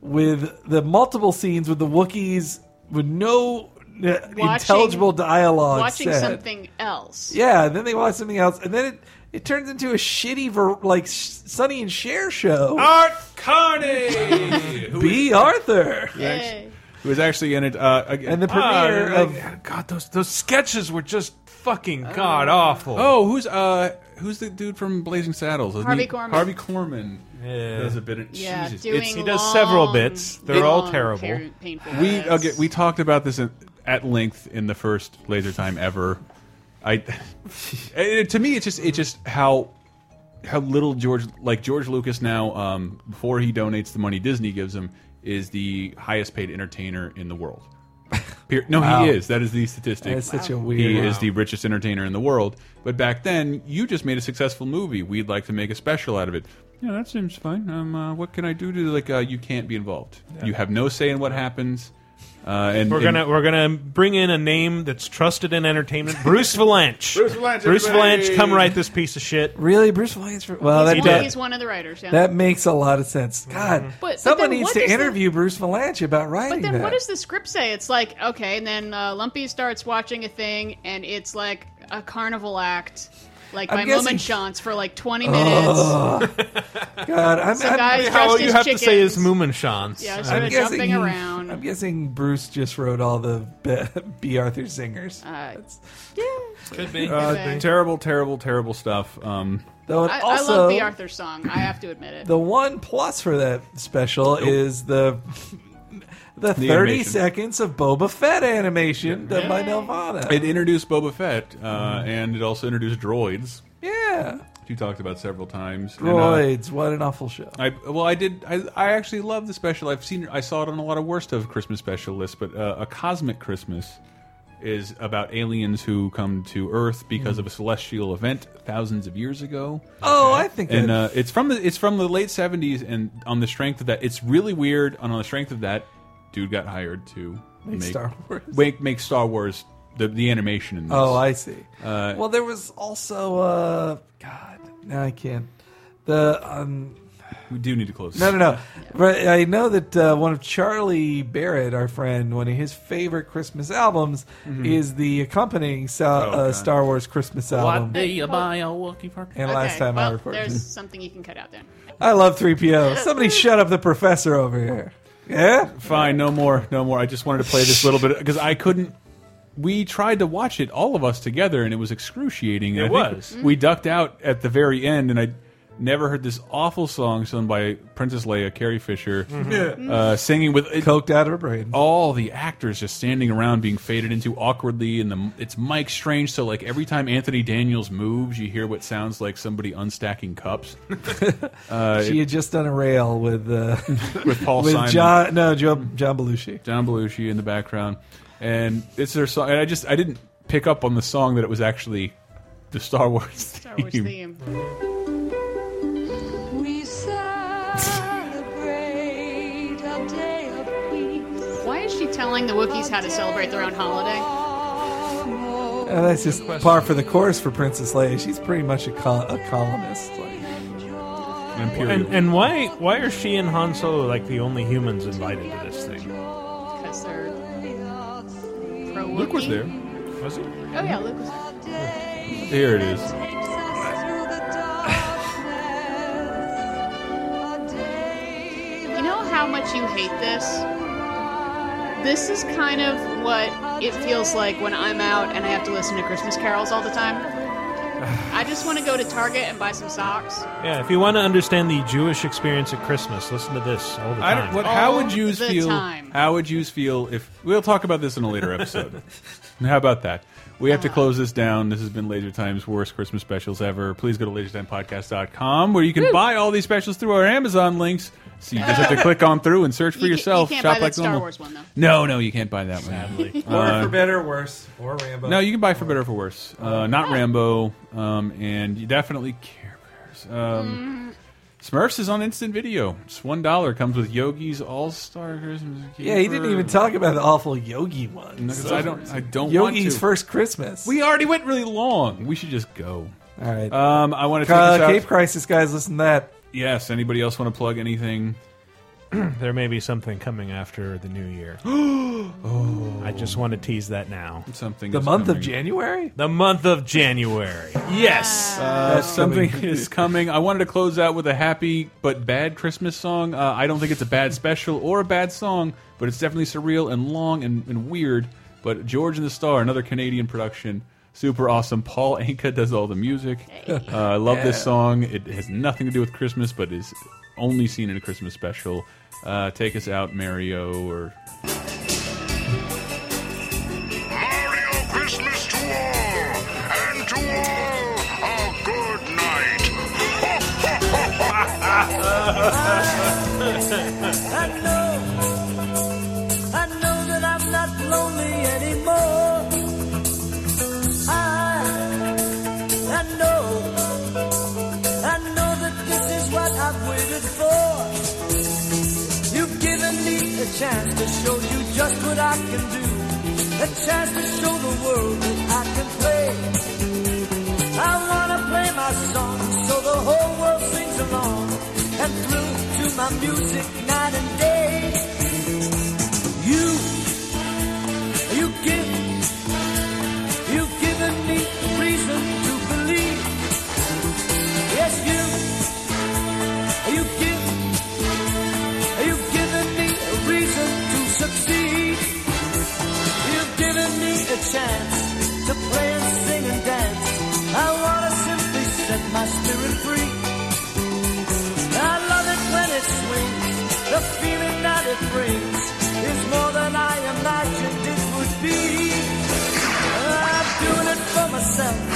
Speaker 2: with the multiple scenes with the Wookiees with no uh, intelligible dialogue.
Speaker 6: Watching
Speaker 2: said.
Speaker 6: something else.
Speaker 2: Yeah, and then they watch something else, and then it, it turns into a shitty ver- like sh- Sonny and Cher show.
Speaker 3: Art Carney,
Speaker 2: B. Arthur.
Speaker 1: Who actually- who was actually in it? Uh,
Speaker 2: And the premiere
Speaker 1: of.
Speaker 3: of Ah, God, those those sketches were just fucking god awful.
Speaker 1: Oh, who's uh who's the dude from Blazing Saddles? Isn't
Speaker 6: Harvey
Speaker 1: he-
Speaker 6: Korman.
Speaker 1: Harvey Korman
Speaker 3: Yeah.
Speaker 1: does a bit. Of,
Speaker 6: Yeah,
Speaker 1: Jesus.
Speaker 6: doing
Speaker 3: It's- he does several
Speaker 6: long,
Speaker 3: bits. They're all
Speaker 6: long,
Speaker 3: terrible.
Speaker 6: par- painful
Speaker 1: we
Speaker 6: bits.
Speaker 1: okay, we talked about this in, at length in the first laser time ever. I it, to me it's just it's just how how little George like George Lucas now um, before he donates the money Disney gives him is the highest paid entertainer in the world. Pe- No,
Speaker 2: Wow.
Speaker 1: he is. That is the statistic.
Speaker 2: That is such a
Speaker 1: He
Speaker 2: weird-
Speaker 1: is the richest entertainer in the world. But back then, you just made a successful movie. We'd like to make a special out of it. Yeah, that seems fine. Um, uh, what can I do to like? Uh, you can't be involved. You have no say in what happens. Uh, and
Speaker 3: We're
Speaker 1: and-
Speaker 3: gonna we're gonna bring in a name that's trusted in entertainment, Bruce Valanche.
Speaker 1: Bruce Vilanch,
Speaker 3: Bruce
Speaker 1: everybody.
Speaker 3: Vilanch, come write this piece of shit.
Speaker 2: Really, Bruce Williams? Well,
Speaker 6: he's,
Speaker 2: that,
Speaker 6: one,
Speaker 2: that,
Speaker 6: he's one of the writers. Yeah.
Speaker 2: that makes a lot of sense.
Speaker 6: Mm-hmm.
Speaker 2: God,
Speaker 6: But- but
Speaker 2: someone
Speaker 6: then
Speaker 2: needs
Speaker 6: what
Speaker 2: to
Speaker 6: does the-
Speaker 2: interview Bruce Valanche about writing
Speaker 6: but then
Speaker 2: that.
Speaker 6: what does the script say? It's like okay, and then uh, Lumpy starts watching a thing, and it's like a carnival act, like
Speaker 2: I'm
Speaker 6: by
Speaker 2: guessing-
Speaker 6: moment shots for like twenty
Speaker 2: Ugh.
Speaker 6: minutes.
Speaker 2: God, I'm,
Speaker 6: Some
Speaker 2: I'm-
Speaker 6: guys Yeah, dressed all you as have to say chickens. is
Speaker 3: Moominshans.
Speaker 6: Yeah, sort of jumping
Speaker 2: he-
Speaker 6: around.
Speaker 2: I'm guessing Bruce just wrote all the B. B. Arthur singers.
Speaker 6: Uh,
Speaker 3: Could
Speaker 1: Uh,
Speaker 6: Okay.
Speaker 1: Terrible, terrible, terrible stuff. Um,
Speaker 2: Though it
Speaker 6: I, I
Speaker 2: also,
Speaker 6: love the Arthur song. I have to admit it.
Speaker 2: The one plus for that special is the the,
Speaker 1: The
Speaker 2: thirty
Speaker 1: animation.
Speaker 2: seconds of Boba Fett animation done by Nelvana.
Speaker 1: it introduced Boba Fett, uh, and it also introduced droids.
Speaker 2: yeah,
Speaker 1: which You talked about several times. And, uh,
Speaker 2: droids. what an awful show.
Speaker 1: I well, I did. I, I actually love the special. I've seen. I saw it on a lot of worst of Christmas special lists, but uh, a cosmic Christmas is about aliens who come to Earth because of a celestial event thousands of years ago.
Speaker 2: Oh, I think
Speaker 1: And
Speaker 2: that-
Speaker 1: uh, it's from the it's from the late seventies, and on the strength of that, it's really weird. And on the strength of that, dude got hired to
Speaker 2: Make Star Wars.
Speaker 1: Make, make Star Wars the the animation. In this.
Speaker 2: Oh, I see.
Speaker 1: Uh,
Speaker 2: well, there was also uh, God. Now I can't. The um,
Speaker 1: we do need to close.
Speaker 2: No, no, no. But I know that uh, one of Charlie Barrett, our friend, one of his favorite Christmas albums
Speaker 1: Mhm.
Speaker 2: is the accompanying sa-
Speaker 1: Oh,
Speaker 2: uh,
Speaker 1: God.
Speaker 2: Star Wars Christmas album.
Speaker 1: you buy a Wookiee for?
Speaker 2: And last time I
Speaker 6: well,
Speaker 2: recorded.
Speaker 6: there's something you can cut out there.
Speaker 2: I love 3PO. Somebody shut up the professor over here. Yeah?
Speaker 1: Fine, no more, no more. I just wanted to play this little bit because I couldn't. We tried to watch it all of us together, and it was excruciating. And
Speaker 3: It
Speaker 1: I think
Speaker 3: was.
Speaker 1: We ducked out at the very end, and I never heard this awful song sung by Princess Leia, Carrie Fisher,
Speaker 2: Mhm. Yeah.
Speaker 1: uh, singing with
Speaker 2: coked out of her brain.
Speaker 1: All the actors just standing around, being faded into awkwardly, and the it's Mike Strange. So like every time Anthony Daniels moves, you hear what sounds like somebody unstacking cups. uh,
Speaker 2: she had just done a rail with uh,
Speaker 1: With Paul
Speaker 2: with
Speaker 1: Simon.
Speaker 2: John, no, Joe, John Belushi.
Speaker 1: John Belushi in the background, and it's their song. And I just I didn't pick up on the song that it was actually the Star Wars
Speaker 6: Star
Speaker 1: theme.
Speaker 6: Wars theme.
Speaker 16: We celebrate a day of peace.
Speaker 6: Why is she telling the Wookiees how to celebrate their own holiday?
Speaker 2: Uh, that's just par for the course for Princess Leia. She's pretty much a, col- a columnist. Like,
Speaker 3: And, and why why are she and Han Solo like the only humans invited to this thing?
Speaker 6: Because they're pro
Speaker 1: Luke was
Speaker 6: Wookiee.
Speaker 1: there, was he?
Speaker 6: Oh yeah, Luke was there.
Speaker 1: Here it is.
Speaker 6: You know how much you hate this? This is kind of what it feels like when I'm out and I have to listen to Christmas carols all the time. I just want to go to Target and buy some socks.
Speaker 3: Yeah, if you want to understand the Jewish experience at Christmas, listen to this all the
Speaker 1: I
Speaker 3: time.
Speaker 1: don't, what, how would
Speaker 6: you
Speaker 1: Jews
Speaker 6: the
Speaker 1: feel?
Speaker 6: time.
Speaker 1: How would Jews feel if we'll talk about this in a later episode? And how about that? We
Speaker 6: Uh-huh.
Speaker 1: have to close this down. This has been Laser Time's worst Christmas specials ever. Please go to lasertimepodcast.com where you can buy all these specials through our Amazon links. So you just have to click on through and search for
Speaker 6: You ca- you
Speaker 1: yourself.
Speaker 6: can't
Speaker 1: Shop
Speaker 6: buy that
Speaker 1: like
Speaker 6: Star
Speaker 1: normal.
Speaker 6: Wars one, though.
Speaker 1: No, no, you can't buy that one.
Speaker 2: Sadly.
Speaker 1: Uh,
Speaker 2: or for better or worse, or Rambo.
Speaker 1: no, you can buy for better or for worse. Uh, not Rambo, um, and you definitely Care Bears. Um, Smurfs is on instant video. It's one dollar. Comes with Yogi's All Star Christmas.
Speaker 2: Yeah, he didn't even talk about the awful Yogi one.
Speaker 1: No, 'cause I don't- I don't
Speaker 2: Yogi's
Speaker 1: want to.
Speaker 2: first Christmas.
Speaker 1: We already went really long. We should just go.
Speaker 2: All right.
Speaker 1: Um, I want to take
Speaker 2: Uh,
Speaker 1: this out.
Speaker 2: Cape Crisis, guys, listen to that.
Speaker 1: Yes. Anybody else want to plug anything?
Speaker 3: there may be something coming after the new year. I just want to tease that now.
Speaker 1: Something.
Speaker 2: The
Speaker 3: is
Speaker 2: month of
Speaker 3: coming.
Speaker 2: January?
Speaker 3: The month of January. Yes.
Speaker 1: Uh, something is coming. I wanted to close out with a happy but bad Christmas song. Uh, I don't think it's a bad special or a bad song, but it's definitely surreal and long and, and weird. But George and the Star, another Canadian production, super awesome. Paul Anka does all the music. Uh, I love this
Speaker 2: Yeah.
Speaker 1: song. It has nothing to do with Christmas, but is only seen in a Christmas special. Uh, take us out, Mario, or
Speaker 15: Christmas to all, and to all a good night.
Speaker 10: I know, I know that I'm not lonely anymore. I, I know, I know that this is what I've waited for. You've given me a chance to show you just what I can do, a chance to show the world that I can play. I wanna play my song so the whole world sings along and through to my music night and day. You, you give, you've given me reason to believe. Yes, you, you give, you've given me a reason to succeed. You've given me a chance to play and sing and dance. I wanna simply set my spirit free. I love it when it swings. The feeling that it brings is more than I imagined it would be. I'm doing it for myself.